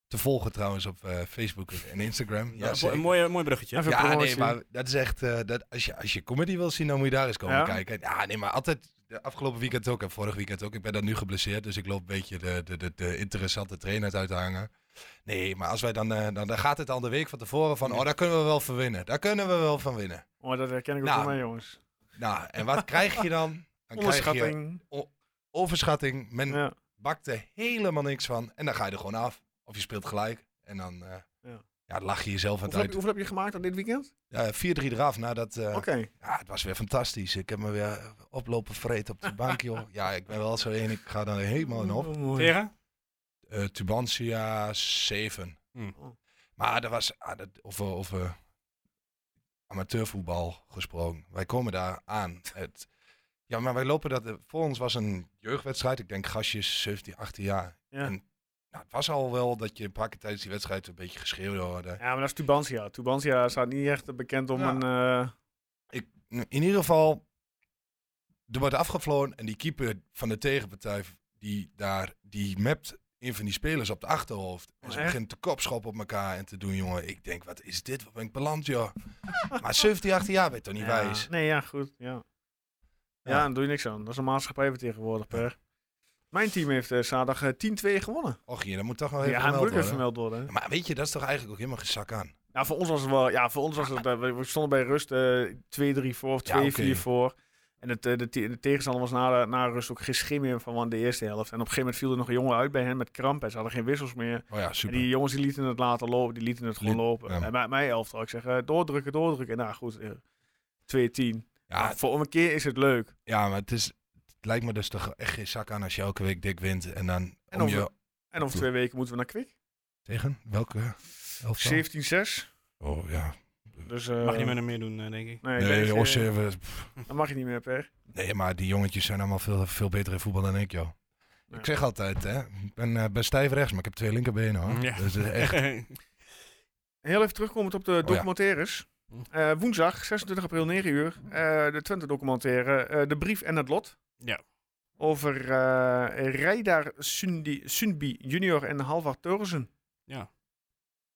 [SPEAKER 5] Te volgen trouwens op eh, Facebook en Instagram. Ja,
[SPEAKER 4] Ja,
[SPEAKER 5] zeker.
[SPEAKER 4] een mooi, mooi bruggetje.
[SPEAKER 1] Even
[SPEAKER 5] ja nee,
[SPEAKER 1] promotie.
[SPEAKER 5] maar dat is echt, eh, dat, als, je, als je comedy wil zien, dan moet je daar eens komen
[SPEAKER 1] Ja?
[SPEAKER 5] kijken. Ja, nee, maar altijd, de afgelopen weekend ook en vorig weekend ook. Ik ben dan nu geblesseerd, dus ik loop een beetje de, de, de, de interessante trainers uit te hangen. Nee, maar als wij dan, eh, dan, dan gaat het al de week van tevoren van, oh, daar kunnen we wel van winnen. Daar kunnen we wel van winnen.
[SPEAKER 1] Oh, dat herken ik ook
[SPEAKER 5] Nou,
[SPEAKER 1] van mij, jongens.
[SPEAKER 5] Nou, en wat krijg je dan? Dan krijg je
[SPEAKER 1] Onderschatting.
[SPEAKER 5] overschatting. Men,
[SPEAKER 1] Ja.
[SPEAKER 5] bakt er helemaal niks van. En dan ga je er gewoon af. Of je speelt gelijk. En dan eh,
[SPEAKER 1] Ja.
[SPEAKER 5] ja. lach je jezelf aan het
[SPEAKER 1] Hoeveel, heb
[SPEAKER 5] uit.
[SPEAKER 1] je, hoeveel heb je gemaakt aan dit weekend?
[SPEAKER 5] Ja, 4-3 eraf nadat... eh,
[SPEAKER 1] Oké.
[SPEAKER 5] ja, het was weer fantastisch. Ik heb me weer oplopen vreten op de bank, joh. Ja, ik ben wel zo één. Ik ga daar helemaal in op.
[SPEAKER 1] Oh, mooi.
[SPEAKER 4] Tegen?
[SPEAKER 5] Eh, Tubantia 7.
[SPEAKER 4] Hm.
[SPEAKER 5] Maar dat was... ah, dat, over, over amateurvoetbal gesproken. Wij komen daar aan. Het, ja, maar wij lopen dat... Voor ons was een jeugdwedstrijd. Ik denk gastjes 17, 18 jaar.
[SPEAKER 1] Ja.
[SPEAKER 5] En Nou, het was al wel dat je een paar keer tijdens die wedstrijd een beetje geschreeuwd hoorde.
[SPEAKER 1] ja, maar dat is Tubantia. Tubantia staat niet echt bekend om
[SPEAKER 5] Ja.
[SPEAKER 1] een... eh,
[SPEAKER 5] Ik, Nou, in ieder geval, er wordt afgevlogen en die keeper van de tegenpartij, die daar, die mapt een van die spelers op de achterhoofd. En ze
[SPEAKER 1] Oh, Echt?
[SPEAKER 5] begint te kopschoppen op elkaar en te doen, jongen. Ik denk, wat is dit? Wat ben ik beland, joh? <laughs> maar 17, 18 jaar ben je toch niet
[SPEAKER 1] ja.
[SPEAKER 5] wijs?
[SPEAKER 1] Nee, ja, goed. Ja. Ja,
[SPEAKER 5] Ja.
[SPEAKER 1] dan doe je niks aan. Dat is een maatschappij vertegenwoordig, Per. Mijn team heeft eh, zaterdag eh, 10-2 gewonnen.
[SPEAKER 5] Och, Oh, je, dat moet toch wel even
[SPEAKER 1] Ja, dat
[SPEAKER 5] gemeld
[SPEAKER 1] moet ik even
[SPEAKER 5] worden.
[SPEAKER 1] vermeld worden. hè.
[SPEAKER 5] Maar weet je, dat is toch eigenlijk ook helemaal gezak aan?
[SPEAKER 1] Ja, voor ons was het wel. Ja, voor ons was het. eh, we we stonden bij rust eh 2-3 voor of 2-4
[SPEAKER 5] Ja, oké.
[SPEAKER 1] voor. En het, eh, de, te- de tegenstander was na, de- na rust ook geen schim meer van want de eerste helft. En op een gegeven moment viel er nog een jongen uit bij hen met kramp. En ze hadden geen wissels meer.
[SPEAKER 5] Oh ja,
[SPEAKER 1] En
[SPEAKER 5] super.
[SPEAKER 1] die jongens die lieten het laten lopen. Die lieten het gewoon
[SPEAKER 5] Liet-
[SPEAKER 1] lopen.
[SPEAKER 5] ja.
[SPEAKER 1] En bij mij elftal. Ik zeg, eh, doordrukken, doordrukken. Nou goed, eh, 2-10.
[SPEAKER 5] Ja,
[SPEAKER 1] Maar voor een keer is het leuk.
[SPEAKER 5] ja, maar het, is, het lijkt me dus toch echt geen zak aan als je elke week dik wint. En dan
[SPEAKER 1] En
[SPEAKER 5] om
[SPEAKER 1] over-
[SPEAKER 5] je
[SPEAKER 1] En over
[SPEAKER 5] Goed.
[SPEAKER 1] twee weken moeten we naar Kwik.
[SPEAKER 5] Tegen? Welke? elftal?
[SPEAKER 1] 17-6.
[SPEAKER 5] Oh ja.
[SPEAKER 1] Dus, eh,
[SPEAKER 4] Mag niet meer meer doen, eh, denk ik.
[SPEAKER 1] Nee,
[SPEAKER 5] Nee, oh, eh.
[SPEAKER 1] deze-
[SPEAKER 5] Osje, we- pff,
[SPEAKER 1] dat mag je niet meer, Per.
[SPEAKER 5] nee, maar die jongetjes zijn allemaal veel, veel beter in voetbal dan ik, joh.
[SPEAKER 1] Ja.
[SPEAKER 5] Ik zeg altijd, hè, ik ben, eh, ben stijf rechts, maar ik heb twee linkerbenen, hoor.
[SPEAKER 4] Ja.
[SPEAKER 5] Dus eh,
[SPEAKER 4] <laughs>
[SPEAKER 5] echt,
[SPEAKER 1] Heel even terugkomend op de
[SPEAKER 5] Oh ja. Hm.
[SPEAKER 1] documentaires. Eh, woensdag, 26 april, 9 uur. eh, de Twente documentaire eh, De Brief en het Lot.
[SPEAKER 4] Ja.
[SPEAKER 1] Over eh Rijdar Sundi, Sundby junior en Halvard Teurzen.
[SPEAKER 4] Ja.
[SPEAKER 1] was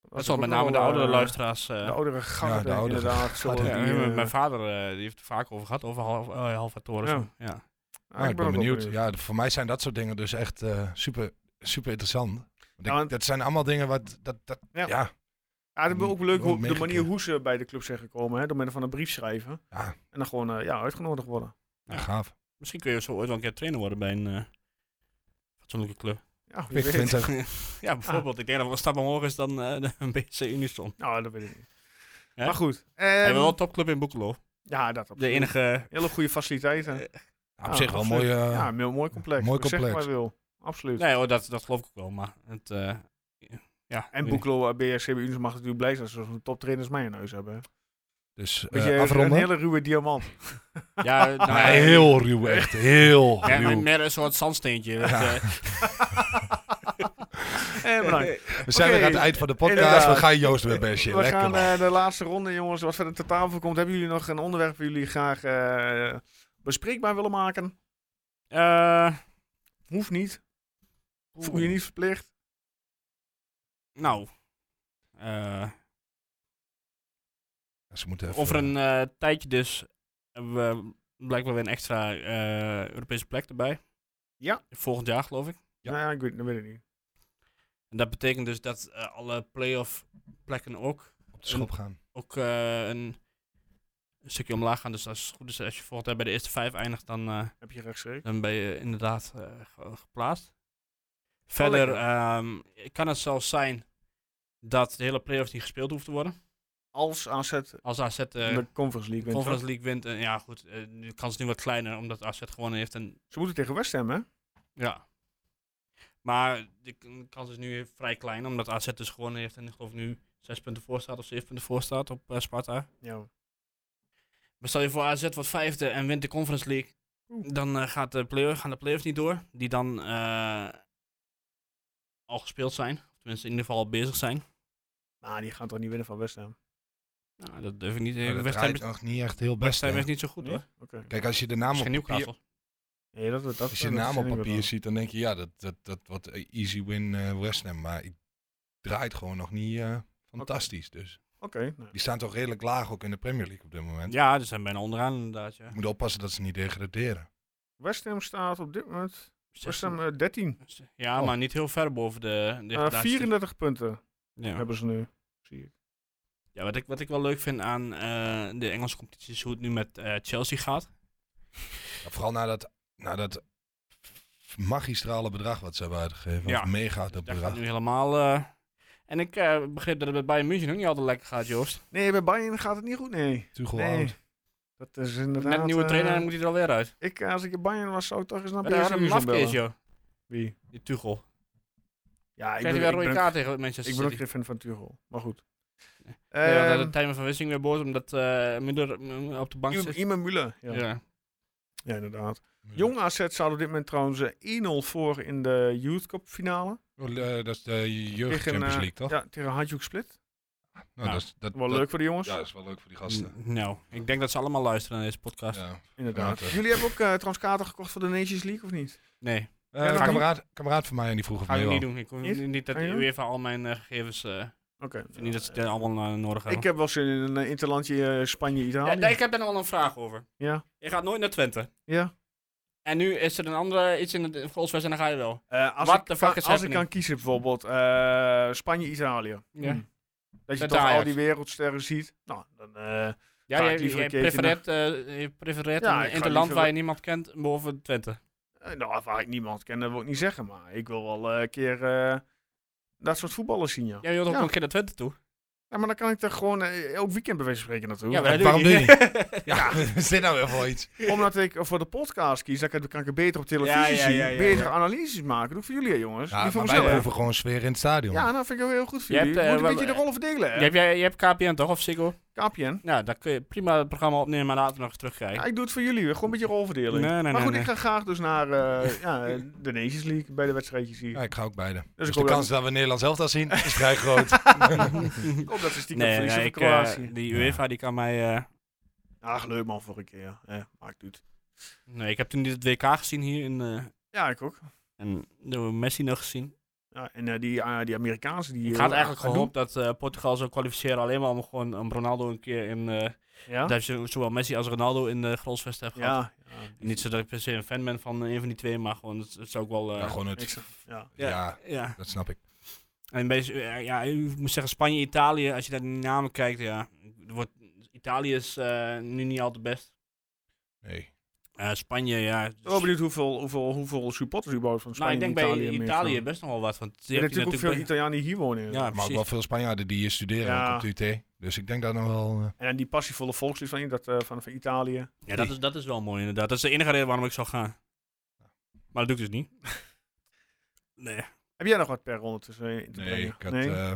[SPEAKER 4] Dat
[SPEAKER 1] ook
[SPEAKER 4] zal met
[SPEAKER 1] nog
[SPEAKER 4] name de
[SPEAKER 1] wel,
[SPEAKER 4] oudere
[SPEAKER 1] eh,
[SPEAKER 4] luisteraars. eh,
[SPEAKER 1] De oudere garde,
[SPEAKER 5] de oudere
[SPEAKER 1] inderdaad.
[SPEAKER 5] garde.
[SPEAKER 1] zullen
[SPEAKER 4] ja,
[SPEAKER 1] die,
[SPEAKER 4] mijn-
[SPEAKER 1] eh,
[SPEAKER 4] mijn vader eh, die heeft het vaak over gehad, over half, eh, halve
[SPEAKER 1] <laughs>
[SPEAKER 4] torens.
[SPEAKER 1] Ja.
[SPEAKER 4] Ja. Ja.
[SPEAKER 1] ah,
[SPEAKER 5] ah, ik ben
[SPEAKER 1] ook wel
[SPEAKER 5] benieuwd. Ja, d- voor mij zijn dat soort dingen dus echt eh, super, super interessant. Want ik-
[SPEAKER 1] Ja, want-
[SPEAKER 5] Dat zijn allemaal dingen wat, dat, dat,
[SPEAKER 1] Ja.
[SPEAKER 5] ja. Ja,
[SPEAKER 1] Ja, dat is ook leuk hoe, de
[SPEAKER 5] Meegekregen.
[SPEAKER 1] manier hoe ze bij de club zijn gekomen. Hè, door middel van een brief schrijven.
[SPEAKER 5] Ja.
[SPEAKER 1] En dan gewoon eh, ja, uitgenodigd worden.
[SPEAKER 4] Ja.
[SPEAKER 5] gaaf.
[SPEAKER 4] Misschien kun je zo ooit wel een keer trainer worden bij een eh fatsoenlijke club.
[SPEAKER 1] Ja, wie
[SPEAKER 5] Ik
[SPEAKER 1] weet.
[SPEAKER 5] vind het
[SPEAKER 4] ja,
[SPEAKER 1] Ah.
[SPEAKER 4] bijvoorbeeld. Ik denk dat we een stap omhoog is dan eh, <laughs> de- een BC Unison.
[SPEAKER 1] Nou, dat weet ik niet.
[SPEAKER 4] Hè?
[SPEAKER 1] Maar goed.
[SPEAKER 4] We
[SPEAKER 1] ehm,
[SPEAKER 4] hebben wel een topclub in Boekelo.
[SPEAKER 1] ja, dat op
[SPEAKER 4] De enige... Eh,
[SPEAKER 1] Hele goede faciliteiten.
[SPEAKER 5] op
[SPEAKER 1] Ja,
[SPEAKER 5] zich wel
[SPEAKER 1] absoluut.
[SPEAKER 5] mooi. eh,
[SPEAKER 1] ja, een heel mooi complex.
[SPEAKER 5] mooi
[SPEAKER 1] Zeg
[SPEAKER 5] complex.
[SPEAKER 1] maar wil. Absoluut.
[SPEAKER 4] Nee hoor, dat, dat geloof ik ook wel, maar het... eh, ja,
[SPEAKER 1] En Boeklo, eh, BRC bij Unis mag natuurlijk blij zijn als ze zo'n toptrainer als mij in huis hebben. hè.
[SPEAKER 5] Dus
[SPEAKER 1] Weet
[SPEAKER 5] eh,
[SPEAKER 1] je, een
[SPEAKER 5] afronden.
[SPEAKER 1] hele ruwe
[SPEAKER 5] <laughs>
[SPEAKER 1] diamant.
[SPEAKER 4] Ja, nou,
[SPEAKER 5] Maar heel ruw, echt heel
[SPEAKER 4] Ja,
[SPEAKER 5] ruw.
[SPEAKER 4] meer een soort zandsteentje. dat,
[SPEAKER 5] Ja.
[SPEAKER 4] eh,
[SPEAKER 1] Eh, bedankt.
[SPEAKER 5] <laughs> <laughs> We zijn
[SPEAKER 1] Oké,
[SPEAKER 5] weer aan het eind van de podcast.
[SPEAKER 1] inderdaad.
[SPEAKER 5] We gaan Joost weer bestje.
[SPEAKER 1] We
[SPEAKER 5] Lekker
[SPEAKER 1] gaan
[SPEAKER 5] man.
[SPEAKER 1] eh, de laatste ronde, jongens. Wat verder ter tafel komt. Hebben jullie nog een onderwerp waar jullie graag eh, bespreekbaar willen maken?
[SPEAKER 4] eh,
[SPEAKER 1] Hoeft niet. Voel je niet verplicht.
[SPEAKER 4] nou... eh,
[SPEAKER 5] Ze moeten even-
[SPEAKER 4] Over een eh, tijdje dus hebben we blijkbaar weer een extra eh, Europese plek erbij.
[SPEAKER 1] Ja.
[SPEAKER 4] Volgend jaar geloof ik.
[SPEAKER 5] Ja.
[SPEAKER 1] Nou ja, ik weet, dat weet ik niet.
[SPEAKER 4] En dat betekent dus dat eh, alle playoff plekken ook,
[SPEAKER 5] op de schop gaan.
[SPEAKER 4] ook eh, een, een stukje omlaag gaan. Dus als het goed is, als je volgend jaar bij de eerste vijf eindigt, dan, eh,
[SPEAKER 1] Heb je rechtstreeks.
[SPEAKER 4] dan ben je inderdaad eh, ge- geplaatst. Verder
[SPEAKER 1] lekker.
[SPEAKER 4] ehm, kan het zelfs zijn dat de hele playoffs niet gespeeld hoeft te worden.
[SPEAKER 1] Als AZ
[SPEAKER 4] Als AZ eh,
[SPEAKER 1] de Conference League wint.
[SPEAKER 4] Conference League wint, en ja goed, eh, de kans is nu wat kleiner omdat AZ gewonnen heeft en
[SPEAKER 1] Ze moeten tegen West Ham, hè?
[SPEAKER 4] Ja. Maar de k- kans is nu vrij klein, omdat AZ dus gewonnen heeft en ik geloof nu zes punten voor staat of zeven punten voor staat op eh, Sparta.
[SPEAKER 1] Ja.
[SPEAKER 4] Maar stel je voor AZ wordt vijfde en wint de Conference League,
[SPEAKER 1] Oeh.
[SPEAKER 4] dan eh, gaat de play gaan de play-offs niet door, die dan eh, al gespeeld zijn. Of tenminste in ieder geval al bezig zijn.
[SPEAKER 1] Maar Ah, die gaan toch niet winnen van West Ham?
[SPEAKER 4] Nou, dat durf ik niet.
[SPEAKER 5] Maar
[SPEAKER 4] eh,
[SPEAKER 5] dat
[SPEAKER 4] West Ham
[SPEAKER 5] draait
[SPEAKER 4] is-
[SPEAKER 5] nog niet echt heel best.
[SPEAKER 4] West Ham
[SPEAKER 5] hè.
[SPEAKER 4] is niet zo goed
[SPEAKER 1] Nee?
[SPEAKER 4] hoor.
[SPEAKER 1] Oké.
[SPEAKER 5] Kijk, als je de naam op
[SPEAKER 4] Misschien
[SPEAKER 5] papier,
[SPEAKER 4] Newcastle.
[SPEAKER 1] Nee, dat, dat, dat,
[SPEAKER 5] als je de
[SPEAKER 1] dat
[SPEAKER 5] naam
[SPEAKER 1] verzin
[SPEAKER 5] op
[SPEAKER 1] ik wel
[SPEAKER 5] papier
[SPEAKER 1] dan.
[SPEAKER 5] ziet, dan denk je ja, dat, dat, dat wordt een easy win eh West Ham. Maar ik draait gewoon nog niet eh, fantastisch. Dus
[SPEAKER 1] Oké. nou.
[SPEAKER 5] die staan toch redelijk laag ook in de Premier League op dit moment.
[SPEAKER 4] Ja, die zijn bijna onderaan inderdaad. Ja.
[SPEAKER 5] Je moet oppassen dat ze niet degraderen.
[SPEAKER 1] West Ham staat op dit moment. West Ham eh, 13.
[SPEAKER 4] Ja,
[SPEAKER 5] Oh.
[SPEAKER 4] maar niet heel ver boven de... de
[SPEAKER 1] Eh,
[SPEAKER 4] degradatie.
[SPEAKER 1] 34 punten
[SPEAKER 4] Ja.
[SPEAKER 1] hebben ze nu. Zie ik.
[SPEAKER 4] Ja, wat ik, wat ik wel leuk vind aan eh, de Engelse competitie is hoe het nu met eh, Chelsea gaat.
[SPEAKER 5] Ja, vooral na dat, na dat magistrale bedrag wat ze hebben uitgegeven.
[SPEAKER 4] Ja.
[SPEAKER 5] Of mega
[SPEAKER 4] Dus
[SPEAKER 5] dat
[SPEAKER 4] daar gaat
[SPEAKER 5] bedrag.
[SPEAKER 4] nu helemaal... eh, en ik eh, begreep dat het bij Bayern München ook niet altijd lekker gaat, Joost.
[SPEAKER 1] Nee, bij Bayern gaat het niet goed, nee.
[SPEAKER 5] Tuchel
[SPEAKER 1] nee.
[SPEAKER 5] oud.
[SPEAKER 1] Dat is inderdaad...
[SPEAKER 4] Met een nieuwe
[SPEAKER 1] eh,
[SPEAKER 4] trainer moet hij er alweer uit.
[SPEAKER 1] ik, als ik in Bayern was, zou ik toch eens naar
[SPEAKER 4] Wat een
[SPEAKER 1] PSV
[SPEAKER 4] harde
[SPEAKER 1] gaan
[SPEAKER 4] mafke is,
[SPEAKER 1] bellen.
[SPEAKER 4] joh.
[SPEAKER 1] Wie?
[SPEAKER 4] Die Tuchel.
[SPEAKER 1] Ja, ik
[SPEAKER 4] Krijgt hij
[SPEAKER 1] ben,
[SPEAKER 4] weer een
[SPEAKER 1] ik,
[SPEAKER 4] rode
[SPEAKER 1] ben,
[SPEAKER 4] kaart tegen Manchester
[SPEAKER 1] ik ben ook
[SPEAKER 4] City.
[SPEAKER 1] geen fan van Tuchel. Maar goed.
[SPEAKER 4] Ja, we hadden
[SPEAKER 1] Ehm,
[SPEAKER 4] de timer van Wissing weer boos omdat eh Müller mm, op de bank
[SPEAKER 1] Im-
[SPEAKER 4] zit.
[SPEAKER 1] Iman Müller. Ja.
[SPEAKER 4] Ja.
[SPEAKER 1] Ja. inderdaad. Jong AZ staat op dit moment trouwens eh, 1-0 voor in de Youth Cup finale.
[SPEAKER 5] Oh, eh, dat is de jeugd
[SPEAKER 1] Tegen,
[SPEAKER 5] Champions
[SPEAKER 1] eh,
[SPEAKER 5] League, toch?
[SPEAKER 1] Ja, tegen Hajduk Split.
[SPEAKER 5] Nou,
[SPEAKER 4] Ja.
[SPEAKER 5] dat is, dat,
[SPEAKER 1] Wel
[SPEAKER 5] dat-
[SPEAKER 1] leuk voor de jongens.
[SPEAKER 5] Ja, dat is wel leuk voor die gasten.
[SPEAKER 4] N- Nou, ik denk dat ze allemaal luisteren naar deze podcast.
[SPEAKER 5] Ja. Eh,
[SPEAKER 1] Inderdaad.
[SPEAKER 5] Ja, toch.
[SPEAKER 1] Jullie hebben ook eh trouwens kaarten gekocht voor de Nations League, of niet?
[SPEAKER 4] Nee,
[SPEAKER 5] Eh,
[SPEAKER 1] Ja,
[SPEAKER 5] een
[SPEAKER 1] dat-
[SPEAKER 5] kameraad, kameraad van mij en die vroeg of
[SPEAKER 4] ga
[SPEAKER 5] mij
[SPEAKER 4] ik
[SPEAKER 5] wel.
[SPEAKER 4] niet doen. Ik hoef
[SPEAKER 1] Niet?
[SPEAKER 4] niet, dat
[SPEAKER 1] Ga je
[SPEAKER 4] de
[SPEAKER 1] doen?
[SPEAKER 4] UEFA al mijn eh, gegevens... eh,
[SPEAKER 1] Oké.
[SPEAKER 4] ik vind niet dat ze het allemaal eh, nodig hebben.
[SPEAKER 1] Ik heb wel zin in een eh, interlandje eh, Spanje-Italië.
[SPEAKER 4] Ja, daar- ik heb daar nog wel een vraag over.
[SPEAKER 1] Ja.
[SPEAKER 4] Je gaat nooit naar Twente.
[SPEAKER 1] Ja.
[SPEAKER 4] En nu is er een andere iets in de goalswest en dan ga je wel.
[SPEAKER 1] Eh, als
[SPEAKER 4] What
[SPEAKER 1] ik,
[SPEAKER 4] the fuck is
[SPEAKER 1] als ik
[SPEAKER 4] happening?
[SPEAKER 1] kan kiezen bijvoorbeeld eh, Spanje-Italië.
[SPEAKER 4] Ja.
[SPEAKER 1] Hm. Dat je
[SPEAKER 4] Met
[SPEAKER 1] toch al
[SPEAKER 4] Ajax.
[SPEAKER 1] die wereldsterren ziet. Nou, dan, eh,
[SPEAKER 4] Ja,
[SPEAKER 1] Ga
[SPEAKER 4] je,
[SPEAKER 1] ik liever
[SPEAKER 4] je
[SPEAKER 1] een keertje
[SPEAKER 4] prefereert, eh, je prefereert
[SPEAKER 1] Ja,
[SPEAKER 4] een
[SPEAKER 1] ik ga
[SPEAKER 4] interland
[SPEAKER 1] liever-
[SPEAKER 4] waar je niemand kent boven Twente.
[SPEAKER 1] eh, nou, waar ik niemand ken, dat wil ik niet zeggen. Maar ik wil wel eh, een keer eh, dat soort voetballers zien, ja.
[SPEAKER 4] Ja, je wilt ook
[SPEAKER 1] Ja.
[SPEAKER 4] een keer naar Twente toe.
[SPEAKER 1] Ja, maar dan kan ik er gewoon eh, elk weekend bij wijze van spreken naartoe. Eh,
[SPEAKER 4] Ja, maar
[SPEAKER 5] en
[SPEAKER 4] dat doe
[SPEAKER 5] waarom doe je
[SPEAKER 4] <laughs> niet.
[SPEAKER 5] Ja, <laughs> wat is dit nou weer voor iets?
[SPEAKER 1] Omdat ik voor de podcast kies, dan kan ik- kan ik het beter op televisie
[SPEAKER 4] Ja, ja,
[SPEAKER 1] zien.
[SPEAKER 4] ja, ja,
[SPEAKER 1] betere
[SPEAKER 4] ja.
[SPEAKER 1] analyses maken. Dat doe ik voor jullie, hè, jongens.
[SPEAKER 5] Ja,
[SPEAKER 1] Niet voor
[SPEAKER 5] maar wij
[SPEAKER 1] mezelf.
[SPEAKER 5] proeven gewoon sfeer in het stadion.
[SPEAKER 1] Ja, nou vind ik ook heel goed voor
[SPEAKER 4] Je
[SPEAKER 1] jullie.
[SPEAKER 4] hebt, eh,
[SPEAKER 1] Moet een
[SPEAKER 4] wel-
[SPEAKER 1] beetje de rollen verdelen, hè?
[SPEAKER 4] je, hebt, jij- je hebt KPN toch, of Siggo?
[SPEAKER 1] KPN.
[SPEAKER 4] Ja, daar kun je prima het programma opnemen en later nog eens terugkijken.
[SPEAKER 1] Ja, ik doe het voor jullie, weer. gewoon een beetje rolverdeling.
[SPEAKER 4] Nee, nee,
[SPEAKER 1] maar goed,
[SPEAKER 4] nee,
[SPEAKER 1] ik ga graag dus naar eh, ja, eh, de Nations League bij de wedstrijdjes hier.
[SPEAKER 5] Ja, ik ga ook beide. Dus,
[SPEAKER 1] ik
[SPEAKER 5] de
[SPEAKER 1] hoop
[SPEAKER 5] kans dat we Nederland zelf al zien is vrij
[SPEAKER 1] <laughs>
[SPEAKER 5] groot.
[SPEAKER 1] Ik hoop dat ze stiekem
[SPEAKER 4] nee,
[SPEAKER 1] verliezen
[SPEAKER 4] nee,
[SPEAKER 1] van
[SPEAKER 4] ik, eh,
[SPEAKER 1] Kroatië.
[SPEAKER 4] die UEFA die kan mij... eh,
[SPEAKER 1] Ach, leuk man, voor een keer. Eh, maakt het.
[SPEAKER 4] nee, ik heb toen niet het WK gezien hier in, eh,
[SPEAKER 1] Ja, ik ook.
[SPEAKER 4] en de Messi nog gezien.
[SPEAKER 1] Ja, en eh, die, eh, die Amerikaanse, die...
[SPEAKER 4] ik
[SPEAKER 1] eh,
[SPEAKER 4] had eigenlijk
[SPEAKER 1] Adu-
[SPEAKER 4] gehoopt dat eh, Portugal zou kwalificeren alleen maar om gewoon om Ronaldo een keer in... eh
[SPEAKER 1] Ja?
[SPEAKER 4] Dat je zowel Messi als Ronaldo in de grondsvest hebt gehad.
[SPEAKER 1] Ja. ja.
[SPEAKER 4] Niet zo dat ik per se een fan ben van eh, een van die twee, maar gewoon, het, het zou ook wel... eh,
[SPEAKER 5] ja, gewoon het.
[SPEAKER 1] Extra. Ja.
[SPEAKER 4] ja.
[SPEAKER 5] Ja.
[SPEAKER 4] ja.
[SPEAKER 5] dat snap ik.
[SPEAKER 4] En bij, eh, ja, ik moet zeggen, Spanje, Italië, als je naar die namen kijkt, ja. er Wordt, Italië is eh, nu niet al te best.
[SPEAKER 5] Nee.
[SPEAKER 4] Eh, Spanje, ja.
[SPEAKER 1] Ik ben wel benieuwd hoeveel, hoeveel, hoeveel supporters überhaupt van
[SPEAKER 4] nou,
[SPEAKER 1] Spanje
[SPEAKER 4] ik denk
[SPEAKER 1] en
[SPEAKER 4] bij
[SPEAKER 1] Italië
[SPEAKER 4] Italië,
[SPEAKER 1] meer van-
[SPEAKER 4] best nog wel wat. Want
[SPEAKER 1] Er
[SPEAKER 4] die
[SPEAKER 1] zijn
[SPEAKER 4] heb je
[SPEAKER 1] natuurlijk ook veel
[SPEAKER 4] natuurlijk
[SPEAKER 1] Italianen die hier wonen.
[SPEAKER 4] bij- ja,
[SPEAKER 5] Maar ook
[SPEAKER 4] precies.
[SPEAKER 5] wel veel Spanjaarden die hier studeren
[SPEAKER 1] Ja.
[SPEAKER 5] ook op de UT. Dus ik denk dat nog wel... eh,
[SPEAKER 1] En die passievolle volkslied van, dat, eh, van, van Italië.
[SPEAKER 4] Ja, dat is, dat is wel mooi inderdaad. Dat is de enige reden waarom ik zou gaan. Maar dat doe ik dus niet. nee.
[SPEAKER 1] Heb jij nog wat per ronde tussen? in te
[SPEAKER 5] nee,
[SPEAKER 1] brengen?
[SPEAKER 5] ik had,
[SPEAKER 1] nee?
[SPEAKER 5] eh,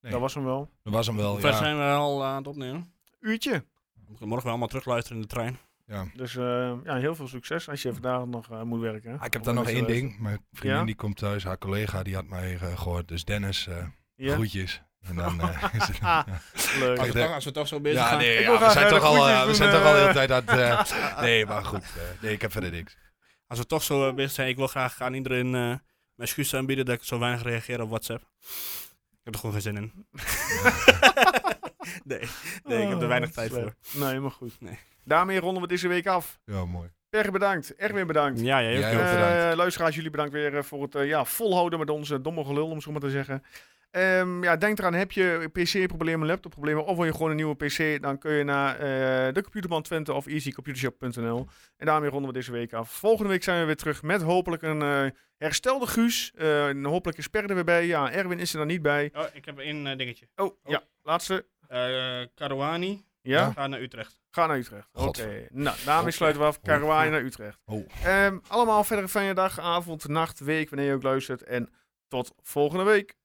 [SPEAKER 5] nee.
[SPEAKER 1] dat was hem wel.
[SPEAKER 5] dat was hem wel.
[SPEAKER 4] Hoe ver
[SPEAKER 5] Ja.
[SPEAKER 4] zijn we al aan het opnemen?
[SPEAKER 1] Uurtje.
[SPEAKER 4] Moet ik morgen wel allemaal terugluisteren in de trein.
[SPEAKER 5] Ja.
[SPEAKER 1] Dus eh, ja, heel veel succes als je vandaag nog eh, moet werken. hè?
[SPEAKER 5] Ah, ik heb
[SPEAKER 1] Of
[SPEAKER 5] dan nog
[SPEAKER 1] mensen
[SPEAKER 5] één
[SPEAKER 1] luisteren.
[SPEAKER 5] ding. Mijn vriendin
[SPEAKER 1] Ja?
[SPEAKER 5] die komt thuis, haar collega die had mij eh, gehoord. Dus Dennis, eh, groetjes. En
[SPEAKER 1] <laughs>
[SPEAKER 5] dan eh, is het...
[SPEAKER 1] Ah, Ja, leuk.
[SPEAKER 4] Als
[SPEAKER 5] Kijk,
[SPEAKER 4] we,
[SPEAKER 5] de-
[SPEAKER 4] toch, als we toch zo bezig
[SPEAKER 5] Ja,
[SPEAKER 4] gaan.
[SPEAKER 5] nee,
[SPEAKER 1] wil
[SPEAKER 5] ja, we
[SPEAKER 1] graag
[SPEAKER 5] zijn
[SPEAKER 1] naar
[SPEAKER 5] toch
[SPEAKER 1] de
[SPEAKER 5] al,
[SPEAKER 1] groetjes
[SPEAKER 5] eh, we
[SPEAKER 1] doen,
[SPEAKER 5] zijn toch al de hele
[SPEAKER 1] eh.
[SPEAKER 5] tijd aan
[SPEAKER 1] <laughs>
[SPEAKER 5] het... eh, nee, maar goed. eh, nee, ik heb verder niks.
[SPEAKER 4] Als we toch zo eh, bezig zijn, ik wil graag aan iedereen eh, mijn excuus aanbieden dat ik zo weinig reageer op WhatsApp. Ik heb er gewoon geen zin in. <laughs> nee, nee, ik heb er
[SPEAKER 1] Oh,
[SPEAKER 4] weinig tijd
[SPEAKER 1] slecht.
[SPEAKER 4] voor.
[SPEAKER 1] Nee, maar goed.
[SPEAKER 4] Nee.
[SPEAKER 1] Daarmee ronden we deze week af.
[SPEAKER 5] Ja, mooi.
[SPEAKER 1] Per bedankt. Erwin bedankt.
[SPEAKER 4] Ja, jij ook.
[SPEAKER 5] Jij
[SPEAKER 4] joh.
[SPEAKER 5] ook.
[SPEAKER 1] Eh,
[SPEAKER 5] bedankt.
[SPEAKER 1] luisteraars, jullie bedankt weer eh, voor het eh, ja, volhouden met onze domme gelul, om zo maar te zeggen. Ehm, ja, denk eraan, heb je PC-problemen, laptopproblemen of wil je gewoon een nieuwe PC, dan kun je naar eh, de Computerman Twente of easycomputershop.nl. En daarmee ronden we deze week af. Volgende week zijn we weer terug met hopelijk een eh, herstelde Guus. Eh, en hopelijk is Per er weer bij. Ja, Erwin is er dan niet bij.
[SPEAKER 4] Oh, ik heb één eh, dingetje.
[SPEAKER 1] Oh, ja, laatste.
[SPEAKER 4] Eh Caruani
[SPEAKER 1] Ja,
[SPEAKER 5] Ja.
[SPEAKER 4] gaat naar Utrecht.
[SPEAKER 1] ga naar Utrecht. Oké,
[SPEAKER 5] God.
[SPEAKER 1] nou, daarmee sluiten we af. Karwaai naar Utrecht.
[SPEAKER 5] Oh.
[SPEAKER 1] Ehm, allemaal verder een fijne dag, avond, nacht, week, wanneer je ook luistert. En tot volgende week.